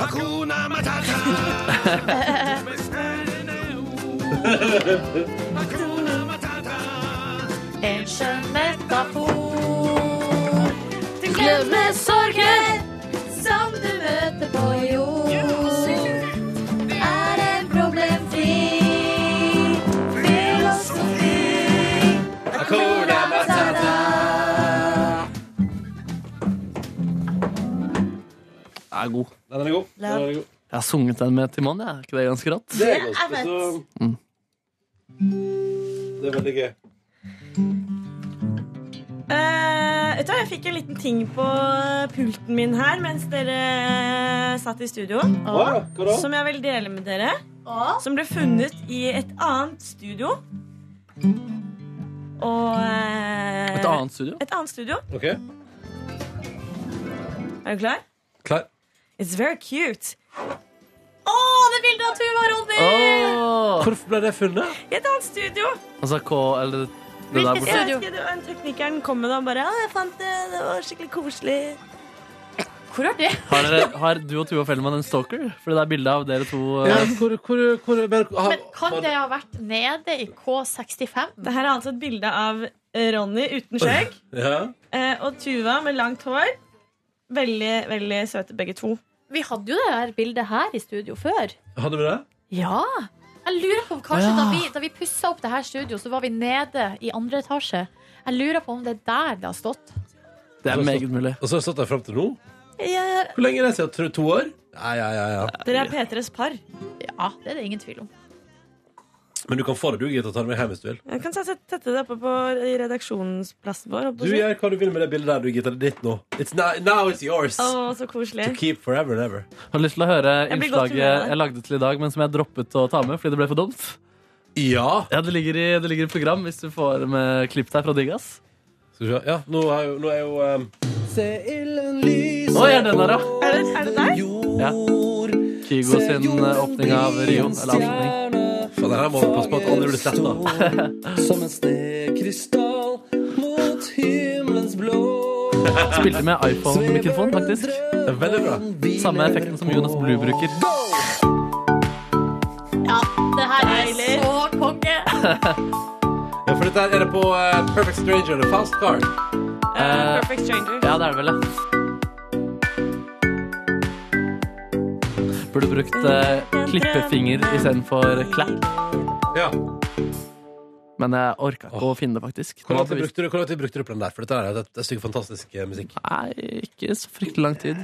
S6: Hakuna Matata.
S3: En skjønn metafor. Du glemmer sorgen som du møter på jord. Er en problemfri filosofi.
S6: Hakuna Matata.
S4: Den
S2: Den er
S4: er god.
S2: god.
S4: Den er god. Jeg har sunget den med til mannen, jeg. Er ikke det ganske rått?
S2: Det er ganske så
S4: Mm.
S2: Det er veldig gøy.
S17: Eh, vet du hva, Jeg fikk en liten ting på pulten min her mens dere satt i studio.
S2: Å, hva da?
S17: Som jeg vil dele med dere. Som ble funnet i et annet studio. Og eh,
S4: Et annet studio?
S17: Et annet studio.
S2: OK.
S17: Er du klar?
S2: Klar.
S17: It's very cute. Å, det er bildet av Tuva og Ronny!
S2: Hvorfor ble det funnet?
S17: I et annet studio.
S4: Altså K eller det der
S17: Hvilket
S4: borte.
S17: studio? Jeg husker teknikeren kom med det og bare «Å, jeg fant det, det var skikkelig koselig.
S3: Hvor er det?
S4: Har, dere, har du og Tuva Fellmann en stalker? Fordi det er bilde av dere to. eh,
S2: Ja, hvor, hvor, hvor, har-
S3: Men kan det ha vært nede i K65?
S17: Det her er altså et bilde av eh, Ronny uten skjegg
S2: Ja.
S17: eh, og Tuva med langt hår. Veldig, veldig søte begge to.
S3: Vi hadde jo det her bildet her i studio før.
S2: Hadde vi det?
S3: Ja. Jeg lurer på om kanskje
S2: Ja.
S3: da vi, da vi pussa opp det her studio, så var vi nede i andre etasje. Jeg lurer på om det er der det har stått.
S4: Det er meget mulig.
S2: Og så har jeg stått der fram til nå? Hvor lenge er det siden? Tror du To år? Ja, ja, ja, ja.
S17: Dere er P3s par.
S3: Ja, det er det ingen tvil om.
S2: Men du kan få det, du, Gita. Ta det med hjem hvis du vil.
S17: Jeg kan sette tette det oppe på i redaksjonsplassen vår. oppe
S2: Du
S17: på-
S2: gjør hva du vil med det bildet der, du, Gita. Det er ditt nå. It's now, now it's yours.
S17: Å, så koselig.
S2: To keep forever and ever.
S4: Har lyst til å høre
S17: Jeg blir godt
S4: innslaget
S17: humør av det.
S4: jeg lagde til i dag, men som jeg droppet å ta med fordi det ble for dumt?
S2: Ja.
S4: det, ligger i, det ligger i program hvis du får med klipp der fra Diggas.
S2: Skal vi se. Ja, nå er jo, nå er jo ehm,
S6: Se ilden lyse
S4: Nå er den der, ja.
S17: Er det, er det deg?
S4: Ja. Kygo sin eh, åpning av Rio. Eller avslutning.
S2: Faen, det her må vi passe på at aldri blir sletta.
S6: Som en stekrystall mot himmelens blå.
S4: Spilte med iPhone-mikrofon, faktisk.
S2: Veldig bra.
S4: Samme effekten som Jonas Blue bruker.
S3: Ja, det her er så konge.
S2: Ja, for dette her er det på eh, Perfect Stranger, The Fast Car.
S4: Eh,
S17: Perfect Stranger.
S4: Ja, det er det vel, ja. Burde brukt eh, klippefinger istedenfor clap.
S2: Ja.
S4: Men jeg orka ikke å finne det, faktisk.
S2: Hvor lang tid brukte du, hvor lang tid brukte du på den der? For dette er jo et, et stykke fantastisk eh, musikk.
S4: Nei, ikke så fryktelig lang tid.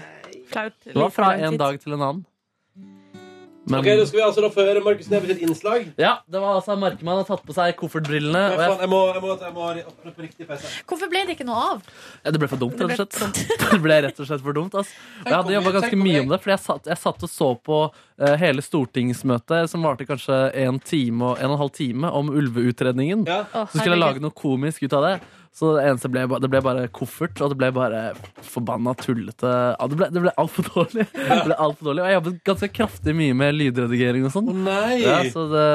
S17: Flaut.
S4: Det var fra en dag til en annen. Men-
S2: Ok, Da skal vi altså da få høre Markus Neby sitt innslag.
S4: Ja, det var altså Markemann har tatt på seg koffertbrillene.
S2: Nei,
S4: og jeg-
S2: faen, jeg må, jeg må, jeg må åpne på riktig PC.
S3: Hvorfor ble det ikke noe av?
S4: Ja, det ble for dumt,
S3: Det ble
S4: rett og [laughs] slett. Det ble rett og slett for dumt, ass. Og jeg
S3: Tenk om
S4: hadde jobba
S3: vi-
S4: ganske mye om det, for jeg satt, jeg satt og så på eh, hele stortingsmøtet, som varte kanskje en time og en og en halv time, om ulveutredningen.
S6: Å,
S4: Så skulle jeg
S6: herregud.
S4: lage noe komisk ut av det. Så det eneste ble, ba- det ble bare koffert, og det ble bare forbanna tullete ja, Det ble, det ble altfor dårlig. [laughs] Det ble alt for dårlig. Og jeg jobbet ganske kraftig mye med lydredigering og sånn. ja, så det,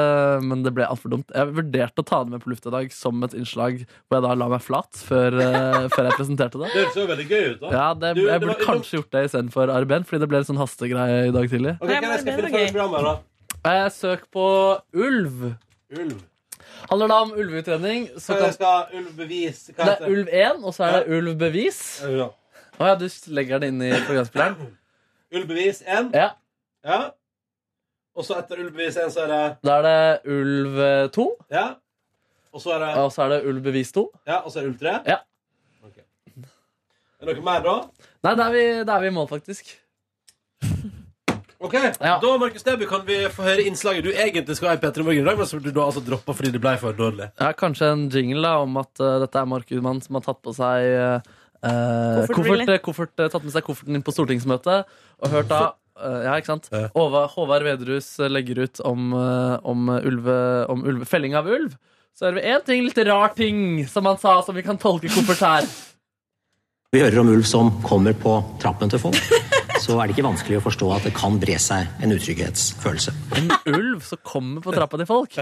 S4: men det ble altfor dumt. Jeg vurderte å ta det med på lufta i dag som et innslag hvor jeg da la meg flat før,
S2: [laughs]
S4: eh, før jeg presenterte
S2: Det
S4: det.
S2: høres jo veldig gøy ut. da.
S4: Ja, det,
S2: Du, det
S4: Jeg
S2: var-
S4: burde kanskje gjort det istedenfor Arben, fordi det ble en sånn hastegreie i dag tidlig.
S2: Ok, hva er det jeg skal finne fram i programmet her, da?
S4: Eh, Søk på ulv.
S2: Ulv.
S4: Handler da om ulveutredning. Så
S2: Hva er det
S4: kan
S2: jeg skal ulv bevis? Hva
S4: det
S2: heter
S4: er ulv 1, og så er det ulv bevis.
S2: Ja.
S4: Å ja, du legger den inn i programspilleren?
S2: Ulv bevis 1.
S4: Ja.
S2: Og så etter ulv bevis 1 så er det
S4: Da er det ulv 2,
S2: Ja. Og så er det
S4: og så er det ulv bevis 2.
S2: Ja, og så er det ulv 3.
S4: Ja.
S2: Ok. Er det noe mer, da?
S4: Nei, da er vi, da er vi i mål, faktisk.
S2: Ok, Da Markus Neby, kan vi få høre innslaget du egentlig skal ha i P3 Morgen i dag, men som du da altså droppa fordi det ble for dårlig.
S4: Ja, kanskje en jingle da, om at eh, dette er Mark Udmann som har tatt på seg eh, eh, koffert,
S2: Koffertbriller.
S4: eh, koffert, eh, tatt med seg kofferten inn på stortingsmøtet og hørt da eh, ja, ikke sant? Håva- Håvard Vedrus eh, legger ut om, eh, om, eh, ulve, om ulve, felling av ulv. Så er det en ting, litt rar ting, som han sa, som vi kan tolke koffert her.
S19: Vi hører om ulv som kommer på trappen til folk, så er det ikke vanskelig å forstå at det kan bre seg en utrygghetsfølelse.
S4: En ulv som kommer på trappa til folk.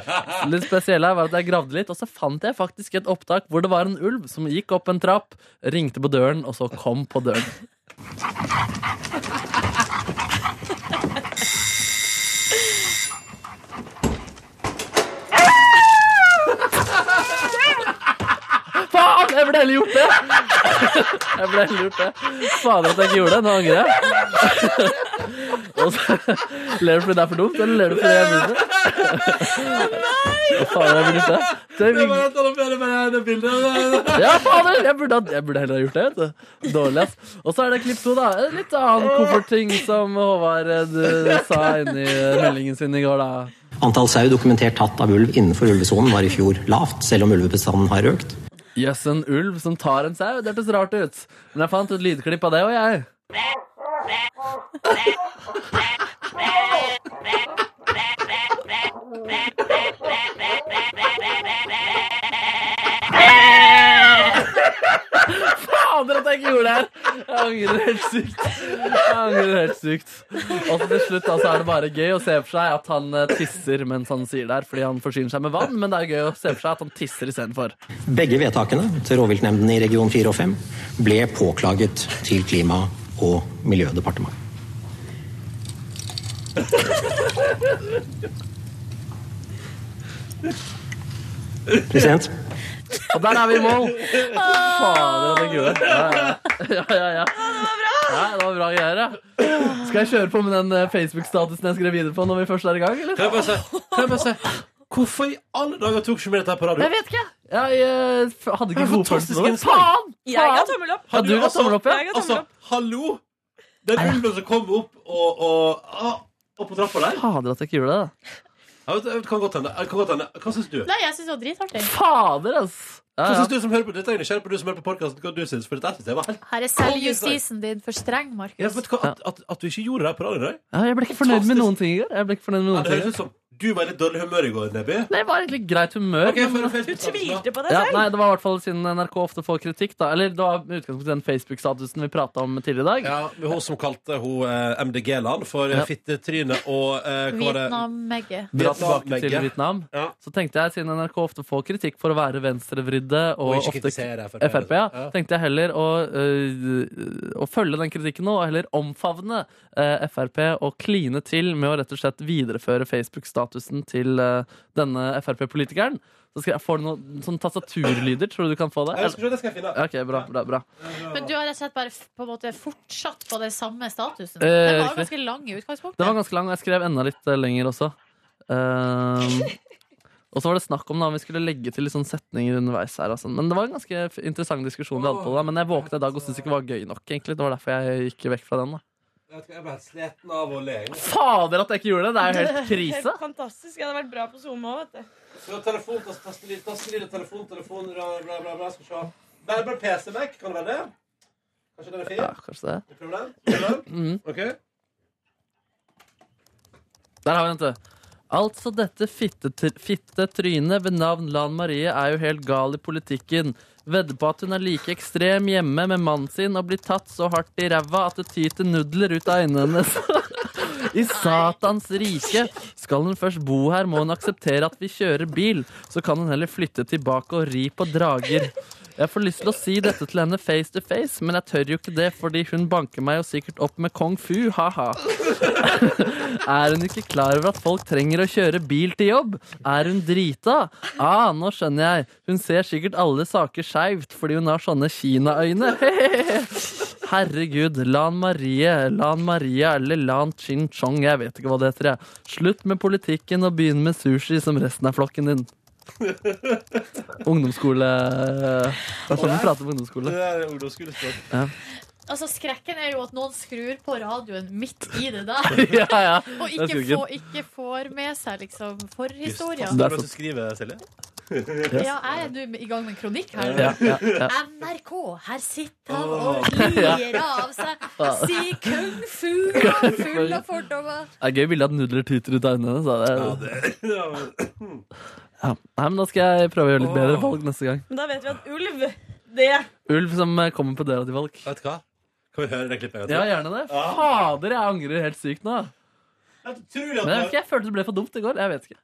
S4: Litt spesielle her var at jeg gravde litt, og så fant jeg faktisk et opptak hvor det var en ulv som gikk opp en trapp, ringte på døren, og så kom på døren. Faen, jeg burde heller gjort det! Jeg burde heller gjort det. Fader at jeg ikke gjorde det. Nå angrer jeg. Og så Ler du fordi det er for dumt, eller ler du fordi jeg burde det? Å, Fader, jeg burde gjort det. Det er
S2: bare å ta med det bildet.
S4: ja, fader! Jeg burde, ha- jeg burde heller ha gjort det. vet du. Dårlig, ass. Og så er det klipp to, da. En Litt annen koffertting som Håvard eh, du sa inni eh, meldingen sin i går, da.
S19: Antall sau dokumentert tatt av ulv innenfor ulvesonen var i fjor lavt, selv om ulvebestanden har økt.
S4: Jøss, en ulv som tar en sau. Det hørtes rart ut. Men jeg fant et lydklipp av det òg, jeg. Fader at jeg ikke gjorde det her! Jeg angrer helt sykt. Jeg angrer helt sykt. Og så til slutt da, så er det bare gøy å se for seg at han eh, tisser mens han sier det her, fordi han forsyner seg med vann, men det er gøy å se for seg at han tisser istedenfor.
S19: Begge vedtakene til rovviltnemndene i region 4 og 5 ble påklaget til Klima- og miljødepartementet. President,
S4: Og der er vi i mål! Fader at jeg ikke gjorde det. Ja, ja. Ja, ja, ja. Ja, det var bra greier, ja. Skal jeg kjøre på med den eh, Facebook-statusen jeg skrev videre på når vi først er i gang, eller?
S2: Kan jeg bare si, kan jeg bare si Hvorfor i alle dager tok ikke vi dette her på radio?
S4: Jeg vet ikke. Jeg eh, f- hadde
S2: Det er
S4: ikke god
S2: fantastisk
S4: følelse på det.
S2: innslag.
S4: Faen!
S17: Jeg ga tommel opp.
S4: Har du
S2: Har
S4: gått tommel opp, ja?
S17: Jeg ga tommel
S2: Altså,
S17: opp.
S2: hallo! Den ulven som kom opp og, og, ah, opp på trappa der.
S4: Fader at jeg ikke gjorde det. da.
S2: Jeg vet, jeg vet, kan godt hende. jeg Kan godt hende. Hva syns du?
S3: Nei, jeg syns det var dritartig.
S4: Fader, ass!
S2: Hva syns du som hører på dette? Jeg er nysgjerrig på du som hører på podcasten, hva du syns. For dette syns jeg var helt
S3: Her er selvjustisen din for streng, Markus.
S2: ja, vet du hva, at, at, at du ikke gjorde det her på radio i dag?
S4: Ja, jeg ble ikke fornøyd med noen ting i går. Jeg ble ikke fornøyd med
S2: Ja,
S4: noen
S2: Det
S4: ting. i
S2: høres
S4: går.
S2: ut som du var i litt dårlig humør i går, Nebby.
S4: Nei, det var egentlig greit humør.
S2: Ok, for en Facebook-status, Du tvilte på deg selv.
S4: nei, det var i hvert fall siden NRK ofte får kritikk, da. Eller det var med utgangspunkt i den Facebook-statusen vi prata om tidligere i dag.
S2: Ja, men Hun som kalte hun eh, MDG-land for eh,
S4: Ja.
S2: fittetryne og eh, hva var det?
S3: Vietnam-Megge.
S4: Dra tilbake
S2: Vietnam-Megge.
S4: til Vietnam. Så tenkte jeg, siden NRK ofte får kritikk for å være venstrevridde og,
S2: Og ikke
S4: ofte
S2: kritisere
S4: Frp,
S2: FRP.
S4: ja,
S2: Ja.
S4: tenkte jeg heller å, øh, å følge den kritikken nå, og heller omfavne øh, Frp og kline til med å rett og slett videreføre Facebook-statusen til øh, denne Frp-politikeren. Så skal jeg få noen sånne tastaturlyder. Tror du du kan få det?
S2: Ja, jeg skal se, det skal jeg finne.
S4: Ja, Ok, bra, bra, bra.
S3: Men du har rett og slett bare f- på en måte fortsatt på den samme statusen?
S4: Eh,
S3: Den var
S4: riktig.
S3: jo ganske lang i utgangspunktet.
S4: [laughs] Den var ganske lang, og jeg skrev enda litt eh, lenger også. Ehm, Og så var det snakk om da, om vi skulle legge til litt sånn setninger underveis. her og sånn. Men det var en ganske f- interessant diskusjon vi hadde på det. Men jeg våkna i dag og syntes ikke det var gøy nok. egentlig. Det var derfor jeg gikk vekk fra den. da.
S2: Jeg ble helt sliten av å le.
S4: Fader at jeg ikke gjorde det! Det er jo helt krise.
S17: Helt fantastisk. Det hadde vært bra på SoMe òg, vet du.
S2: Så telefon, tas- tastelyd, tastelyd, telefon, telefon, bla, bla, bla, bla, skal se. Bare, bare PC vekk, kan det være det? Kanskje den er fin?
S4: Ja, kanskje det.
S2: Vi prøver den? Prøver den? Ok.
S4: Der har vi den, vet du. Altså, dette fitte- fittetrynet ved navn Lan Marie er jo helt gal i politikken. Vedder på at hun er like ekstrem hjemme med mannen sin og blir tatt så hardt i ræva at det tyter nudler ut av øynene hennes. [laughs] I satans rike. Skal hun først bo her, må hun akseptere at vi kjører bil. Så kan hun heller flytte tilbake og ri på drager. Jeg får lyst til å si dette til henne face to face, men jeg tør jo ikke det, fordi hun banker meg jo sikkert opp med kung fu, ha-ha. Er hun ikke klar over at folk trenger å kjøre bil til jobb? Er hun drita? Ah, nå skjønner jeg. Hun ser sikkert alle saker skeivt fordi hun har sånne Kina-øyne. [laughs] Herregud, Lan Marie, Lan Maria eller Lan Chin Chong, jeg vet ikke hva det heter. jeg. Slutt med politikken og begynn med sushi som resten av
S3: [laughs]
S4: flokken din. Ungdomsskole Det er sånn vi prater på ungdomsskole. [laughs]
S2: Det er ungdomsskolespråk.
S4: Ja.
S3: Altså, Skrekken er jo at noen skrur på radioen midt i det der.
S4: Ja, ja.
S2: Det
S3: Og
S2: er
S3: ikke,
S2: skogen.
S3: får- ikke får med seg liksom forhistoria.
S2: Det er du som skriver, Silje.
S3: Ja, jeg er nå i gang med en kronikk her.
S2: Ja, ja, ja.
S3: NRK, her sitter han [laughs] og lirer av seg. Si kung fu, han er full av fordommer.
S4: Det er gøy bilde at nudler tyter ut av øynene. Så det,
S2: [laughs]
S4: Ja. Nei, men da skal jeg prøve å gjøre litt bedre valg neste gang.
S17: Men da vet vi at ulv, det
S4: Ulv som eh, kommer på døra til valg.
S2: Vet du hva? Kan vi høre det klippet en gang til?
S4: Ja, gjerne det. Fader, jeg angrer helt sykt nå.
S2: Utrolig
S4: Men jeg, vet
S2: at
S4: ikke,
S2: du,
S4: jeg følte det ble for dumt i går. Jeg vet ikke.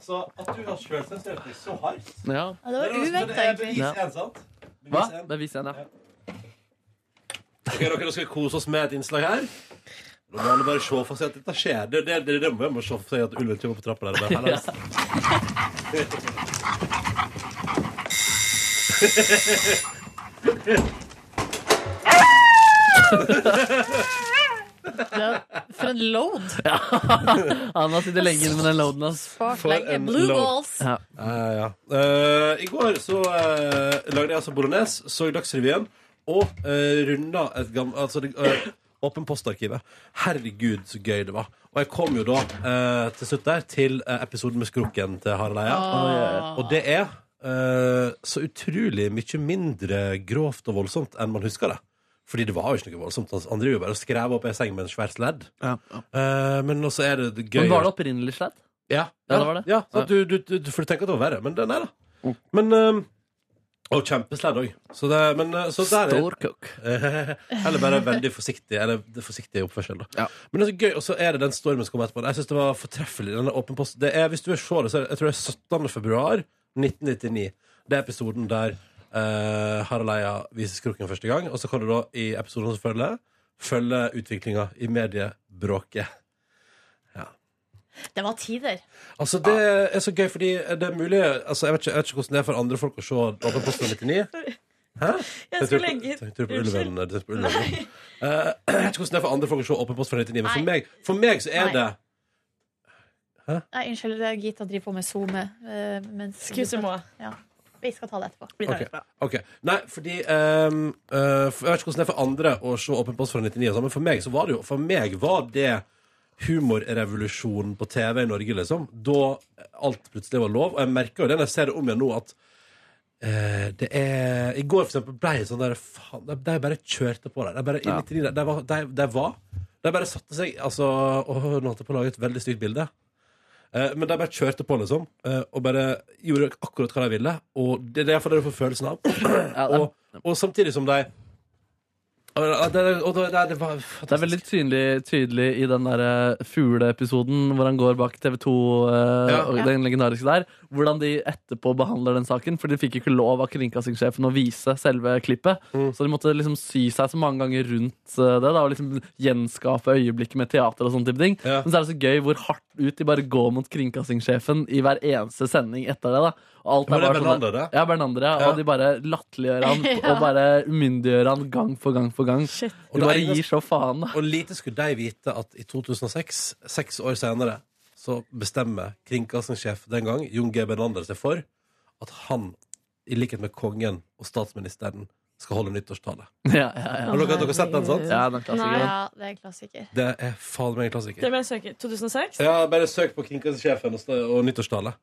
S2: altså, at du har sjølsensurert deg så hardt.
S4: Ja.
S3: Ja, det var
S2: Men
S3: uventet,
S2: det er
S3: egentlig.
S2: bevis
S4: Ja.
S2: en, sant?
S4: Hva? Bevis igjen, ja.
S2: Ok, dere, Nå skal vi kose oss med et innslag her. Nå må alle bare se for seg at dette skjer. Det, det, det, det må jeg må se for seg at ulven kommer på trappa der. Bare,
S6: Ja.
S3: For en load.
S4: Ja. Han har sittet lenge inne med den loaden. ass.
S3: Spart For lenge. en Blue load. balls.
S4: Ja.
S2: Ja, ja. Eh, I går så eh, lagde jeg altså bolognese, så Dagsrevyen og uh, runda et gammelt altså, det, eh, Åpen postarkivet. Herregud, så gøy det var. Og jeg kom jo da eh, til slutt der til eh, episoden med skrukken til Harald Eia.
S6: Ah.
S2: Og det er eh, så utrolig mye mindre grovt og voldsomt enn man husker det. Fordi det var jo ikke noe voldsomt. Han- Han driver jo bare og skrev opp ei seng med en svær sledd. Eh, men også er det det gøy
S4: Men var det opprinnelig slett?
S2: ja,
S4: Ja, Mm. det var det.
S2: Ja, så at du, du, du, for du tenker at det var verre, men den er det. Men ehm, Og kjempesledd òg. Så, det- men, eh, så der er-
S4: Stor kokk.
S2: [laughs] Eller bare veldig forsiktig. Eller det forsiktige oppførsel. Da. Men det er så gøy, og så er det den stormen som kommer etterpå. Jeg synes det var fortreffelig. Denne åpen post. Det er, hvis du vil se det, så er det, jeg tror det er 17. februar 1999. Det er episoden der eh, Harald Eia viser skrukken første gang. Og så kan du da i episoden som følger, følge utviklinga i mediebråket.
S3: Det var tider.
S2: Altså, det er så gøy, fordi det er mulig altså, jeg, vet ikke, jeg vet ikke hvordan det er for andre folk å se Åpen post fra
S6: [laughs]
S2: 99. Hæ?
S6: Jeg
S2: tror
S6: skulle
S2: på-
S6: legge-
S2: Jeg tror på
S6: Unnskyld.
S2: ulven. Jeg tror på ulven.
S6: [laughs]
S2: Eh, [clears throat] jeg vet ikke hvordan det er for andre folk å se Åpen post fra 99, men for meg, for meg så er
S3: Nei.
S2: det
S3: Nei, unnskyld, det er Gita driver på med SoMe. eh, mens du-
S17: Excuse moi.
S3: Ja. Vi skal ta det etterpå.
S2: Ok, ok. Nei, fordi ehm, eh, for, Jeg vet ikke hvordan det er for andre å se Åpen post fra 99, og sånn, men for meg så var det jo For meg var det humorrevolusjonen på TV i Norge, liksom. Da alt plutselig var lov. Og jeg merker jo det når jeg ser det om igjen nå, at eh, det er I går, for eksempel, ble jeg sånn der Faen, de, de bare kjørte på der. De bare, i 99, de, var- de, de var De bare satte seg Altså, åh, nå holdt jeg på å lage et veldig stygt bilde. Eh, Men de bare kjørte på, liksom. eh, Og bare gjorde akkurat hva de ville. Og det er derfor det du får følelsen av. Og, og samtidig som de og det, og det, det, det var
S4: Det er veldig tydelig, tydelig i den der eh, fugleepisoden hvor han går bak TV2, eh,
S2: Ja.
S4: og den legendariske der, hvordan de etterpå behandler den saken. For de fikk ikke lov av kringkastingssjefen å vise selve klippet.
S2: Mm.
S4: Så de måtte liksom sy seg så mange ganger rundt eh, det da, og liksom gjenskape øyeblikket med teater og sånn type ting. Men så er det så gøy hvor hardt ut de bare går mot kringkastingssjefen i hver eneste sending etter det. da. Og alt
S2: Var
S4: er
S2: det
S4: bare sånn-
S2: Bernander, det?
S4: Ja, Bernander, ja. Og de bare latterliggjør han
S2: Ja.
S4: og bare umyndiggjør han gang for gang for gang.
S2: Og
S4: De
S2: det
S4: bare
S2: eneste-
S4: gir så faen. da.
S2: Og lite skulle de vite at i 2006, seks år senere, så så bestemmer kringkastingssjef den gang, Jon G. Bernander, seg for at han, i likhet med kongen og statsministeren, skal holde nyttårstale.
S4: Ja, ja, ja.
S2: Har dere, dere har sett den, sant?
S4: Ja, den
S17: Nei, ja, det er en klassiker.
S2: Det er fader meg en klassiker.
S17: Det må jeg søke. 2006?
S2: Ja, bare søk på kringkastingssjefen og, sta- og nyttårstale.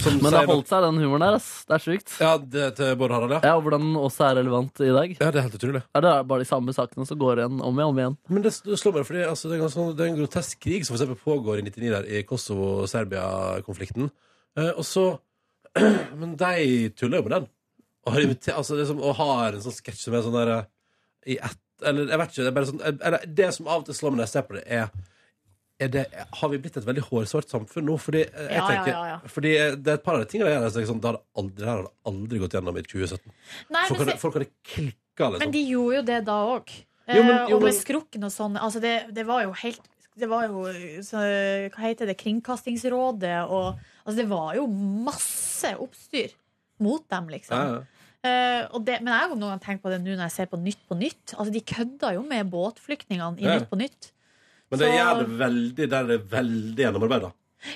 S2: Som
S4: Men det har
S2: sier-
S4: holdt seg, den humoren der. ass. Det er sjukt.
S2: Ja, det til Bård Harald, ja.
S4: ja. Og hvordan den også er relevant i dag.
S2: Ja, Det er helt utrolig.
S4: Ja, det er bare de samme sakene som går igjen om igjen. om igjen.
S2: Men det det slår meg, fordi altså, det, er en sånn, det er en grotesk krig som for eksempel pågår i 99 der, i Kosovo-Serbia-konflikten. Eh, og så [clears throat] Men de tuller jo med den. Og har, inviter- altså, det er som, og har en sånn sketsj som er sånn der eh, i ett Eller jeg vet ikke. Det er bare sånn eller, Det som av og til slår meg når jeg ser på det, er er det, har vi blitt et veldig hårsårt samfunn nå? Fordi, eh, jeg
S3: Ja, ja,
S2: tenker,
S3: ja, ja.
S2: fordi eh, det er et par av de tingene der, så er jeg sånn, det, hadde aldri, det her hadde aldri gått gjennom i 2017.
S3: Nei,
S2: folk,
S3: men
S2: hadde,
S3: se-
S2: folk hadde klikka, liksom.
S3: Men de gjorde jo det da òg.
S2: Jo, men- jo,
S3: Og med
S2: men-
S3: skrukken og sånn. Altså det, det var jo helt Det var jo så, Hva heter det? Kringkastingsrådet og Altså, det var jo masse oppstyr mot dem, liksom.
S2: Ja, ja.
S3: Eh, og det, men jeg har jo noen gang tenkt på det nå når jeg ser på Nytt på Nytt. Altså, De kødda jo med båtflyktningene i
S2: Ja.
S3: Nytt på Nytt.
S2: Men det
S3: Så-
S2: gjør det veldig, der er det veldig gjennomarbeida.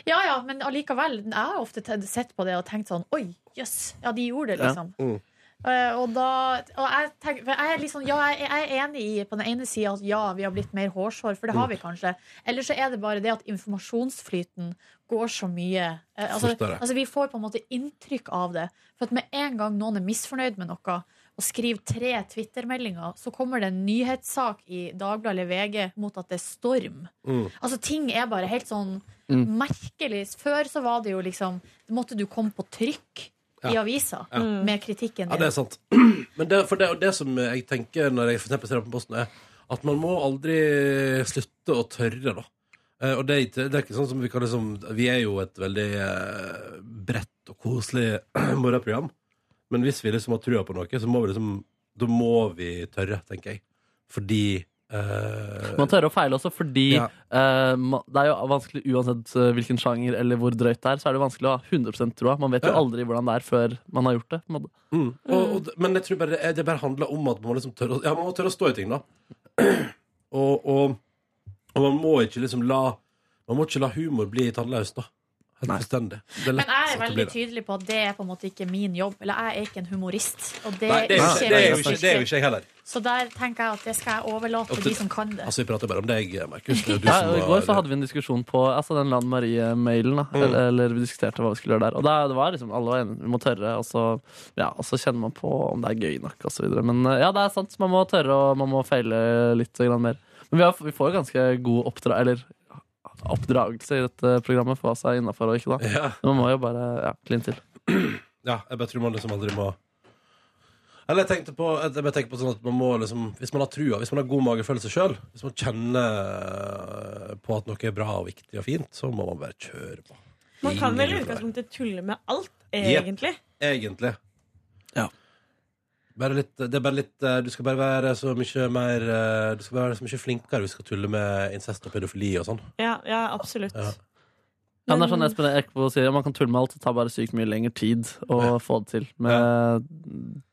S3: Ja ja, men allikevel. Jeg har ofte te- sett på det og tenkt sånn Oi, jøss. Ja, de gjorde det, liksom.
S2: Mm.
S3: Eh, og da, og jeg, tenker, for jeg, er litt sånn- ja, jeg, jeg er enig i på den ene sida at ja, vi har blitt mer hårsår, for det har vi kanskje. Eller så er det bare det at informasjonsflyten går så mye. Eh, altså,
S6: Fortere.
S3: altså Vi får på en måte inntrykk av det. For at med en gang noen er misfornøyd med noe og skriver tre twittermeldinger, så kommer det en nyhetssak i Dagbladet eller VG mot at det er storm. Altså Ting er bare helt sånn
S6: Mm.
S3: merkelig. Før så var det jo liksom Måtte du komme på trykk i
S2: Ja.
S3: avisa
S2: Ja.
S3: med kritikken din.
S2: Ja, det er sant. [clears throat] Men det, for det, og det som jeg tenker når jeg for eksempel ser Aftenposten, er at man må aldri slutte å tørre, da. Eh, Og det, er ikke- det er ikke sånn som vi kan liksom Vi er jo et veldig eh, bredt og koselig [clears throat] morgenprogram. Men hvis vi liksom har trua på noe, så må vi liksom Da må vi tørre, tenker jeg. Fordi eh,
S4: Man tør å feile også, fordi
S2: Ja.
S4: eh, ma- det er jo vanskelig uansett eh, hvilken sjanger eller hvor drøyt det er, så er det vanskelig å ha 100 troa. Man vet jo
S2: Ja.
S4: aldri hvordan det er før man har gjort det. på en måte.
S2: Mm. Og, og, men jeg tror bare eh, det, det bare handler om at man må liksom tørre å- Ja, man må tørre å stå i ting, da. [clears throat] Og, og, og man må ikke liksom la Man må ikke la humor bli tannløs, da. Helt fullstendig. Det er
S3: Men
S2: lett
S3: jeg
S2: at det
S3: er
S2: blir
S3: veldig
S2: det.
S3: tydelig på at det er på en måte ikke min jobb. Eller jeg er ikke en humorist. Og det,
S2: Nei, det er jo
S3: er
S2: ikke-
S3: ikke
S2: det er jo
S3: min
S2: ikke- det er jo ikke jeg heller.
S3: Så der tenker jeg at det skal jeg overlate til de som kan det.
S2: Altså, vi prater bare om deg, Markus. Det Mm. er jo du
S4: Ja,
S2: som
S4: og I
S2: var-
S4: går så hadde vi en diskusjon på altså den Lan Marie-mailen. da, eller, eller Vi diskuterte hva vi skulle gjøre der. Og da, det var liksom, Alle var enige. Vi må tørre, og så, ja, og så kjenner man på om det er gøy nok osv. Men eh, ja, det er sant. Man må tørre, og man må feile litt eh, grann mer. Men vi, har, vi får ganske god oppdra eller, oppdragelse i dette programmet for hva som er innafor og ikke. da.
S2: Ja.
S4: Man må jo bare ja, kline til.
S2: Ja, jeg bare tror man liksom aldri må Eller jeg tenkte på, jeg bare tenker på sånn at man må liksom Hvis man har trua, hvis man har god magefølelse sjøl, hvis man kjenner eh, på at noe er bra og viktig og fint, så må man bare kjøre på.
S17: Man kan vel i
S2: Ingen
S17: utgangspunktet tulle med alt,
S2: Jepp.
S17: egentlig.
S2: Egentlig. Bare litt, det er bare litt eh, Du skal bare være så mye mer eh, Du skal bare være så mye flinkere hvis du skal tulle med incest og pedofili og sånn.
S17: Ja, ja absolutt.
S2: Ja.
S4: Ja, det er sånn Espen Eckbo sier, man kan tulle med alt, det tar bare sykt mye lengre tid å få det til med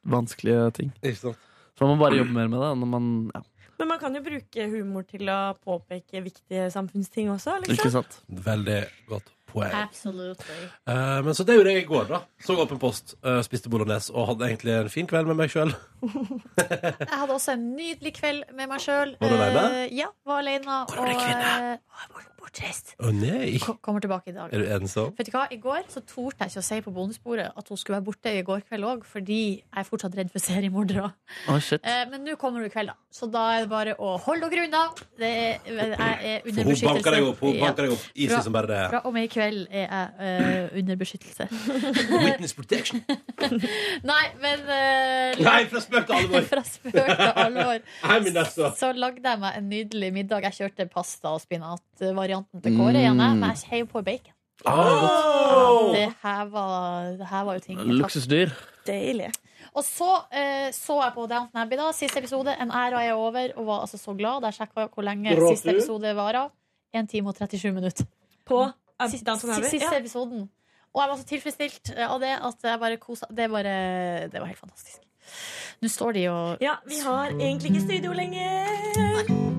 S4: vanskelige ting. Så man må bare jobbe mer med det. Når man, ja.
S17: Men man kan jo bruke humor til å påpeke viktige samfunnsting også. Liksom.
S2: Veldig godt poeng.
S17: Absolutely.
S2: Eh, men så det gjorde jeg i går, da. Så åpen post, eh, spiste bolognese og hadde egentlig en fin kveld med meg sjøl.
S3: Jeg hadde også en nydelig kveld med meg sjøl.
S2: Var du alene?
S3: ja, var alene. Og eh, var bortreist.
S2: Å nei!
S3: Ko- Kommer tilbake i dag.
S2: Er du ensom?
S3: Vet du hva, I går så torde jeg ikke å si på bonusbordet at hun skulle være borte i går kveld òg, fordi jeg er fortsatt redd for seriemordere.
S4: Å, shit.
S3: Eh, men nå kommer hun i kveld, da. Så da er det bare å holde dere unna. Det er, jeg er
S2: For
S3: under
S2: hun
S3: beskyttelse.
S2: banker deg opp, hun banker deg opp. Easy
S3: Fra-
S2: som bare det.
S3: Fra og med i kveld er jeg eh, under beskyttelse.
S2: [laughs] Witness protection.
S3: Nei, men eh, [laughs]
S2: Nei, fra spøk til alvor.
S3: Fra spøk til alvor.
S2: [laughs] Nei, men altså.
S3: Så lagde jeg meg en nydelig middag. Jeg kjørte pasta og spinatvarianten til Kåre igjen. jeg,
S4: Mm.
S3: Men jeg heiv på bacon. Ja,
S2: Ah!
S3: det her var, det her var jo ting. jeg tatt.
S4: Luksusdyr.
S17: Deilig.
S3: Og så eh, så jeg på Downton Abbey, da, siste episode. En æra er over, og var altså så glad. Der sjekka jeg hvor lenge
S17: Bra
S3: siste
S17: tur.
S3: episode varer. 1 time og 37 minutter.
S17: På
S3: Sist-
S17: Downton Abbey,
S3: Siste
S17: ja.
S3: episoden. Og jeg var så tilfredsstilt eh, av det at jeg bare kosa Det, bare, det var helt fantastisk. Nå står de og
S17: Ja, vi har egentlig ikke studio lenger.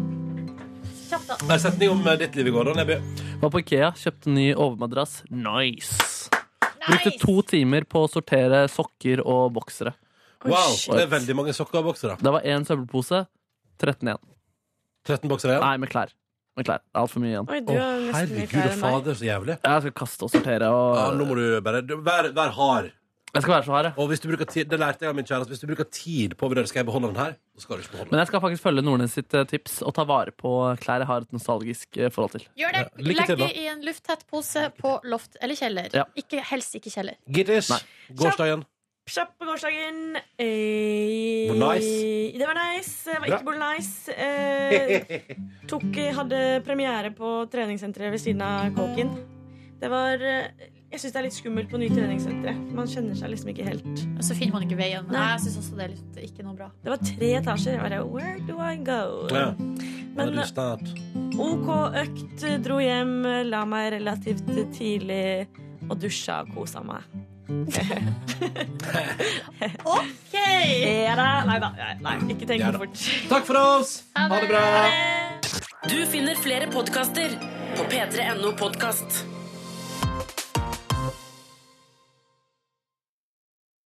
S3: Kjapt, da.
S2: Nei, setning om eh, ditt liv i går, da, Neby.
S4: Var på Ikea, kjøpte ny overmadrass. Nice! Brukte to timer på å sortere sokker og boksere.
S2: Wow, Oi, det er veldig mange sokker og boksere.
S4: Det var én søppelpose. 13 igjen.
S2: 13 boksere igjen?
S4: Nei, med klær. Med klær. Altfor mye igjen.
S17: Oi,
S2: du Å, har nesten mye herregud klær og enn meg. fader, så jævlig.
S4: Jeg skal kaste og sortere. Og...
S2: Ja, nå må du bare du- Vær, vær hard.
S4: Jeg skal være så hard, jeg.
S2: Og hvis du bruker tid, det lærte jeg av min kjæreste. Hvis du bruker tid på å vurdere skal jeg beholde den her, så skal du ikke beholde den.
S4: Men jeg skal faktisk følge Nordnes sitt eh, tips og ta vare på eh, klær jeg har et nostalgisk eh, forhold til.
S3: Gjør det.
S4: Ja, lykke
S3: Legg
S4: til, da.
S3: det i en lufttett pose på loft eller kjeller.
S4: Ja.
S3: Ikke, helst ikke kjeller.
S2: Gittis, gårsdagen.
S17: Kjapp på gårsdagen. Eh,
S2: Hvor nice?
S17: Det var nice. Det var
S2: Bra.
S17: ikke bolig nice.
S2: [laughs]
S17: Eh, tok, hadde premiere på treningssenteret ved siden av kåken. Det var eh, Jeg syns det er litt skummelt på nye treningssentre. Man kjenner seg liksom ikke helt.
S3: Og så finner man ikke veien. Nei, jeg synes også det er litt, ikke noe bra.
S17: Det var tre etasjer. Jeg bare Where do I go?
S2: Ja.
S17: Men-
S2: Veldig sterkt.
S17: OK økt, dro hjem, la meg relativt tidlig og dusja og kosa meg. OK! Ja da. Nei da. Nei, ikke tenk for fort.
S2: Takk for oss!
S1: Du finner flere podkaster på p3.no podkast.